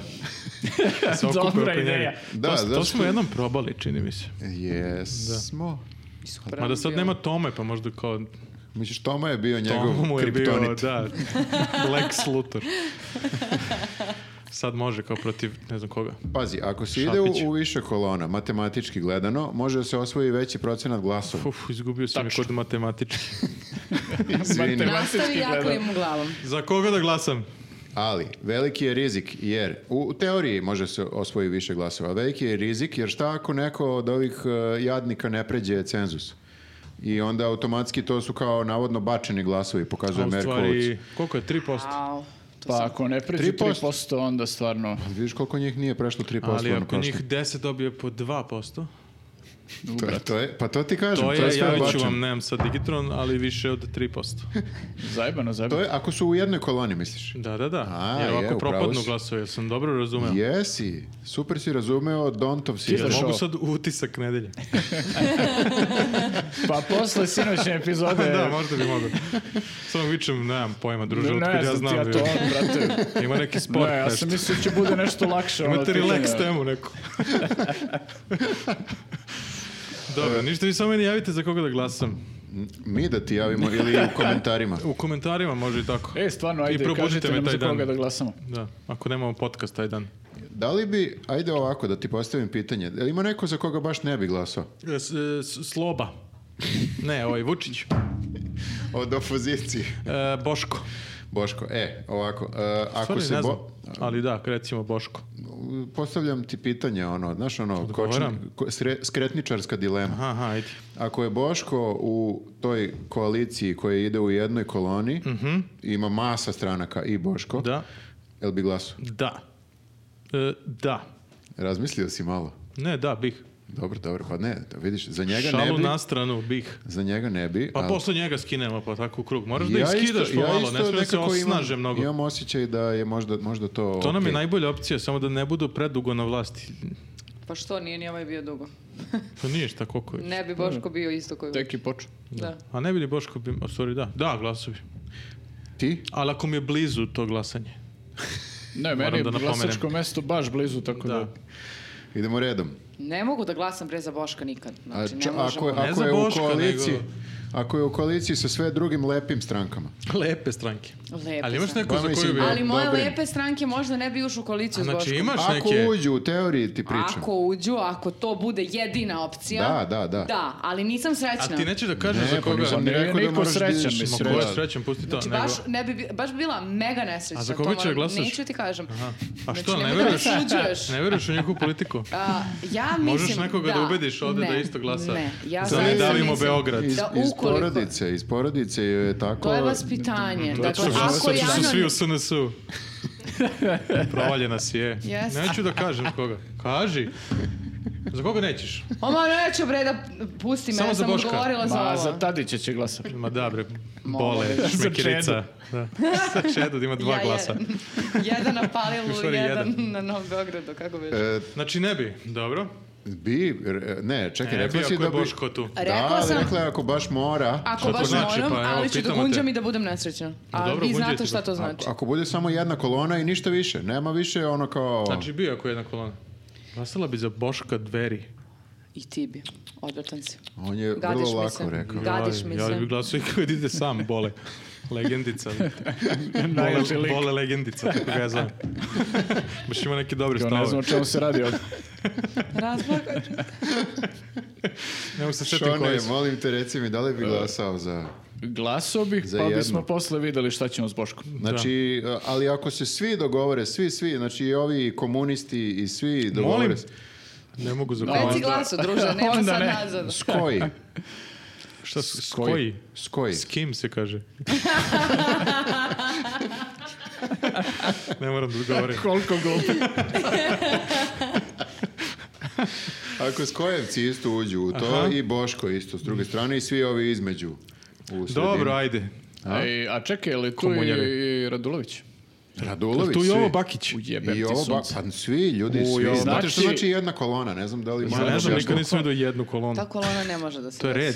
S1: Se okupe oko
S4: Dobra
S1: njega.
S4: ideja.
S2: Da,
S1: to, to
S2: zato
S1: smo jednom probali, čini mi se.
S2: Jesmo.
S1: Mada sad nema Tome, pa možda kao
S2: Misliš, Toma je bio njegov
S1: Tomu mu je bio,
S2: kriptonit.
S1: da, Lex Luthor. Sad može kao protiv ne znam koga.
S2: Pazi, ako se ide
S1: Šapić.
S2: u, u više kolona, matematički gledano, može da se osvoji veći procenat glasova.
S1: Uf, izgubio sam je
S4: Tačno.
S1: kod matematički.
S2: Izvini.
S4: Matematički
S3: Nastavi jako
S4: gledano.
S3: im u glavom.
S1: Za koga da glasam?
S2: Ali, veliki je rizik, jer u teoriji može se osvoji više glasova, a veliki je rizik, jer šta ako neko od ovih e, jadnika ne pređe cenzus? I onda automatski to su kao navodno bačeni glasovi, pokazuje
S1: A u
S2: Merković.
S1: stvari, koliko je? 3%.
S3: Au. to
S4: Pa
S3: sam-
S4: ako ne pređe
S2: 3%.
S4: 3%, onda stvarno...
S2: ono Vidiš koliko njih nije prešlo 3%
S1: Ali
S2: na
S1: ako
S2: prošlo.
S1: njih 10 dobije po 2%,
S2: To je, to je, pa to ti kažem,
S1: To
S2: to,
S1: je,
S2: sve
S1: ja ću
S2: bačeno.
S1: vam, nemam sad Digitron, ali više od 3%.
S4: Zajebano,
S2: To
S4: zajebano.
S2: je ako su u jednoj koloni, misliš?
S1: Da, da, da.
S2: A,
S1: jer
S2: je,
S1: ovako
S2: upravo
S1: propadnu
S2: si.
S1: glasove, jel sam dobro razumeo?
S2: Jesi, super si razumeo, Dontov si.
S4: Ti
S1: Jel
S4: znaš
S1: mogu
S4: ovo?
S1: sad utisak nedelje?
S4: Pa posle sinoćne epizode...
S1: da, možda bi mogo. Samo vičem, nemam pojma, druže,
S4: Ne,
S1: otkud
S4: ne,
S1: ja
S4: znam
S1: znam.
S4: ti ja to,
S1: da je-
S4: brate.
S1: Ima neki sport,
S4: Ne, ja
S1: nešto.
S4: sam mislio da će bude nešto lakše. ono,
S1: Imate
S4: pitanje.
S1: relax temu neku. Dobro, ništa vi samo meni javite za koga da glasam.
S2: Mi da ti javimo ili u komentarima.
S1: U komentarima može i tako.
S4: E, stvarno,
S1: I
S4: ajde,
S1: probudite
S4: kažite
S1: me
S4: nam
S1: taj
S4: za koga
S1: dan.
S4: da glasamo.
S1: Da, ako nemamo podcast taj dan.
S2: Da li bi, ajde ovako da ti postavim pitanje, da li ima neko za koga baš ne bi glasao?
S1: E, s- e, s- Sloba. Ne, ovaj Vučić. E,
S2: Od opozicije.
S1: Boško.
S2: Boško, e, ovako, e, ako
S1: Stvarno
S2: se
S1: ne znam,
S2: bo...
S1: ali da, recimo Boško.
S2: Postavljam ti pitanje, ono, znaš, ono,
S1: Odgovaram.
S2: kočni- ko- sre- skretničarska dilema.
S1: Aha, aha, ajde.
S2: Ako je Boško u toj koaliciji koja ide u jednoj koloni, ima masa stranaka i Boško,
S1: Mhm. Da,
S2: jel bi glasao?
S1: da. E, da.
S2: Razmislio si malo.
S1: Ne, da, bih.
S2: Dobro, dobro, pa ne, da vidiš, za njega
S1: Šalu
S2: ne bi,
S1: na stranu, bih.
S2: za njega ne bi,
S1: Pa
S2: ali-
S1: posle njega skinemo, pa tako u krug. Moraš da ih skidaš
S2: isto-
S1: pomalo, ne
S2: isto
S1: smije da se
S2: nekako imam-
S1: osnaže mnogo.
S2: Imam osjećaj da je možda, možda to...
S1: To nam je
S2: okej.
S1: najbolja opcija, samo da ne budu predugo na vlasti.
S3: Pa što, nije ni ovaj bio dugo.
S1: To nije šta koliko je.
S3: Ne bi Boško bio isto koji...
S4: Tek je počeo.
S3: Da.
S1: A ne bi li Boško bi... a, Sorry, da. Da, glasovi.
S2: Ti?
S1: Ali ako mi je blizu to glasanje.
S4: Ne,
S1: Moram
S4: meni je
S1: da napomenem.
S4: glasačko mesto baš blizu, tako da...
S1: Da.
S2: Idemo redom.
S3: Ne mogu da glasam pre za Boška nikad.
S2: A
S3: Znači,
S2: ča-
S3: ne
S2: ako,
S3: možemo.
S1: Ne
S2: ako
S1: za
S2: je u
S1: Boška,
S2: koaliciji...
S1: nego-
S2: Ako je u koaliciji sa sve drugim lepim strankama.
S1: Lepe stranke.
S3: Lepe
S1: Ali imaš
S3: stranke.
S1: neko
S2: Pa
S1: za koju
S2: mislim-
S1: bi...
S3: Ali moje
S2: Dobre.
S3: lepe stranke možda ne bi ušli u koaliciju
S1: A
S3: s
S1: znači
S3: Boškom.
S1: imaš
S2: Ako
S1: neke...
S2: uđu, u teoriji ti pričam.
S3: Ako uđu, ako to bude jedina opcija.
S2: Da, da, da.
S3: Da, ali nisam
S1: A
S3: srećna.
S1: ti nećeš da kažeš
S2: Ne,
S1: za
S2: pa
S1: koga...
S2: nisam ni
S4: Ne,
S2: rekao da
S4: niko
S2: moraš da
S4: srećan,
S2: ideš-
S4: mislim.
S1: Ma ko je
S2: Da.
S1: srećan, pusti to.
S3: Znači,
S1: nego-
S3: baš, ne bi, bi- baš bi bila mega nesrećna.
S1: A za
S3: to
S1: koga ćeš
S3: moram-
S1: da glasaš?
S3: Neću ti kažem.
S1: Aha. A
S3: Znači,
S1: što, ne
S3: nemoj da me
S1: veruješ?
S3: osuđuješ.
S1: Ne veruješ u njegovu politiku?
S3: A, ja mislim
S1: Možeš nekoga da ubediš ovde
S3: ne,
S1: da isto glasa
S3: Ne, ja
S1: za
S3: zaista
S1: Ne davimo
S3: mislim-
S1: Beograd.
S2: Iz,
S3: Da
S2: iz
S3: ukoliko-
S2: porodice, iz porodice joj je tako...
S3: To je vaspitanje.
S1: Mm, Zato
S3: Dakle,
S1: što
S3: ako
S1: zato što su
S3: Jana-
S1: svi u SNS-u. Provaljena si je.
S3: Jes.
S1: Neću da kažem koga. Kaži. Za koga nećeš?
S3: O, ma neću bre da pusti me,
S1: Samo
S3: ja
S1: za
S3: sam
S1: Boška.
S3: odgovorila za
S4: Ma,
S3: ovo.
S4: za Tadića će glasati.
S1: Ma da bre, bole, šmekerica. Da. Sa Čedu ima dva
S3: Ja je-
S1: glasa.
S3: jedan na
S1: U
S3: Palilu,
S1: stvari
S3: jedan
S1: jedan.
S3: na Novom Beogradu, kako već.
S2: E,
S1: Znači ne bi, dobro.
S2: bi, re- ne,
S1: Ne
S2: čekaj,
S1: bi
S2: rekla si
S1: ako je
S2: da bi...
S1: Boško tu.
S3: Rekla
S2: da,
S3: sam-
S2: rekla je ako baš mora...
S1: Šta
S3: Ako
S1: to
S3: baš
S1: znači?
S3: moram,
S1: Pa evo,
S3: ali ću da
S1: pitamo te.
S3: gunđam i da budem nesrećna. A
S1: dobro,
S3: vi
S1: gunđaj
S3: znate
S1: ti
S3: šta
S1: ga.
S3: to znači.
S2: Ako, ako bude samo jedna kolona i ništa više, nema više ono kao...
S1: Znači bi ako je jedna kolona. Glasala bi za Boška dveri.
S3: I ti bi, odvratan si.
S2: On je
S3: Gadiš
S2: vrlo
S3: mi
S2: lako
S3: se.
S2: rekao.
S3: Da. Gadiš
S1: Joj,
S3: mi
S1: Ja
S3: se.
S1: bi glasao i kako ide sam, bole. Legendica.
S4: Najjači
S1: Bole,
S4: lik.
S1: bole legendica, kako ga ja zovem. Baš ima neki dobri
S4: Kao ne znam o
S1: stavove.
S4: čemu se radi ovdje.
S3: Razlaka.
S1: Ne mogu se sjetiti
S2: Šone,
S1: koji su.
S2: molim te, reci mi, da li bi glasao za...
S4: Glasao bih,
S2: Za
S4: pa
S2: jedno.
S4: bismo posle videli šta ćemo s Boškom.
S2: Znači, a- ali ako se svi dogovore, svi, svi, znači i ovi komunisti i svi dogovore...
S1: Molim? Ne mogu za
S3: Reci
S1: kolona.
S3: glasu, druže, nema
S4: Onda
S3: sad
S4: ne.
S3: nazad.
S2: S koji?
S1: Šta, s, s
S4: koji?
S1: koji?
S2: S koji?
S1: S kim se kaže? ne moram da govorim.
S4: Koliko glupo.
S2: Ako Skojevci isto uđu u to
S1: Aha.
S2: i Boško isto s druge strane i svi ovi između u sredini.
S1: Dobro, ajde.
S2: A?
S4: Ej, a čekaj, je li tu i,
S1: Komunjari.
S4: i Radulović?
S2: Radulović,
S1: Tu je ovo
S2: svi.
S1: Bakić.
S4: Ujebem
S2: I
S4: ti
S2: ovo, ba,
S4: sunce.
S2: pa svi, ljudi,
S4: U,
S2: svi.
S4: jo,
S2: Znate što
S4: znači-
S2: znači jedna kolona, ne znam da li...
S1: Ja
S2: moram
S1: ne znam, nikad
S2: objasniti.
S1: nisam vidio jednu kolonu.
S3: Ta kolona ne može da se...
S1: To je red.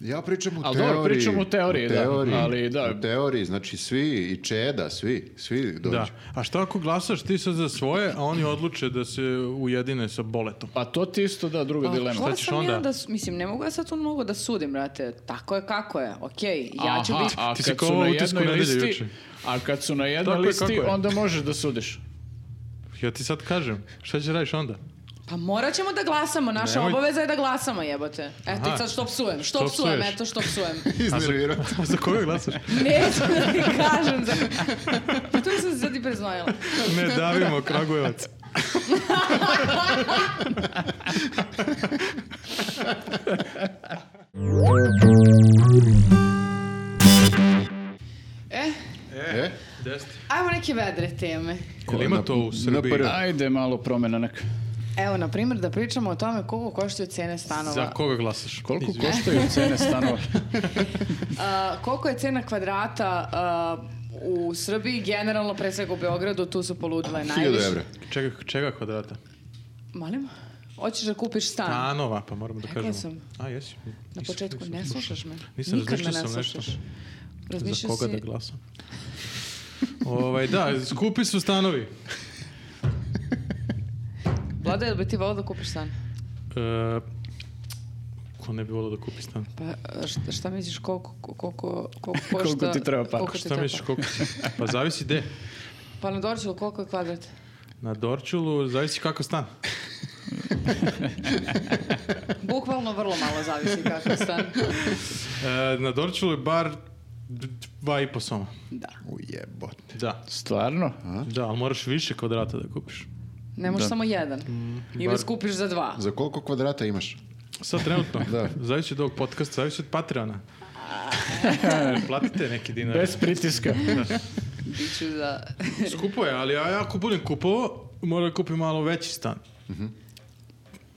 S2: Ja pričam u
S4: Ali
S2: teoriji.
S4: dobro, pričam u teoriji, da. Ali da.
S2: U teoriji, znači svi, i Čeda, svi, svi dođu.
S1: Da. A šta ako glasaš ti sad za svoje, a oni odluče da se ujedine sa boletom?
S4: Pa to ti isto da, druga dilema.
S1: šta
S3: Šta
S1: ćeš
S3: ćeš onda?
S1: onda?
S3: Ja da, su- mislim, ne mogu ja sad tu mnogo da sudim, brate. Tako je kako je, okej. Ja ću biti...
S4: a
S1: Ti si
S4: kad
S1: kao
S4: su na
S1: u utisku
S4: jednoj
S1: nedelje
S4: listi,
S1: juče.
S4: a kad su na jednoj
S1: Tako je,
S4: listi,
S1: kako je.
S4: onda možeš da sudiš.
S1: Ja ti sad kažem, šta će radiš onda?
S3: Pa morat ćemo da glasamo, naša
S1: Nemoj-
S3: obaveza je da glasamo, jebote. Eto,
S1: Aha.
S3: i sad što psujem, što,
S1: Što
S3: psujem,
S1: psuješ?
S3: eto što psujem.
S2: Iznervirao.
S1: A za koga glasaš?
S3: Neću da ti kažem za... Pa tu sam se sad i preznojila.
S1: Ne davimo Kragujevac.
S3: E,
S2: E?
S1: Deseti.
S3: ajmo neke vedre teme.
S1: Jel ima to u Srbiji?
S2: Na prvo.
S4: Ajde, malo promjena neka.
S3: Evo, na primjer, da pričamo o tome koliko koštuju cene stanova.
S1: Za koga glasaš?
S4: Koliko
S1: Izvini.
S4: koštaju cene stanova?
S3: A, koliko je cena kvadrata a, u Srbiji, generalno, pre svega u Beogradu, tu su poludile najviše.
S2: 1000 evra.
S1: Čega, čega kvadrata?
S3: Molim? Hoćeš da kupiš stan?
S1: Stanova, pa moramo da
S3: Rekla
S1: kažemo.
S3: sam.
S1: A, jesi.
S3: Na
S1: Nisam-
S3: početku
S1: nisam
S3: ne
S1: slušao.
S3: slušaš me.
S1: Nisam,
S3: Nikad me
S1: razmišljao
S3: ne
S1: sam nešto.
S3: slušaš. Razmišljao
S1: Za koga
S3: si-
S1: da glasam? ovaj, da, skupi su stanovi.
S3: Vlada, jel bi ti volao da kupiš stan?
S1: E, ko ne bi volio da kupi stan?
S3: Pa a, šta, šta misliš koliko, koliko, koliko košta?
S4: Koliko ti treba para?
S3: koliko ti
S1: Šta
S3: treba
S1: misliš
S3: para?
S1: koliko? Pa zavisi gde.
S3: Pa na Dorčulu koliko je kvadrat?
S1: Na Dorčulu, zavisi kakav stan.
S3: Bukvalno vrlo malo zavisi kakav je stan.
S1: E, na Dorčulu je bar d- dva i po soma.
S3: Da.
S2: Ujebote.
S1: Da.
S4: Stvarno?
S1: Da, ali moraš više kvadrata da kupiš.
S3: Ne možeš
S4: Da.
S3: samo jedan. Ili
S1: Mm, bar-
S3: skupiš za dva.
S2: Za koliko kvadrata imaš?
S1: Sad trenutno,
S2: Da.
S1: zavisi od ovog podcasta, zavisi od Patreona. Platite neki dinar.
S4: Bez pritiska.
S3: Biću za...
S1: Skupo je, ali ja, ja ako budem kupovao, moram da kupim malo veći stan.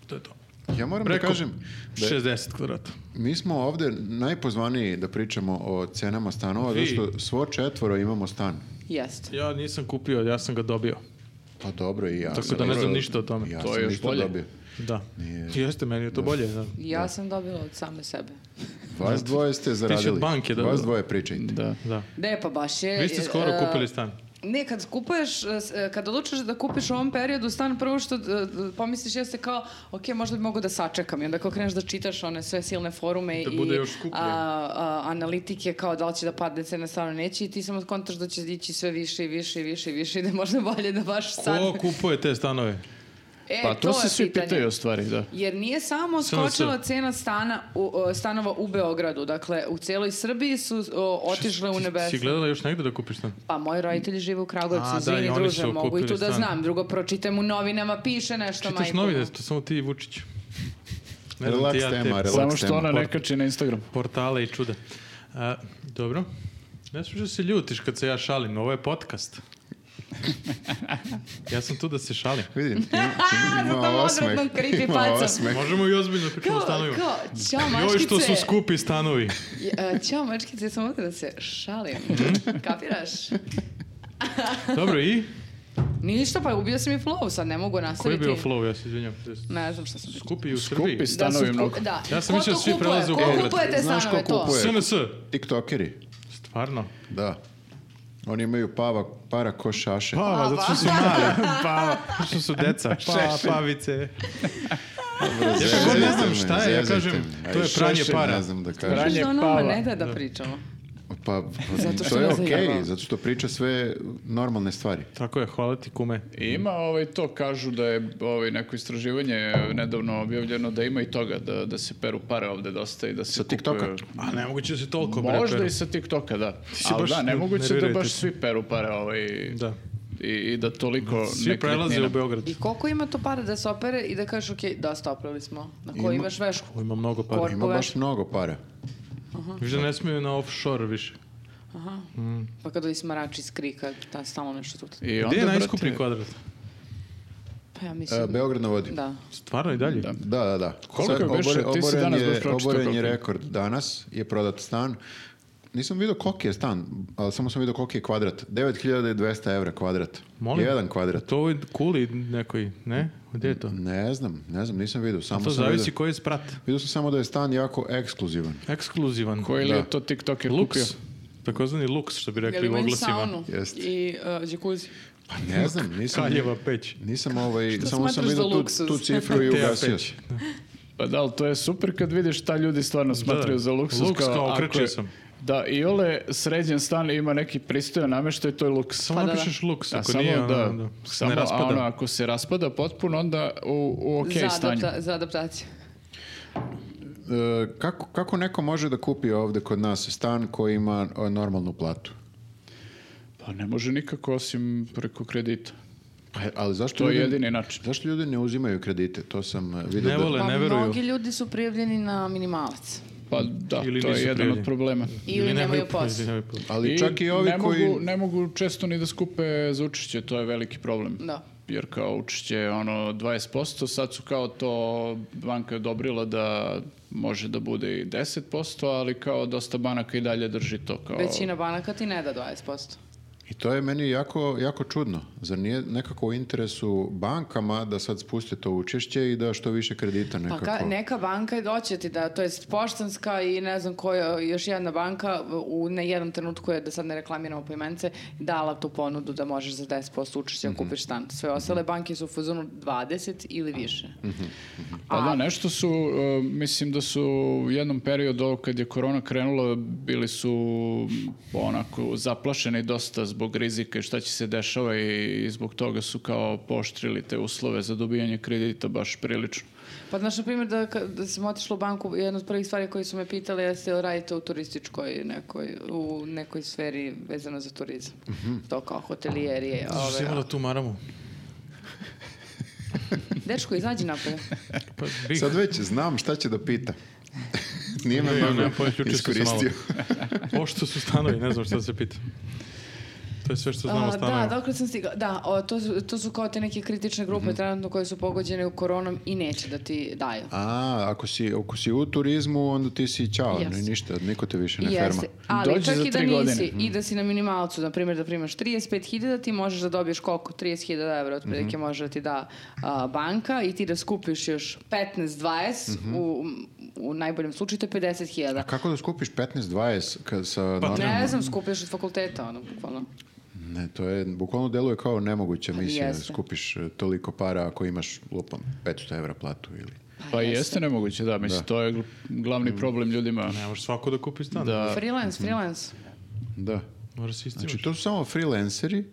S1: To je to.
S2: Ja moram
S1: Preko
S2: da kažem da je-
S1: 60 kvadrata.
S2: mi smo ovde najpozvaniji da pričamo o cenama stanova,
S1: Vi.
S2: zato što svo četvoro imamo stan.
S3: Jest.
S1: Ja nisam kupio, ja sam ga dobio.
S2: Pa dobro i ja.
S1: Tako
S2: sam
S1: da ne
S2: dobro-
S1: znam ništa o tome.
S2: Ja
S4: To je
S2: sam
S4: još
S2: ništa
S4: bolje.
S2: dobio.
S1: Da.
S2: Nije.
S1: Jeste, meni je to bolje. Da.
S3: Ja sam dobila od same sebe.
S2: Vas dvoje ste zaradili.
S1: banke dobio.
S2: Vas dvoje pričajte.
S4: Da.
S1: da.
S3: Ne, pa baš je...
S1: Vi ste skoro
S3: e,
S1: kupili stan.
S3: Ne, kad kupuješ, e, s- e, kad odlučiš da kupiš u ovom periodu stan, prvo što e, e, pomisliš jeste kao, ok, možda bi mogu da sačekam. I onda kao kreneš da čitaš one sve silne forume
S1: Da
S3: i
S1: bude još skuplje.
S3: a, a, analitike kao da li će da padne cena stvarno neće i ti samo kontaš da će ići sve više i više i više i više i da je možda bolje da baš sad...
S1: Ko kupuje te stanove?
S3: E,
S4: Pa to, se
S3: je
S4: svi
S3: pitanje.
S4: pitaju u stvari, da.
S3: Jer nije samo
S1: Samo
S3: skočila
S1: Srbi.
S3: cena stana, u, o, stanova u Beogradu, dakle u celoj Srbiji su o, otišle u
S1: Ti-
S3: nebesa.
S1: Si gledala još negde da kupiš stan?
S3: Pa moji roditelji žive u Kragujevcu,
S1: A, da, i
S3: izvini
S1: oni
S3: druže,
S1: su
S3: mogu i
S1: kupili
S3: tu da
S1: stan.
S3: znam. Drugo, pročitam u novinama, piše nešto
S1: Čitaš novine, to samo ti i Vučić. Ne znam
S2: Relax
S1: ti ja te
S2: tema, relax
S4: Samo što
S2: tema.
S4: ona ne kači na Instagram.
S1: portale i čuda. A, dobro. Ne smiješ da se ljutiš kad se ja šalim, ovo je podcast. Ja sam tu da se šalim.
S2: Vidim, ima,
S3: Za tom
S2: ima osmeh.
S3: odvratnom creepy
S2: Ima
S3: facom.
S2: osmeh.
S1: Možemo i ozbiljno pričamo o
S3: Kao,
S1: stanovima.
S3: kao, ćao
S1: Joj što su
S3: mačkice.
S1: skupi stanovi.
S3: E, Ćao, mačkice, ja sam ovdje da se šalim.
S1: Mhm.
S3: Kapiraš?
S1: Dobro, i?
S3: Ništa, pa ubio sam i flow, sad ne mogu
S1: Koji je
S3: nastaviti.
S1: bio flow, ja se izvinjam.
S3: Ne znam šta sam...
S1: Skupi u
S4: Skupi
S1: Srbiji.
S4: stan- Stanovi
S3: su
S4: mnogo.
S3: ku- Da.
S1: Ja sam
S3: Ko
S1: mislio
S3: to
S1: da svi
S3: kupuje?
S1: prelaze u
S3: Ko
S1: Beograd.
S3: kupuje te
S2: Znaš ko
S3: stanove, to?
S2: kupuje?
S1: SNS.
S2: Tiktokeri,
S1: Stvarno.
S2: da. Oni imaju pava, para ko šaše.
S1: Pava, Pa, zato što su mali.
S4: Pa,
S1: Pava, zato što su deca. Pa,
S2: Šešelj.
S1: pavice.
S2: Dobro,
S1: kako ne znam
S2: zezajte
S1: šta je, ja
S2: zezajte
S1: kažem,
S2: me.
S1: to je
S2: Aj,
S1: pranje
S2: šešelj
S1: para.
S2: Ne znam da
S4: Pranje-
S2: kažem.
S3: Što nama
S4: pava.
S3: ne da da pričamo?
S2: Pa,
S3: Zato što
S2: to je
S3: nas
S2: okej,
S3: zajebava.
S2: zato što priča sve normalne stvari.
S1: Tako je, hvala ti kume.
S4: Ima ovaj to, kažu da je ovaj, neko istraživanje nedavno objavljeno da ima i toga, da, da se peru pare ovde dosta i da se
S2: Sa TikToka?
S1: A nemoguće Pa, da se toliko bre,
S4: Možda
S1: peru.
S4: i sa TikToka, da.
S1: si
S4: Ali
S1: baš
S4: da, nemoguće da
S1: nervirajte
S4: baš
S1: se.
S4: svi peru pare ovaj,
S1: Da.
S4: i, i da toliko
S1: Svi prelaze u
S4: nekretnina.
S1: Beograd.
S3: I koliko ima to para da se opere i da kažeš, ok, da, stoprali smo. Na koju
S2: Ima-
S3: imaš vešku?
S1: Ovo ima mnogo para.
S3: Kor-
S2: Pa, Ima
S3: Pogledaš.
S2: baš mnogo para.
S1: Više ne smiju na offshore više.
S3: Aha. Pa kad ovi smarači iz krika, ta stalno nešto tu.
S4: I onda,
S1: Gde je
S4: brate,
S1: najskuplji kvadrat?
S3: Pa ja mislim...
S2: E, Beograd na vodi.
S3: Da.
S1: Stvarno i dalje?
S4: Da.
S2: Da, da, da.
S4: Koliko je beše? Ti si
S2: oboren
S4: danas baš
S2: je,
S4: pročitao
S2: oboren
S4: koliko
S2: je
S4: je.
S2: rekord. Danas je prodat stan. Nisam vidio koliki je stan, ali samo sam vidio koliki je kvadrat. 9200 evra kvadrat.
S1: Molim?
S2: Jedan kvadrat.
S1: To je ovoj kuli nekoj, ne? Gde je to?
S2: Ne znam, ne znam, nisam vidio. Samo
S1: To
S2: sam
S1: zavisi
S2: vidio.
S1: koji je sprat.
S2: Vidio sam samo da je stan jako ekskluzivan.
S1: Ekskluzivan.
S4: Koji li
S2: Da.
S4: je to TikToker kupio?
S1: Luks. Takozvani luks, što bi
S3: Jel
S1: rekli u
S3: imaju
S1: oglasima.
S3: saunu
S2: Jeste.
S3: i uh, džakuzi?
S2: Pa ne znam, nisam...
S1: Kaljeva peć.
S2: Nisam ovaj, samo sam
S3: smatraš za
S2: vidio tu,
S3: luksuz?
S2: tu cifru i
S1: Te ja
S2: ugasio.
S1: peć.
S4: Pa da, ali to je super kad vidiš šta ljudi stvarno smatraju za luksuz.
S1: Luks kao,
S4: ako
S1: okrečio
S4: je-
S1: sam.
S4: Da, i ole sređen stan ima neki pristojan nameštaj, to je luks.
S1: Samo
S3: Pa da, da.
S1: napišeš luks,
S4: A
S1: ako
S4: samo
S1: nije, ono,
S4: da,
S1: da, se
S4: samo,
S1: ne raspada.
S4: a ono, ako se raspada potpuno, onda u, u ok
S3: za,
S4: stanju.
S3: adapta- za adaptaciju.
S2: E, kako, kako neko može da kupi ovde kod nas stan koji ima e, normalnu platu?
S4: Pa ne može nikako osim preko kredita.
S2: Pa, ali zašto
S4: To je
S2: ljudi-
S4: jedini način.
S2: Zašto ljudi ne uzimaju kredite? To sam e, vidio
S1: Ne
S2: da...
S1: vole. Pa
S3: Pa
S1: ne veruju.
S3: mnogi ljudi su prijavljeni na minimalac.
S4: Pa da,
S1: Ili
S4: to je
S1: nisu
S4: jedan
S1: prijavljeni.
S4: od problema.
S3: Ili, nemaju posao.
S1: ili nemaju posla.
S2: Ali čak i ovi
S4: ne
S2: koji...
S4: Mogu, ne mogu često ni da skupe za učešće, to je veliki problem.
S3: Da.
S4: jer kao učešće ono 20%, sad su kao to banka je odobrila da može da bude i 10%, ali kao dosta banaka i dalje drži to
S1: Pa-
S4: kao...
S3: Većina banaka ti ne da 20%.
S2: I to je meni jako, jako čudno. Zar nije nekako u interesu bankama da sad spuste to učešće i da što više kredita
S3: Pa
S2: nekako...
S3: ka- neka banka je doće ti da, to jest Poštanska i ne znam koja, još jedna banka u ne jednom trenutku je, da sad ne reklamiramo po imence, dala tu ponudu da možeš za 10% učešća
S2: Mhm.
S3: kupiš stan. Sve ostale banke su u fazonu 20 ili više.
S2: Mhm.
S4: Pa da, nešto su, e, mislim da su u jednom periodu kad je korona krenula, bili su um, onako zaplašeni dosta zbog rizika i šta će se dešava i, i zbog toga su kao poštrili te uslove za dobijanje kredita baš prilično.
S3: Pa znaš, na primjer, da, ka- da sam otišla u banku, jedna od prvih stvari koje su me pitali jeste jel radite u turističkoj nekoj, u nekoj sferi vezano za turizam. To kao hotelijeri.
S1: Zašto Mhm. si imala tu maramu?
S3: Dečko, izađi napolje.
S1: Pa, bih.
S2: Sad već znam šta će da pita. Nije me
S1: Ne, ja nemam
S2: mnogo
S1: pojma, juče sam se malo-
S2: iskoristio.
S1: Pošto su stanovi, ne znam šta se pita. To je sve što znamo o
S3: A, da,
S1: stanovima.
S3: dokle sam stigla. Da, o, to, su, to su kao te neke kritične grupe
S1: Mhm.
S3: trenutno koje su pogođene u koronom i neće da ti daju.
S2: A, ako si, ako si u turizmu, onda ti si čao,
S3: Jeste.
S2: ni ništa, niko te više ne ferma.
S3: Jeste, ali
S4: Dođi
S3: čak
S4: za
S3: i da
S4: tri godine.
S3: nisi i da si na minimalcu, na primjer da primaš 35.000, ti možeš da dobiješ koliko? 30.000 evra otprilike
S4: Mhm.
S3: može da ti da a, banka i ti da skupiš još 15-20,
S4: Mhm.
S3: u, u najboljem slučaju to je 50.000.
S2: A kako da skupiš 15-20 kad sa...
S1: Pa
S2: no-
S3: Ne znam, skupiš od fakulteta, ono, bukvalno.
S2: Ne, to je, bukvalno deluje kao nemoguća misija da
S3: Pa jeste.
S2: skupiš e, toliko para ako imaš, lupam, 500 evra platu ili...
S4: Pa jeste nemoguće, da, mislim, to je gl- glavni problem ljudima.
S1: Ne možeš svako da kupi stan.
S4: Da.
S3: Freelance, freelance.
S2: Da.
S1: Moraš se istimaš.
S2: Znači, to su samo freelanceri,
S1: I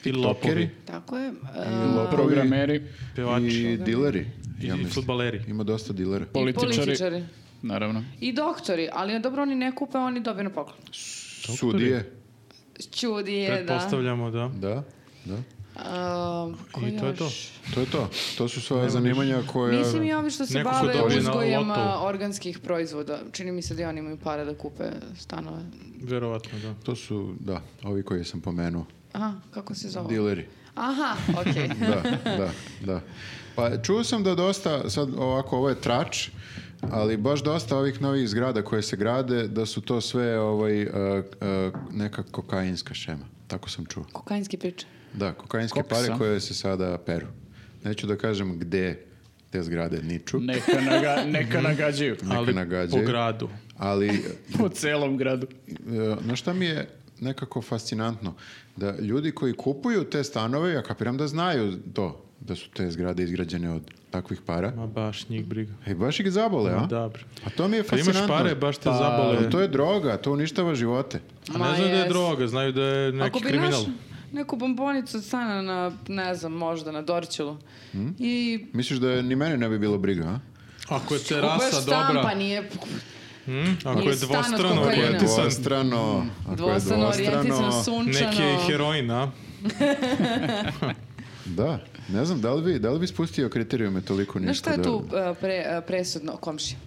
S2: tokeri
S1: lopovi,
S3: Tako je.
S2: i
S3: a,
S2: lopovi
S4: Programeri,
S1: pevači,
S2: i dileri.
S1: i, Pa,
S2: Ja
S1: i
S2: mislim.
S1: futbaleri.
S2: Ima dosta dilera.
S3: i
S4: političari.
S3: političari.
S4: naravno.
S3: I doktori, ali dobro oni ne kupe, oni dobiju na poklon.
S2: Sudije.
S3: Čudi je, da.
S1: Pretpostavljamo, da.
S2: Da, da.
S3: A, ko
S1: I to je to.
S3: još?
S2: To je to. To su sva zanimanja koja...
S3: Mislim i ovi što se
S1: Neko su
S3: bave
S1: dobili na
S3: uzgojem
S1: lotou.
S3: a, organskih proizvoda. Čini mi se da i oni imaju pare da kupe stanove.
S1: Verovatno, da.
S2: To su, da, ovi koji sam pomenuo.
S3: Aha, kako se zove?
S2: Dileri.
S3: Aha, okej.
S2: Da, da, da. Pa čuo sam da dosta, sad ovako, ovo je trač, ali baš dosta ovih novih zgrada koje se grade, da su to sve ovaj, e, e, neka kokainska šema. Tako sam čuo.
S3: Kokainski priče.
S2: Da, kokainske
S4: Koksa.
S2: pare koje se sada peru. Neću da kažem gde te zgrade niču,
S4: Neka, naga, neka nagađaju.
S2: neka
S1: Ali po
S2: nagađaju,
S1: gradu.
S2: ali
S4: Po celom gradu.
S2: E, Znaš šta mi je nekako fascinantno? Da ljudi koji kupuju te stanove, ja kapiram da znaju to, da su te zgrade izgrađene od takvih para.
S1: Ma baš njih briga.
S2: E, baš ih zabole, a?
S1: Da, bre.
S2: A to mi je
S1: Kad
S2: fascinantno.
S1: imaš pare, baš te
S2: Pa,
S1: zabole.
S2: To je droga, to uništava živote.
S1: A ne znaju da je droga, znaju da je
S3: Ako
S1: neki
S3: bi
S1: kriminal.
S3: našli neku bombonicu od stana na, ne znam, možda na Dorćolu
S1: Hm?
S3: i
S2: Misliš da ni mene ne bi bilo briga, a?
S1: Ako je
S3: kupeš
S1: terasa
S3: stan
S1: dobra,
S3: pa nije...
S1: hm, ako
S3: Nije
S1: je
S3: stan od
S1: dvostrano
S3: kokaina.
S2: Ako je
S1: orijentisan,
S2: dvostrano, ako je
S3: Dvostrano, orijentično,
S2: dvostrano...
S3: sunčano.
S1: neki je i heroin, a?
S2: Da, ne znam, da li bi, da li bi spustio kriterijume toliko nisko?
S3: Znaš šta je
S2: da-
S3: tu e, pre, e, presudno, komšija?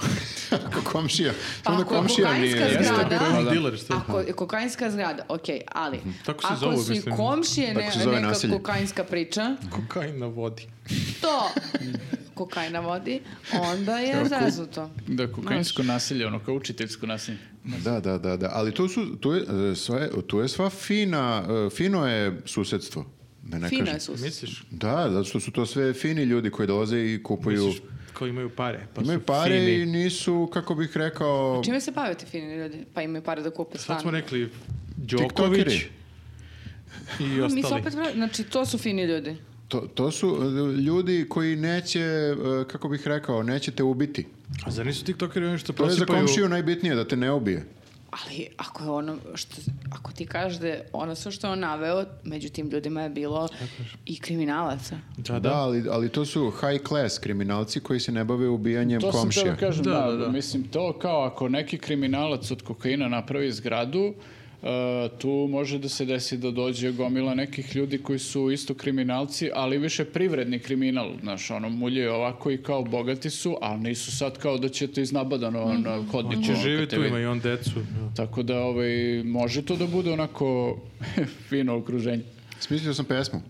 S2: Ako komšija,
S3: Pa
S2: onda
S3: ako je
S2: komšija nije.
S3: kokainska
S2: jeste.
S3: zgrada,
S1: Heroin dealer, šta je?
S3: Ako je kokainska zgrada, okej, ali
S1: Tako se
S3: ako
S1: zove,
S3: su i
S1: mislim.
S3: komšije ne,
S2: Tako se zove
S3: neka
S2: naselje.
S3: kokainska priča,
S1: Kokain na vodi.
S3: to kokaina vodi, onda je zaznuto.
S4: Da, kokainsko nasilje, ono kao učiteljsko nasilje.
S2: Da, da, da, da. Ali tu, su, tu, je, e, sve, tu je sva fina, e, fino je susedstvo. Da ne
S3: Fino
S2: kažem.
S3: je sus.
S1: Misliš?
S2: Da, zato što su to sve fini ljudi koji dolaze i kupuju.
S1: Misliš koji imaju pare, pa
S2: imaju
S1: su
S2: pare
S1: fini.
S2: i nisu, kako bih rekao,
S3: Čime se bave ti fini ljudi? Pa imaju pare da kupe stan.
S1: Sad smo rekli Đoković
S2: tiktokeri.
S1: i
S3: Mi se
S1: ostali.
S3: opet vra- znači to su fini ljudi.
S2: To, to su e, ljudi koji neće, e, kako bih rekao, neće te ubiti.
S1: A zar nisu tiktokeri oni što
S2: To je za
S1: prosipaju-
S2: komšiju najbitnije, da te ne ubije.
S3: Ali ako je ono što ako ti kažeš da je ono sve što je on naveo, među tim ljudima je bilo i kriminalaca.
S1: Da,
S2: Da,
S1: da.
S2: ali, ali to su high class kriminalci koji se ne bave ubijanjem
S4: To sam
S2: komšija.
S4: teo da kažem,
S1: Da,
S4: da,
S1: da, da.
S4: Mislim, to kao ako neki kriminalac od kokaina napravi zgradu, e, tu može da se desi da dođe gomila nekih ljudi koji su isto kriminalci, ali više privredni kriminal, znaš, ono, mulje ovako i kao bogati su, ali nisu sad kao da će to iznabadano na hodniku.
S1: Mhm. Će
S4: ono, kad
S1: živi
S4: te
S1: tu,
S4: vidi.
S1: ima i on decu. Ja.
S4: Tako da, ovaj, može to da bude onako fino okruženje.
S2: Smislio sam pesmu.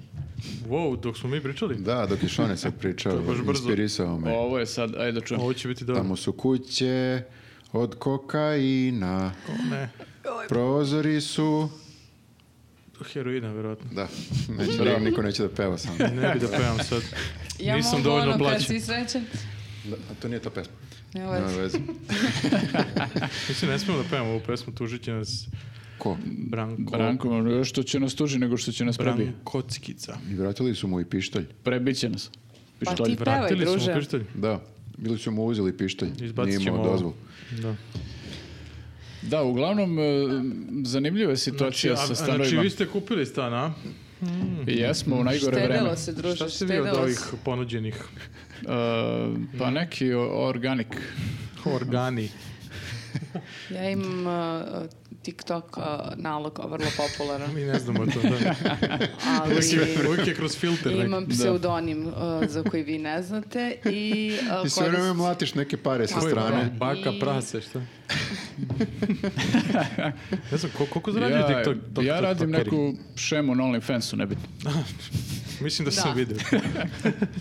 S1: Wow, dok smo mi pričali?
S2: Da, dok je Šone sad pričao,
S1: je baš brzo.
S2: inspirisao me.
S4: Ovo je sad, ajde da čujem.
S1: Ovo će biti dobro.
S2: Tamo su kuće od kokaina,
S1: Ne,
S2: prozori su...
S1: heroina, verovatno.
S2: Da, neće da niko neće da peva sam.
S1: Ne bi da pevam sad.
S3: Ja
S1: Nisam
S3: mogu
S1: dovoljno
S3: ono kad
S1: plaćen.
S3: si srećan.
S2: Da, a to nije ta pesma.
S3: Nema
S2: Nema
S3: veze.
S2: veze.
S1: Mislim, ne smijemo da pevamo ovu pesmu, tužit će nas
S2: Ko?
S1: Branko.
S4: Branko, ono, što će nas tuži nego što će nas prebiti.
S1: Brankockica.
S2: I vratili su mu i pištolj.
S4: Prebit će nas.
S3: Pa
S4: Pištolj.
S3: ti pevaj,
S1: Vratili smo
S3: druže.
S1: pištolj.
S2: Da, bili su mu uzeli pištolj.
S1: Izbacit
S2: Nije
S1: ćemo
S2: imao
S1: ovo.
S2: dozvolu.
S1: Da.
S4: Da, uglavnom, e, zanimljiva je situacija
S1: a-
S4: sa
S1: a
S4: stanovima.
S1: Znači, vi ste kupili stan, a?
S4: Jesmo u najgore vreme.
S3: Štedelo se, druže,
S1: Šta ste vi od
S3: štedelo
S1: ovih
S3: se.
S1: ponuđenih
S4: E, pa neki o- organik.
S1: organi?
S3: Ja imam uh, TikTok uh, nalog, vrlo popularan,
S1: Mi ne znamo to, da.
S3: ali...
S1: Uvijek je- Uvijek je kroz filter. neki.
S3: Imam pseudonim uh, za koji vi ne znate i uh,
S2: I sve
S3: koris-
S2: vreme mlatiš neke pare sa
S3: Tako je.
S2: strane.
S3: Da.
S1: Baka
S3: I-
S1: prase, šta? ne znam, ko- koliko zaradio
S4: Ja,
S1: TikTok? tok-
S4: ja
S1: tok-
S4: radim
S1: tokeri?
S4: neku šemu na OnlyFansu, nebitno.
S1: Mislim da sam
S3: Da.
S1: vidio.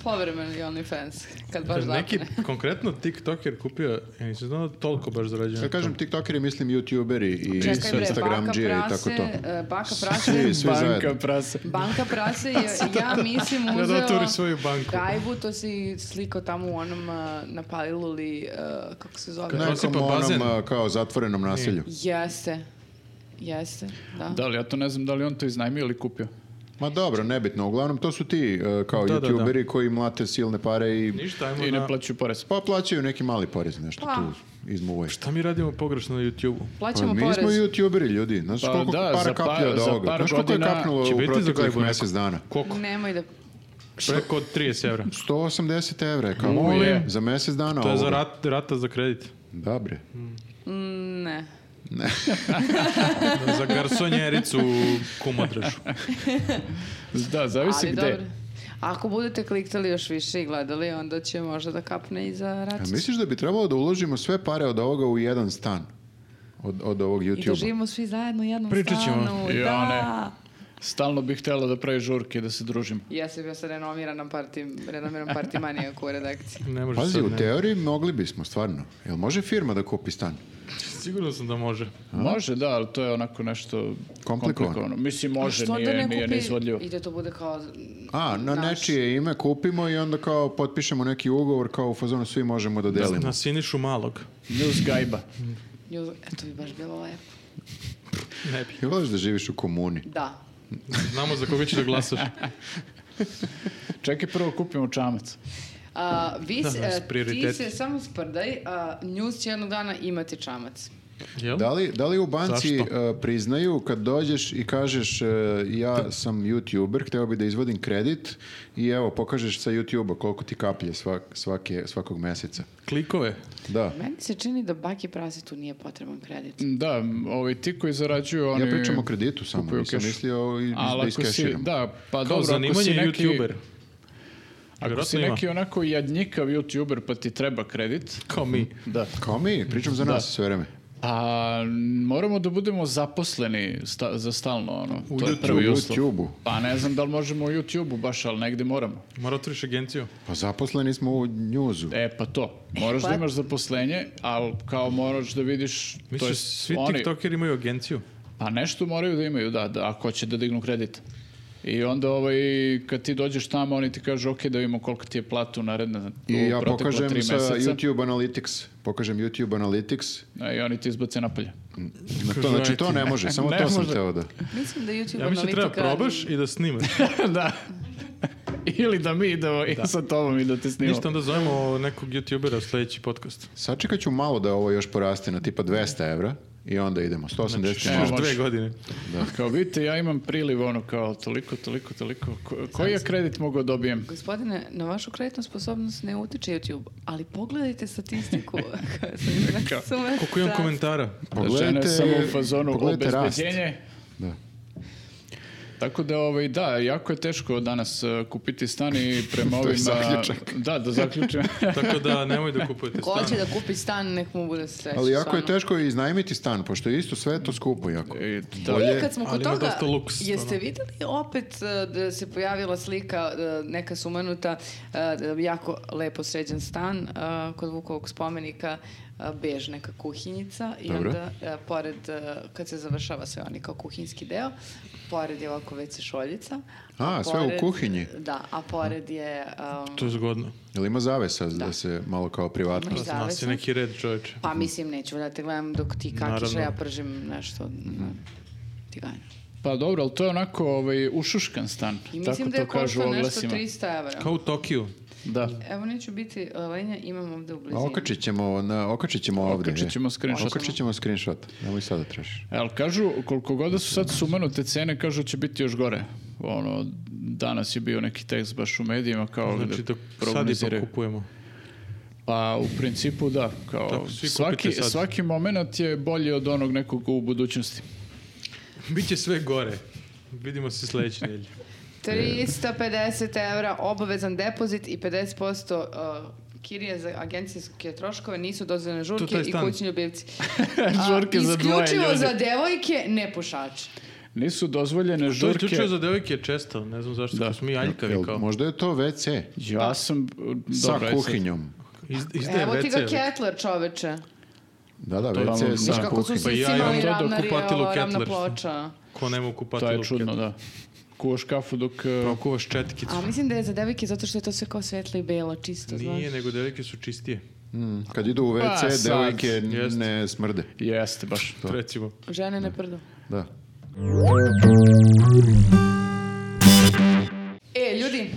S3: povremeni OnlyFans, kad baš
S1: Neki
S3: zapne.
S1: konkretno TikToker kupio, ja nisam znao da toliko baš zarađuje.
S2: Kad kažem tiktokeri, mislim youtuberi i
S3: Čekaj bre, baka
S2: instagramđije i tako
S3: prase,
S2: to.
S3: uh, baka
S2: Svi,
S3: prase,
S2: svi
S4: Banka
S2: zajedno.
S4: prase.
S3: banka prase je, ja mislim,
S1: Ja da otvori
S3: uzeo
S1: svoju banku.
S3: gajbu, to si slikao tamo u onom uh, na Palilu ili, uh, kako se zove?
S1: Ne.
S2: Nekom
S1: Osipa bazen.
S2: onom a, kao zatvorenom nasilju.
S3: Jeste, jeste, da.
S4: Da, ali ja to ne znam da li on to iznajmio ili kupio.
S2: Ma dobro, nebitno. Uglavnom, to su ti e, kao
S1: Da, da, da.
S2: youtuberi koji mlate silne pare i
S1: Ništa, ajmo
S4: I
S1: na...
S4: ne plaću porez.
S2: pa plaćaju neki mali porez, nešto
S3: Pa.
S2: tu izmuvaju.
S1: Šta mi radimo pogrešno na YouTube-u?
S3: Plaćamo
S2: mi smo
S3: porez.
S2: youtuberi, Pa ljudi. Znaš
S4: Pa
S2: koliko
S4: da, za
S2: para
S4: pa-
S2: kaplja od
S4: za
S2: ovoga?
S4: par
S2: Znaš koliko je
S4: godina
S2: kapnulo
S1: će
S2: u
S1: biti za
S2: proteklih
S1: gajbu neko.
S2: mjesec dana?
S1: Koliko?
S3: Nemoj da...
S1: Preko od 30 evra.
S2: 180 evra je kao
S4: Molim.
S2: je. za mjesec dana
S1: To je za
S2: ovoga.
S1: rat, rata za kredit.
S2: Da bre.
S3: Mm, Ne.
S1: Za garsonjericu u kumodražu.
S4: Da, zavisi
S3: Ali
S4: gde.
S3: dobro. Ako budete kliktali još više i gledali, onda će možda da kapne i za
S2: A
S3: račić.
S2: Pa misliš da bi trebalo da uložimo sve pare od ovoga u jedan stan? Od, od ovog
S3: I da
S2: youtubera?
S3: živimo svi zajedno u jednom
S1: Pričat ćemo.
S3: stanu.
S4: Ja
S3: da.
S4: Stalno bih htjela da pravi žurke, da se družimo.
S3: Ja sam bio sa renomiranom partim, renomiranom partimanijaku u redakciji.
S1: Ne može
S2: Pazi,
S1: sad,
S2: u
S1: ne.
S2: teoriji mogli bismo, stvarno. Jel može firma da kupi stan?
S1: Sigurno sam da može.
S4: Može, da, ali to je onako nešto komplikovano. Mislim, može,
S3: Što onda
S4: nije,
S3: ne
S4: nije
S3: kupi
S4: neizvodljivo.
S3: i da to bude kao
S2: A, na
S3: naš.
S2: nečije ime kupimo i onda kao potpišemo neki ugovor kao u fazonu svi možemo da delimo.
S1: Na Sinišu malog.
S4: News gajba.
S3: Ju- E, to bi baš bilo lepo.
S1: Ne bi.
S2: I voliš da živiš u komuni.
S3: Da.
S1: Znamo za koga će da glasaš.
S4: Čekaj, prvo kupimo čamac.
S3: A, vi,
S1: Da,
S3: se-
S1: da,
S3: e, ti
S1: prioriteti.
S3: se samo sprdaj, a, news će jednog dana imati čamac.
S1: Jel?
S2: Da li, da li u banci
S1: Zašto?
S2: e, priznaju kad dođeš i kažeš e, ja sam youtuber, hteo bi da izvodim kredit i evo pokažeš sa youtube koliko ti kaplje svak, svake, svakog meseca.
S1: Klikove.
S2: Da.
S3: Meni se čini da baki prase tu nije potreban kredit.
S4: Da, m, ovi ti koji zarađuju, oni...
S2: Ja pričam o kreditu samo,
S4: kupuju
S2: nisam
S4: keš.
S2: mislio i,
S4: Ali
S2: da
S4: ako si,
S2: iskeširam.
S4: da, pa
S1: Kao
S4: dobro, ako si
S1: zanimanje
S4: neki,
S1: YouTuber.
S4: ako si
S1: Vjerojatno ima.
S4: neki onako jadnjikav YouTuber pa ti treba kredit,
S1: Kao mi.
S4: da.
S2: Kao mi, pričam za nas sve vreme.
S4: A n, moramo da budemo zaposleni sta- za stalno, ono.
S2: U
S4: to je
S2: YouTube,
S4: prvi
S2: u
S4: uslov.
S2: YouTube-u.
S4: Pa ne znam da li možemo u YouTube-u baš, ali negde moramo.
S1: Mora otvoriš agenciju.
S2: Pa zaposleni smo u njuzu.
S4: E, pa to. Moraš
S3: pa-
S4: da imaš zaposlenje, ali kao moraš da vidiš... to
S1: Misliš,
S4: jest,
S1: svi
S4: oni-
S1: tiktokeri imaju agenciju?
S4: Pa nešto moraju da imaju, da, da, ako će da dignu kredit. I onda ovaj, kad ti dođeš tamo, oni ti kažu, ok, da vidimo koliko ti je plata u naredna,
S2: I
S4: u
S2: ja
S4: protekla
S2: pokažem
S4: tri
S2: sa
S4: meseca.
S2: YouTube Analytics. Pokažem YouTube Analytics.
S4: A E, I oni ti izbace napolje.
S2: Na to, znači to ne može, samo
S4: Ne
S2: to sam
S4: može.
S2: teo da...
S3: Mislim da YouTube
S1: Ja mislim da treba
S3: analitika...
S1: probaš i da snimaš.
S4: da. Ili da mi idemo i sa tobom i da te snimamo.
S1: Ništa, onda zovemo nekog youtubera u sledeći podcast.
S2: Sačekat ću malo da ovo još poraste na tipa 200 evra i onda idemo. 180 je
S4: Znači, evo,
S1: Još
S2: malo.
S1: dve
S4: može.
S1: godine.
S4: Kao vidite, ja imam priliv ono kao toliko, toliko, toliko. Ko- koji je kredit mogao dobijem?
S3: Gospodine, na vašu kreditnu sposobnost ne utiče YouTube, ali pogledajte statistiku. koja sam
S4: Kao-
S3: sam-
S1: Koliko imam
S3: da.
S1: komentara?
S4: Žene samo u fazonu
S2: pogledajte rast.
S4: obezbeđenje.
S2: Da.
S4: Tako da, ovaj, da, jako je teško danas eh, kupiti stan i prema
S2: To je
S4: ovima...
S2: zaključak.
S4: Da, da zaključim.
S1: Tako da nemoj da kupujete
S3: Ko
S1: stan.
S3: hoće da kupi stan, nek mu bude sreća.
S2: Ali jako je
S3: stvarno.
S2: teško i iznajmiti stan, pošto je isto sve to skupo jako.
S4: I da.
S2: Bolje-
S3: E, kad smo
S1: ali
S3: kod
S1: ima
S3: toga,
S1: dosta luks,
S3: jeste
S1: stvarno.
S3: videli opet e, da se pojavila slika e, neka sumanuta, e, da je jako lepo sređen stan e, kod Vukovog spomenika, e, bež neka kuhinjica i
S2: Dobro.
S3: onda e, pored, e, kad se završava sve oni kao kuhinski deo, pored je ovako WC šoljica.
S2: A, sve u
S3: pored-
S2: kuhinji?
S3: Da, a pored je... um,
S1: To je zgodno.
S2: Jel ima zavesa da. se malo kao privatno?
S3: Ima i
S1: Nas je
S3: Zavesno.
S1: neki red, čoveče.
S3: Pa mislim, neću da te gledam dok ti kakiš,
S1: Naravno.
S3: a ja pržim nešto. Ti ganjam.
S4: Pa dobro, ali to je onako ovaj, ušuškan stan.
S3: I
S4: Tako
S3: mislim da
S4: to
S3: je
S4: kažu u
S3: košta nešto
S4: oglasima.
S3: 300 evra.
S1: Kao u Tokiju.
S4: Da.
S3: Evo neću biti uh, lenja, imam ovde u blizini.
S2: A okačit ćemo, na, okačit ćemo ovdje.
S4: Okačit ćemo
S2: je.
S4: screenshot.
S2: Okačit ćemo screenshot. Nemoj sada tražiš.
S4: E, Ali kažu, koliko god da su sad sumanute cene, kažu će biti još gore. Ono, danas je bio neki tekst baš u medijima kao
S1: Znači
S4: Ono da
S1: da sad
S4: prognoziraju.
S1: ipak kupujemo.
S4: Pa u principu da, kao
S1: Tako, svi
S4: svaki,
S1: kupite sad.
S4: svaki moment je bolji od onog nekog u budućnosti.
S1: Biće sve gore. Vidimo se sledeće nedelje.
S3: 350 evra obavezan depozit i 50% uh, kirije za agencijske troškove nisu dozvoljene
S1: To taj
S3: žurke i
S1: stan.
S3: kućni ljubimci.
S4: Žurke za dvoje
S3: Isključivo
S4: ljudi.
S3: za devojke, ne pušače.
S4: Nisu dozvoljene
S1: To je
S4: žurke.
S1: isključivo za devojke je često, ne znam zašto,
S4: Da.
S1: da. smo mi aljkavi
S2: Jel,
S1: kao.
S2: možda je to WC
S4: Ja sam...
S2: sa
S4: dobro, ajde sad.
S2: kuhinjom.
S1: Iz, izdaje
S3: Evo ti
S1: WC,
S3: ga
S1: ali.
S3: Kettler, čoveče.
S2: Da, da,
S4: je
S2: WC
S4: tamo-
S2: sa
S3: Viš
S4: Da,
S3: kako su
S2: kuhinjom.
S3: svi
S1: Pa ja
S3: imali
S1: imam
S3: ravna,
S1: dodao kupatilo
S3: ova, ravna
S1: Kettler.
S3: ploča.
S1: Ko nema kupati
S4: To je čudno, da. Kuvaš kafu dok... e,
S1: Pa kuvaš četkicu.
S3: A mislim da je za devojke zato što je to sve kao svetlo i belo, čisto,
S1: Nije,
S3: znaš.
S1: nego devojke su čistije.
S2: Mm, Kad idu u WC,
S4: Pa, sad.
S2: devojke n-
S1: Jeste.
S2: ne smrde.
S4: Jeste, baš.
S1: Recimo.
S3: Žene ne prdu.
S2: Da.
S3: E, ljudi,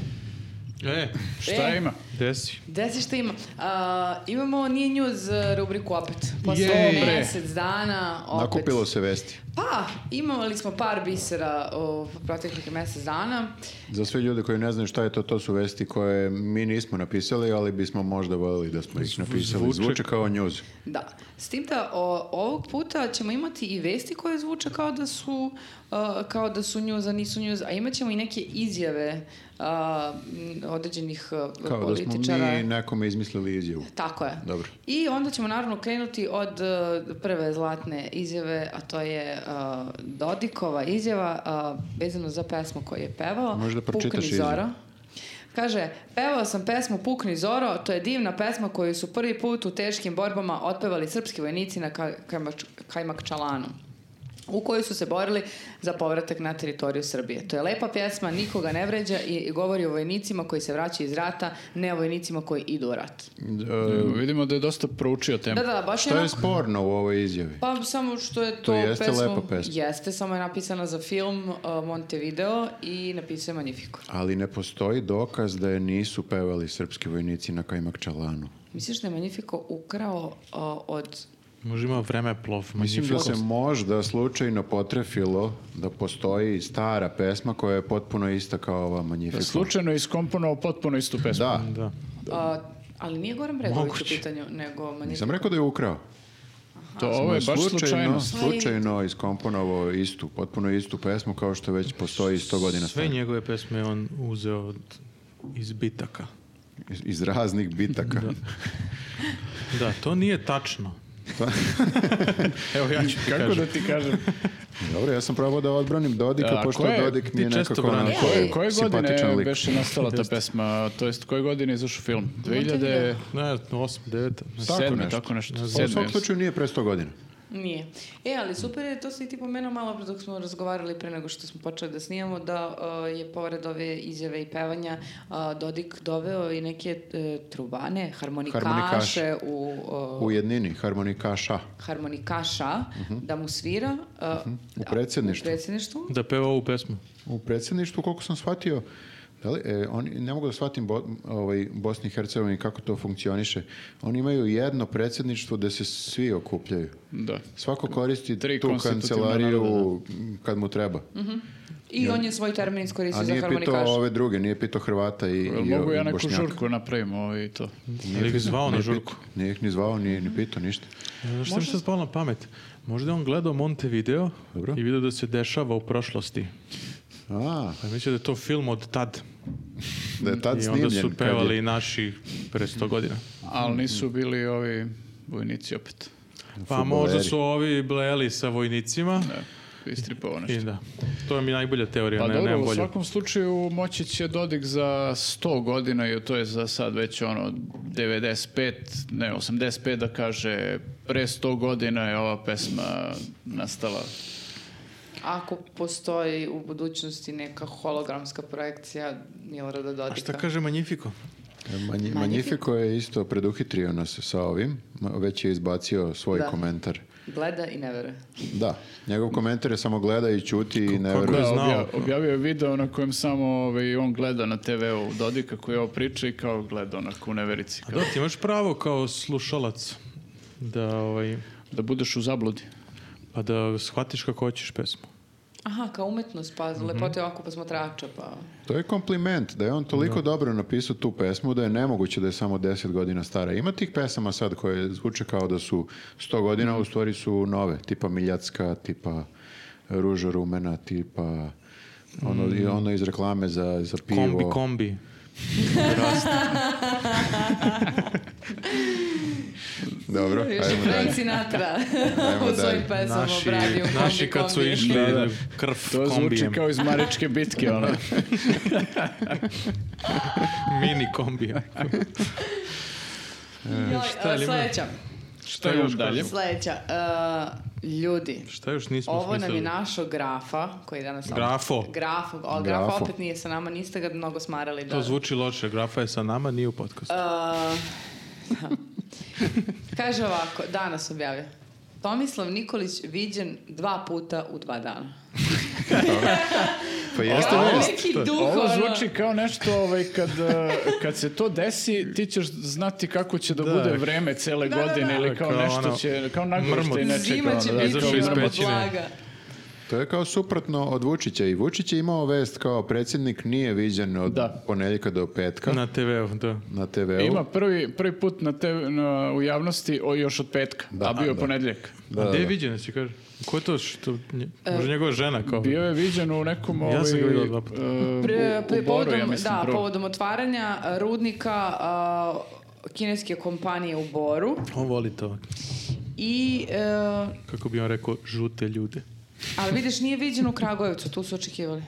S1: E,
S4: Šta
S3: E.
S4: ima?
S1: desi.
S3: Desi šta ima. A, imamo Nije News e, rubriku opet. Posle
S4: Jej.
S3: mesec dana opet.
S2: Nakupilo se vesti.
S3: Pa, imali smo par bisera u proteklih mesec dana.
S2: Za sve ljude koji ne znaju šta je to, to su vesti koje mi nismo napisali, ali bismo možda voljeli da smo ih napisali.
S1: zvuče-
S2: Zvuče kao news.
S3: Da. S tim da o, ovog puta ćemo imati i vesti koje zvuče kao da su e, kao da su news, a nisu news, a imat ćemo i neke izjave a, m, određenih e,
S2: Kao da smo
S3: političara.
S2: mi nekome izmislili izjavu.
S3: Tako je.
S2: Dobro.
S3: I onda ćemo naravno krenuti od e, prve zlatne izjave, a to je e, Dodikova izjava e, vezano za pesmu koju je pevao.
S2: Možeš da pročitaš
S3: Pukni
S2: izjavu.
S3: Zoro. Kaže, pevao sam pesmu Pukni Zoro, to je divna pesma koju su prvi put u teškim borbama otpevali srpski vojnici na Ka- Kajmač- Kajmakčalanu u kojoj su se borili za povratak na teritoriju Srbije. To je lepa pjesma, nikoga ne vređa i, i govori o vojnicima koji se vraćaju iz rata, ne o vojnicima koji idu u rat.
S2: E,
S4: Vidimo da je dosta proučio temu.
S3: Da, da, baš je
S2: Šta je
S3: onako...
S2: sporno u ovoj izjavi?
S3: Pa samo što je to,
S2: To jeste
S3: pesmu-
S2: lepa pesma.
S3: Jeste, samo je napisana za film uh, Montevideo i napisao je Magnifico.
S2: Ali ne postoji dokaz da je nisu pevali srpski vojnici na Kajmakčalanu.
S3: Misliš da je Magnifico ukrao uh, od...
S1: Može ima vreme plov.
S2: Mislim da se
S1: magnificent.
S2: možda slučajno potrefilo da postoji stara pesma koja je potpuno ista kao ova Magnifico.
S4: E, Slučajno je iskomponovao potpuno istu pesmu.
S2: Da,
S1: Da.
S3: Uh, ali nije Goran Bregović u
S1: Moguće.
S3: pitanju, nego Magnifico.
S2: nisam rekao da je ukrao.
S4: To ovo je baš
S2: slučajno,
S4: slučajnost.
S2: slučajno iskomponovao istu, potpuno istu pesmu kao što već postoji 100
S1: Sve
S2: godina stara.
S1: njegove pesme je on uzeo od, iz bitaka.
S2: Iz, iz raznih bitaka.
S1: Da, to nije tačno. Evo ja ću ti
S4: Kako
S1: kažem.
S4: da ti kažem?
S2: Dobro, ja sam probao da odbranim Dodika,
S4: A,
S2: pošto
S4: ko je-
S2: Dodik mi je
S1: ti često
S2: nekako
S1: braniš?
S2: onako
S4: Koje, koje
S2: simpatičan
S4: godine
S2: lik.
S4: beše nastala ta pesma? To jest, koje godine je izašao film? 2007.
S1: Ne, 8, 9.
S2: Tako nešto.
S4: tako nešto.
S2: Pa, U
S4: Sedme.
S2: svakom slučaju nije pre 100 godina.
S3: Nije. E, ali super je, to si i ti pomenuo malo pre dok smo razgovarali pre nego što smo počeli da snimamo, da uh, je pored ove izjave i pevanja uh, Dodik doveo i neke uh, trubane, harmonikaše,
S2: Harmonikaše.
S3: u... uh,
S2: U jednini, harmonikaša.
S3: harmonikaša da mu svira uh,
S2: Mhm. U predsjedništvu.
S3: u predsjedništvu.
S1: Da peva ovu pesmu.
S2: U predsjedništvu, koliko sam shvatio, da li, e, oni, ne mogu da shvatim Bo, ovaj, Bosni i Hercegovini kako to funkcioniše. Oni imaju jedno predsjedništvo gde se svi okupljaju.
S4: Da.
S2: Svako koristi
S4: Tri
S2: tu
S4: konstitutivna
S2: kancelariju
S4: naroda,
S2: kad mu treba.
S3: I on je svoj termin
S2: A
S3: iskoristio za
S2: nije pitao
S3: harmonikaša.
S2: ove druge, nije pitao Hrvata i,
S4: Jel
S2: i,
S4: Mogu ja
S2: i
S4: neku
S2: Bošnjaka.
S4: žurku napravim ovo i to.
S1: Nije ih zvao na žurku.
S2: Nije ih ni zvao, nije ni pitao ništa.
S1: Znaš što mi sad palo na pamet? Možda je on gledao Montevideo
S2: Dobro.
S1: i vidio da se dešava u prošlosti.
S2: A,
S1: Pa mislim da je to film od tad.
S2: da je tad
S1: I
S2: snimljen.
S1: onda su
S2: kad je-
S1: pevali i naši pre 100 godina.
S4: ali nisu bili ovi vojnici opet.
S1: Pa
S2: Fudbaleri.
S1: možda su ovi bleli sa vojnicima.
S4: Da, istripovao
S1: I
S4: nešto.
S1: da. To je mi najbolja teorija,
S4: Pa
S1: ne,
S4: dobro,
S1: nemam
S4: u
S1: bolju.
S4: svakom slučaju moći će Dodik za 100 godina i to je za sad već ono 95, ne 85 da kaže pre 100 godina je ova pesma nastala.
S3: Ako postoji u budućnosti neka hologramska projekcija Milorada Dodika.
S1: A šta kaže Magnifico?
S2: Manji, Magnifico je isto preduhitrio nas sa ovim, ma- već je izbacio svoj
S3: Da.
S2: komentar.
S3: Gleda i ne vere.
S2: Da, njegov komentar je samo gleda i čuti i ne
S1: kako
S2: veruje.
S1: je znao?
S4: Obja- objavio je video na kojem samo ovaj, on gleda na TV-u Dodika koji ovo priča i kao gleda onako u neverici.
S1: A
S4: Kao,
S1: da, ti imaš pravo kao slušalac da, ovaj,
S4: da budeš u zabludi.
S1: pa da shvatiš kako hoćeš pesmu.
S3: Aha, kao umetnost, pa
S2: Mhm.
S3: lepote oko posmatrača, pa...
S2: To je kompliment, da je on toliko dobro napisao tu pesmu da je nemoguće da je samo 10 godina stara. Ima tih pesama sad koje zvuče kao da su 100 godina, a u stvari su nove, tipa Miljacka, tipa Ruža Rumena, tipa ono, i ono iz reklame za, za pivo.
S1: Kombi, kombi.
S2: Dobro,
S3: Još je
S2: ajmo
S3: Frank
S2: dalje.
S3: Sinatra
S2: Ajmo
S3: u svojim
S2: dalje.
S3: pesama
S1: Naši,
S3: obradio kombi,
S1: naši kad su
S3: kombi.
S1: išli
S4: Da, da.
S1: krv
S4: To zvuči
S1: kombijem.
S4: kao iz Maričke bitke, ono.
S1: Mini kombijem.
S3: Joj,
S1: Šta je
S3: a,
S1: li ima?
S3: sledeća,
S4: Šta imam dalje?
S3: sledeća. E, ljudi,
S1: Šta još nismo
S3: ovo nam
S1: smislili?
S3: je našo grafa, koji je danas...
S1: Grafo.
S3: Grafo, o, grafo
S2: Grafo.
S3: opet nije sa nama, niste ga mnogo smarali. Da.
S1: To zvuči loše. Grafa je sa nama, nije u podcastu.
S3: A, da. Kaže ovako, danas objavio. Tomislav Nikolić viđen dva puta u dva dana.
S2: Pa jeste
S3: Kao
S2: vest.
S3: neki duh,
S4: Ovo
S3: ono.
S4: zvuči kao nešto ovaj, kad, eh, kad se to desi, ti ćeš znati kako će da,
S1: Da.
S4: bude vreme cele
S3: Da, da,
S4: godine
S3: da.
S4: ili kao,
S1: Kao
S4: nešto
S1: ono,
S4: će, kao nagošte
S1: mrmot.
S4: i nečega.
S3: Zima će
S4: ono, da,
S3: biti
S1: izašao iz
S3: ono
S1: pećine.
S3: blaga.
S2: To je kao suprotno od Vučića i Vučić je imao vest kao predsjednik nije viđen od
S4: Da.
S2: ponedjeljka do
S3: E.
S2: petka na,
S1: Na TV-u, da.
S2: TV-u.
S4: Ima prvi, prvi put na te, na, u javnosti o, još od petka,
S2: Da,
S4: a bio je
S2: da.
S4: ponedjeljak.
S2: Da,
S1: A gdje je
S2: da.
S1: viđena si, kaže? Ko je to što... nje-
S3: E.
S1: Možda njegova žena kao...
S4: Bio je viđen u nekom...
S1: Ja sam ga
S4: ovaj,
S1: vidio dva puta.
S4: eh, u-
S3: Pre- pre-
S4: u Boru, ja
S3: povodom-
S4: mislim,
S3: da,
S4: prvo.
S3: povodom otvaranja a, rudnika a, kineske kompanije u Boru
S1: On voli to,
S3: i e,
S1: kako bi on rekao, žute ljude.
S3: ali vidiš nije viđen u Kragujevcu, tu su očekivali.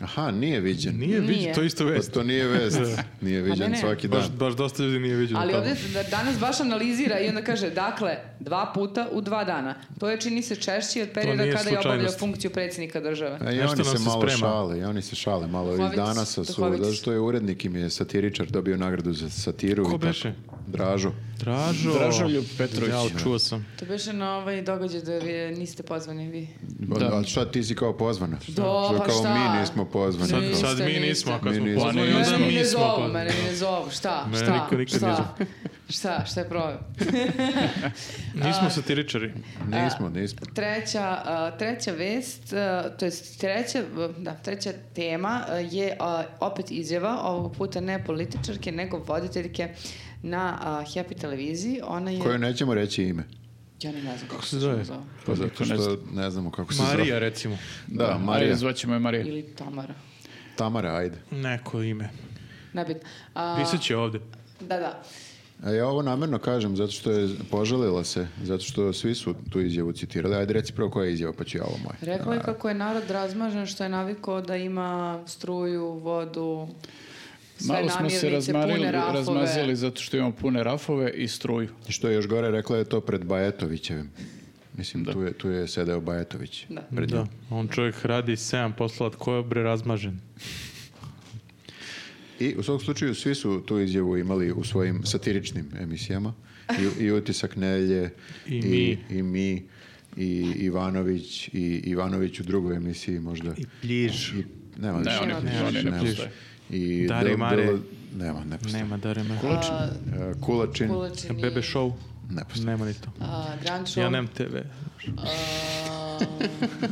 S2: Aha, nije viđen.
S1: Nije,
S3: Nije.
S1: viđen, to je isto
S2: Pa
S1: vest.
S2: to nije vest. Nije
S3: Pa
S2: viđen
S3: ne, ne.
S2: svaki dan.
S1: Baš, baš dosta ljudi nije viđeno
S3: Ali
S1: tamo.
S3: ovdje se da- danas baš analizira i onda kaže, dakle, dva puta u dva dana. To je čini se češće od perioda
S1: nije
S3: kada je obavljao
S1: slučajnost. E.
S3: funkciju predsjednika države.
S2: A I
S1: Nešto
S2: oni
S1: nam
S2: se
S1: se
S2: malo
S1: sprema.
S2: šale, i oni se šale malo. Iz
S3: Duhovitis,
S2: dana su,
S3: duhovitis.
S2: zato što je urednik im je satiričar dobio nagradu za satiru.
S1: Ko
S2: i tako.
S1: beše?
S2: Dražo.
S1: Dražo...
S4: Dražoljub Petrović.
S1: Jao, čuo sam.
S3: To beše na ovaj događaj da vi niste pozvani vi.
S4: Da.
S2: A šta ti si kao pozvana?
S3: Do,
S2: Što
S3: pa
S2: kao
S3: šta?
S2: mi nismo pozvani.
S1: Sad,
S3: Niste,
S1: sad mi
S3: niste.
S1: nismo, a kad
S2: Mi
S1: smo
S2: nismo.
S1: pozvani,
S4: Pa
S1: onda
S3: mene
S1: mi
S3: ne
S1: smo
S3: zovu,
S1: pozvani.
S3: mene ne zovu. Šta?
S1: Mene
S3: šta?
S1: niko nikad
S3: šta?
S1: nije
S3: Šta? Šta je problem?
S1: Nismo satiričari.
S2: Nismo, nismo.
S3: Treća, a, treća vest, a, to jest treća, v- da, treća tema a, je a, opet izjava, ovog puta ne političarke, nego voditeljke na a, Happy televiziji. Ona je...
S2: Koju nećemo reći ime.
S3: Ja ne znam kako
S1: se
S3: se
S1: zove?
S3: zove.
S2: Pa zato što ne znamo kako se zove.
S1: Marija, recimo.
S2: Da,
S4: Ajde,
S2: Marija.
S4: zvaćemo je Marija.
S3: Ili Tamara.
S2: Tamara, ajde.
S1: Neko ime.
S3: Nebitno. A,
S1: Pisat će ovdje.
S3: Da, da.
S2: A ja ovo namjerno kažem zato što je požalila se, zato što svi su tu izjavu citirali. Ajde reci prvo koja je izjava, pa ću ja ovo moje.
S3: Rekla je kako je narod razmažen što je navikao da ima struju, vodu, sve
S4: Malo smo se
S3: namirnice, pune
S4: razmarili,
S3: rafove.
S4: razmazili zato što imamo pune rafove i struju.
S2: I Što je još gore, rekla je to pred Bajetovićevim. Mislim, tu je, tu je sedeo Bajetović.
S3: Da.
S1: Da. On čovjek radi 7 posla, tko je bre razmažen?
S2: I u svom slučaju svi su tu izjavu imali u svojim satiričnim emisijama. I, i Utisak Nelje,
S1: I mi.
S2: i, mi, i Ivanović, i Ivanović u drugoj emisiji možda.
S1: I pljiž.
S2: I, nema
S4: Ne,
S2: više.
S4: oni,
S3: Ne,
S4: oni ne
S2: Nema.
S4: postoje.
S2: I
S1: Dari
S2: Del-
S1: Mare.
S2: Del- nema, ne postoji.
S1: Nema Dare Mare.
S3: A,
S2: E, Kulačin,
S3: Kulačini,
S1: Bebe show.
S2: ne postoji.
S1: Nema ni to.
S3: a, Grand Show.
S1: Ja nemam TV.
S3: a,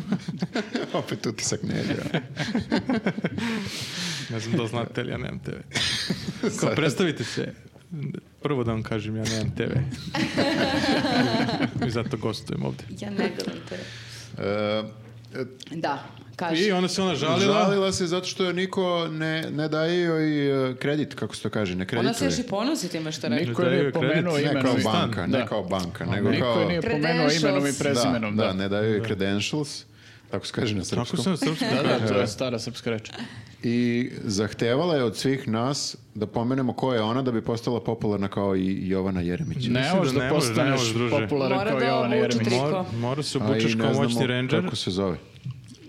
S2: Opet Utisak Nelje.
S1: Ne znam da li znate, ali ja nemam TV. Kao, predstavite se. Prvo da vam kažem, ja nemam TV. I zato gostujem ovdje.
S3: ja ne gledam te.
S2: E, e,
S3: Da. kaže.
S1: I onda se ona žalila.
S2: Žalila se zato što je niko ne, ne daje joj e, kredit, kako se to kaže, ne kredituje.
S3: Ona se još i ponosi time što je rekla.
S4: Niko je
S1: daju
S4: nije
S1: joj
S4: pomenuo
S1: kredit.
S2: Ne kao
S4: imenom. i-
S2: banka, ne
S4: Da.
S2: kao banka, nego
S4: Niko
S2: kao...
S4: je nije pomenuo
S3: Credentials.
S4: imenom i prezimenom. Da,
S2: da, ne daju joj credentials, tako se kaže na
S1: Tako sam
S2: srpskom.
S1: srpsko.
S4: da, da, to je stara srpska reč.
S2: I zahtevala je od svih nas da pomenemo ko je ona da bi postala popularna kao i Jovana Jeremić.
S4: Ne
S1: Mislim
S4: možeš
S1: da
S4: da,
S1: ne može, ne
S4: postaneš
S1: može, druže.
S4: popularan
S3: Mora
S4: kao
S3: da
S4: Jovana
S3: obuče
S4: Jeremić.
S3: tri-
S1: Mora, mora se
S2: A i
S1: obučaš
S2: ne
S1: kao
S2: znamo
S1: moćni ranger.
S2: Kako se zove.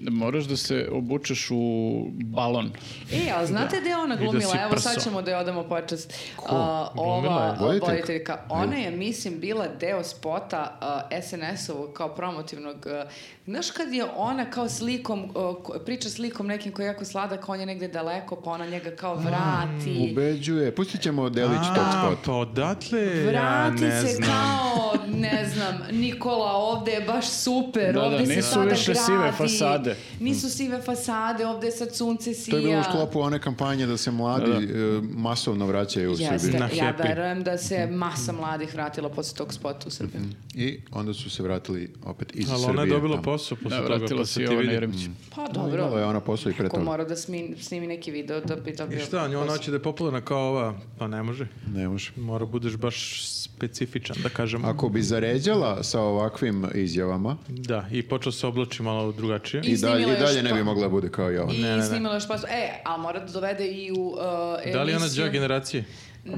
S4: Moraš da se obučeš u balon.
S3: E, ali znate da je ona
S1: da
S3: glumila?
S1: si
S3: Evo sad
S1: prso.
S3: ćemo da je odamo počast. A,
S1: Glumila je?
S3: ova
S2: Voditeljka?
S3: voditeljka. Ona je, mislim, bila deo spota a, SNS-ovog kao promotivnog. a, znaš kad je ona kao slikom, a, ko- priča s likom nekim koji je jako sladak, on je negde daleko, pa ona njega kao vrati.
S2: Ubeđuje. Pustit ćemo delić tog
S1: A,
S2: spota.
S1: pa odatle, ja
S3: Vrati
S1: ne
S3: se
S1: znam.
S3: kao, ne znam, Nikola, ovde je baš super,
S4: Da, da,
S3: ovde se
S4: nisu
S3: sada
S4: više
S3: gradi.
S4: sive fasade.
S3: Nisu sive fasade, ovde sad sunce sija.
S2: To je bilo u sklopu one kampanje da se mladi e, masovno vraćaju u Srbiju.
S3: Jeste,
S1: Na
S3: ja
S1: Happy. Mhm.
S3: verujem da se masa mladih vratila posle tog spota u Srbiji.
S2: I onda su se vratili opet iz
S1: Ali
S2: Srbije.
S1: ona je dobila
S2: tamo.
S1: posao posle
S4: Da,
S1: toga, pa
S4: vratila
S1: se
S4: se
S1: ti
S4: Jovana
S1: vidi.
S4: Jeremić.
S3: Pa
S2: No,
S3: dobro.
S2: Imala je ona posao i pre
S3: Ko
S2: toga.
S3: mora da smi- snimi neki video da bi
S1: I
S3: dobio...
S1: šta, njo, ona
S3: posao.
S1: hoće da je ono- popularna kao ova, pa ne može.
S2: Ne može.
S1: Mora budeš baš specifičan, da kažem.
S2: Ako bi zaređala sa ovakvim izjavama,
S1: Da, i počeo se oblači malo drugačije.
S2: i,
S3: I snimila
S2: dalje, i
S3: još
S2: dalje ne
S3: to.
S2: bi mogla da bude kao i ona.
S3: I
S1: ne, ne.
S3: snimala još posao. E, ali mora da dovede i u uh, emisiju.
S1: Da li je ona džak generacije?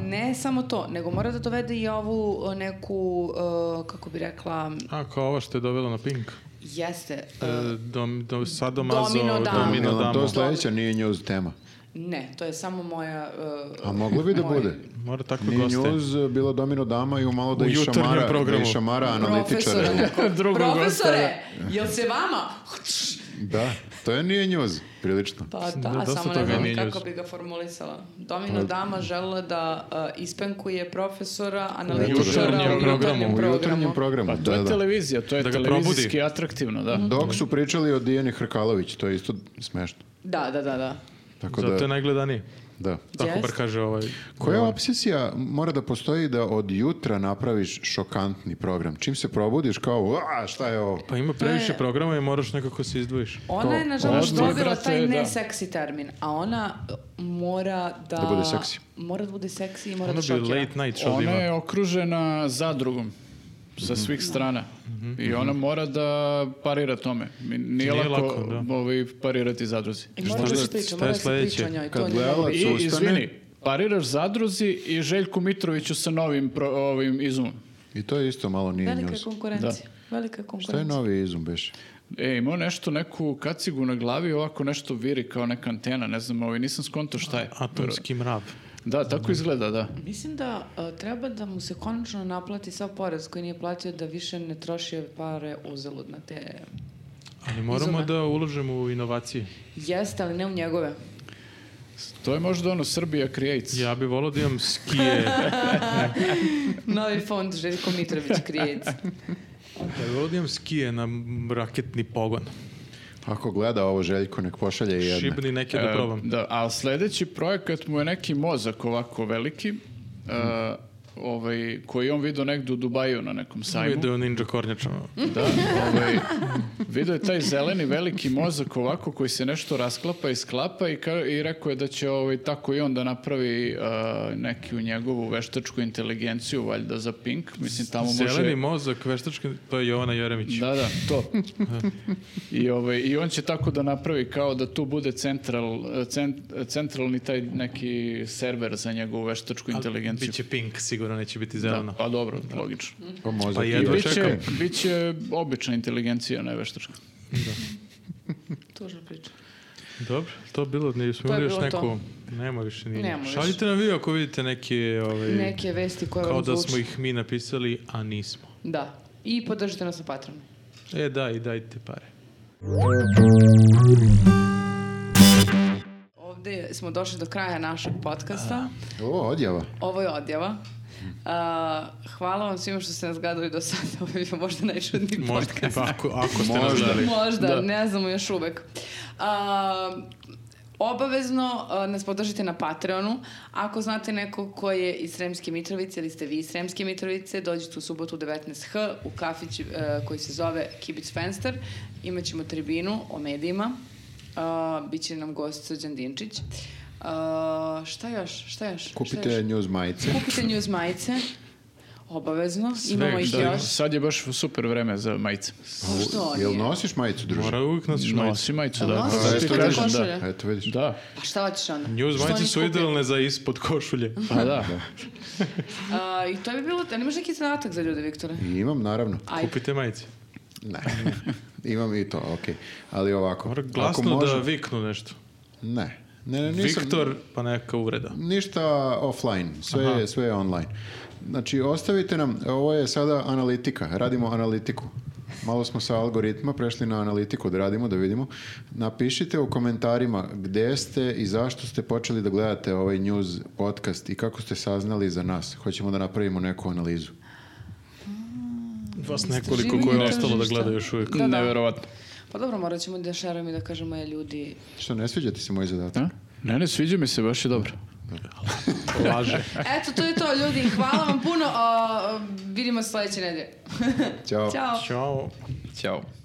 S3: Ne samo to, nego mora da dovede i ovu uh, neku, uh, kako bi rekla,
S1: A, kao ova što je dovela na Pink.
S3: jeste,
S1: E,
S3: uh,
S1: Dom, dom, sadomazo,
S3: Domino damo.
S1: domino
S2: Jel
S1: damo.
S2: nam to sledeća nije news tema.
S3: ne, to je samo moja... uh,
S2: A moglo bi da
S3: moj
S2: bude.
S1: Mora tako
S2: Nije
S1: goste.
S2: news, eh, bilo domino dama i malo da
S1: U
S2: i
S1: jutarnjem
S2: šamara, da
S1: programu.
S2: i šamara analitičara.
S3: Profesore,
S4: Drugog
S3: profesore, jel se vama?
S2: Da, to je nije news, prilično.
S3: Pa da,
S1: dosta
S3: samo
S1: toga
S3: ne
S1: je
S3: znam
S1: mijenjao
S3: kako
S1: se.
S3: bi ga formulisala. Domino dama želila da uh, ispenkuje profesora, analitičara
S4: jutarnjem
S3: u
S1: programu,
S3: jutarnjem
S2: U
S3: programu.
S2: jutarnjem programu.
S4: Pa to
S2: da,
S4: je
S2: da.
S4: televizija, to je
S1: Da ga
S4: televizijski
S1: probudi.
S4: atraktivno, da.
S3: Mhm.
S2: Dok su pričali o Dijani Hrkalović, to je isto smešno.
S3: Da, da, da, da.
S2: Tako
S1: Zato je
S2: da,
S1: najgledaniji.
S2: da.
S1: Tako
S3: Jest.
S1: bar kaže ovaj.
S2: Koja obsesija mora da postoji da od jutra napraviš šokantni program? Čim se probudiš kao, a šta je ovo?
S1: Pa ima previše programa i moraš nekako se izdvojiš.
S3: Ona je, nažalost,
S4: Odmah,
S3: dobila
S4: brate,
S3: taj
S4: da.
S3: neseksi termin, a ona uh, mora da...
S2: Da bude seksi.
S3: Mora da bude seksi i mora
S1: Ona
S3: da
S1: Ono bi
S3: šokira.
S1: late night show da
S4: Ona je
S1: ima. Mhm.
S4: okružena zadrugom sa svih strana. I ona mora da parira tome. Mi- Nije,
S1: Nije
S4: lako,
S1: lako, da.
S4: ovaj, parirati zadruzi.
S3: I mora da
S1: Šta
S3: se
S1: je-
S3: priča,
S1: šta
S3: mora
S1: je
S3: da se priča o
S1: sledeće?
S3: njoj.
S2: Kad
S3: to nije
S2: gledala-
S3: dobro.
S4: I,
S2: Sustane.
S4: izvini, pariraš zadruzi i Željku Mitroviću sa novim pro- ovim izumom.
S2: I to je isto malo nije
S3: Velika
S2: news.
S3: je konkurencija. Velika je konkurencija.
S2: Šta je novi izum beš?
S4: E, imao nešto, neku kacigu na glavi, ovako nešto viri kao neka antena, ne znam, ovaj, nisam skonto šta je.
S1: Atomski mrav.
S4: Da, tako izgleda, da.
S3: Mislim da e, treba da mu se konačno naplati sav porez koji nije platio da više ne troši pare uzalud na te...
S1: Ali moramo
S3: Izume.
S1: da uložimo u inovacije.
S3: Jeste, ali ne u njegove.
S4: To je možda ono Srbija Creates.
S1: Ja bi volao da imam skije.
S3: Novi ovaj fond Željko Mitrović Creates.
S1: ja bi volao da imam skije na m- raketni pogon.
S2: Ako gleda ovo Željko, nek pošalje i jedne.
S1: Šibni neke da
S4: E,
S1: probam.
S4: Da, a sledeći projekat mu je neki mozak ovako veliki, e, ovaj, koji je on vidio negdje u Dubaju na nekom sajmu.
S1: Video ninja kornjačama.
S4: Da, ovaj, vidio je taj zeleni veliki mozak ovako koji se nešto rasklapa i sklapa i, ka- i rekao je da će ovaj, tako i on da napravi e, neki u njegovu veštačku inteligenciju, valjda za Pink. Mislim, tamo može...
S1: Zeleni mozak, veštački, to je Jovana Jeremić.
S4: Da, da, to. I, ovaj, I on će tako da napravi kao da tu bude central, cen- centralni taj neki server za njegovu veštačku inteligenciju.
S1: Biće pink, sigurno neće biti
S4: da,
S1: zeleno.
S4: pa dobro, logično.
S2: Pa mozak
S1: Pa
S2: i
S1: jedva
S2: još.
S4: Biće,
S1: čekam.
S4: biće obična inteligencija, ne veštačka.
S3: Tužna priča.
S1: Dobro, to je bilo, ne, smo
S3: To
S1: imali
S3: je
S1: još
S3: bilo
S1: neku,
S3: to.
S1: nema više nije.
S3: Nema više.
S1: Šaljite nam vi ako vidite neke, ovaj,
S3: Neke vesti koje
S1: kao
S3: vam
S1: da
S3: zvuče.
S1: smo ih mi napisali, a nismo.
S3: Da. I podržite nas na Patreonu.
S1: E, da, i dajte pare.
S3: Ovde smo došli do kraja našeg podcasta.
S2: Ovo odjava.
S3: Ovo je odjava.
S1: Mhm.
S3: A, hvala vam svima što ste nas gledali do sada. Ovo je bio možda najčudniji
S1: Možda,
S3: podcast.
S1: pa, ako, ako ste nas
S2: Možda.
S1: dali.
S3: Možda,
S4: Da.
S3: ne znamo još uvek. A, obavezno a, nas podržite na Patreonu. Ako znate nekog ko je iz Sremske Mitrovice ili ste vi iz Sremske Mitrovice, dođite u subotu u 19h u kafić e, koji se zove Kibic Fenster. Imaćemo tribinu o medijima Uh, biće nam gost Srđan Dinčić. Uh, šta još? Šta još? Šta
S2: Kupite
S3: još?
S2: news majice.
S3: Kupite news majice. Obavezno. Imamo ih
S4: Da,
S3: još.
S4: sad je baš super vreme za majice.
S3: A Što
S2: Jel
S3: nije?
S2: nosiš majicu, druže?
S1: Mora uvijek nosiš majicu.
S4: Nosi majicu,
S3: Jel
S4: da.
S3: nosiš
S4: Zato
S3: ti
S4: ti
S3: to
S4: kažem,
S3: košulje?
S4: da.
S2: Eto, vidiš.
S4: Da,
S3: Pa šta hoćeš onda?
S1: News
S3: Što
S1: majice
S3: nisi
S1: su
S3: kupio?
S1: idealne za ispod košulje.
S4: pa da.
S3: A, I to bi bilo, a nemaš neki zadatak za ljude, Viktore?
S2: I imam, naravno.
S3: Ajde.
S1: Kupite majice.
S2: Ne. Imam i to, okej. Ali ovako.
S1: Mora
S2: ako
S1: glasno
S2: može-
S1: da viknu nešto.
S2: Ne. Ne, ne, nisam-
S1: Viktor, pa neka uvreda.
S2: Ništa offline, sve
S1: Aha.
S2: je, sve je online. Znači, ostavite nam, ovo je sada analitika, radimo analitiku. Malo smo sa algoritma prešli na analitiku da radimo, da vidimo. Napišite u komentarima gde ste i zašto ste počeli da gledate ovaj news podcast i kako ste saznali za nas. Hoćemo da napravimo neku analizu.
S1: Vas
S3: živi
S1: nekoliko koje je
S3: i
S1: ostalo da
S3: tržišta.
S1: gleda još uvijek.
S3: Da, da.
S4: Neverovatno.
S3: Pa dobro, morat ćemo da šerujemo i da kažemo je ljudi...
S2: Što, ne sviđa ti se moj zadatak?
S4: A? Ne, ne, sviđa mi se, baš je dobro.
S1: Laže.
S3: Eto, to je to ljudi, hvala vam puno, a, a, vidimo se sledeće nedelje.
S2: Ćao.
S3: Ćao!
S1: Ćao.
S4: Ćao.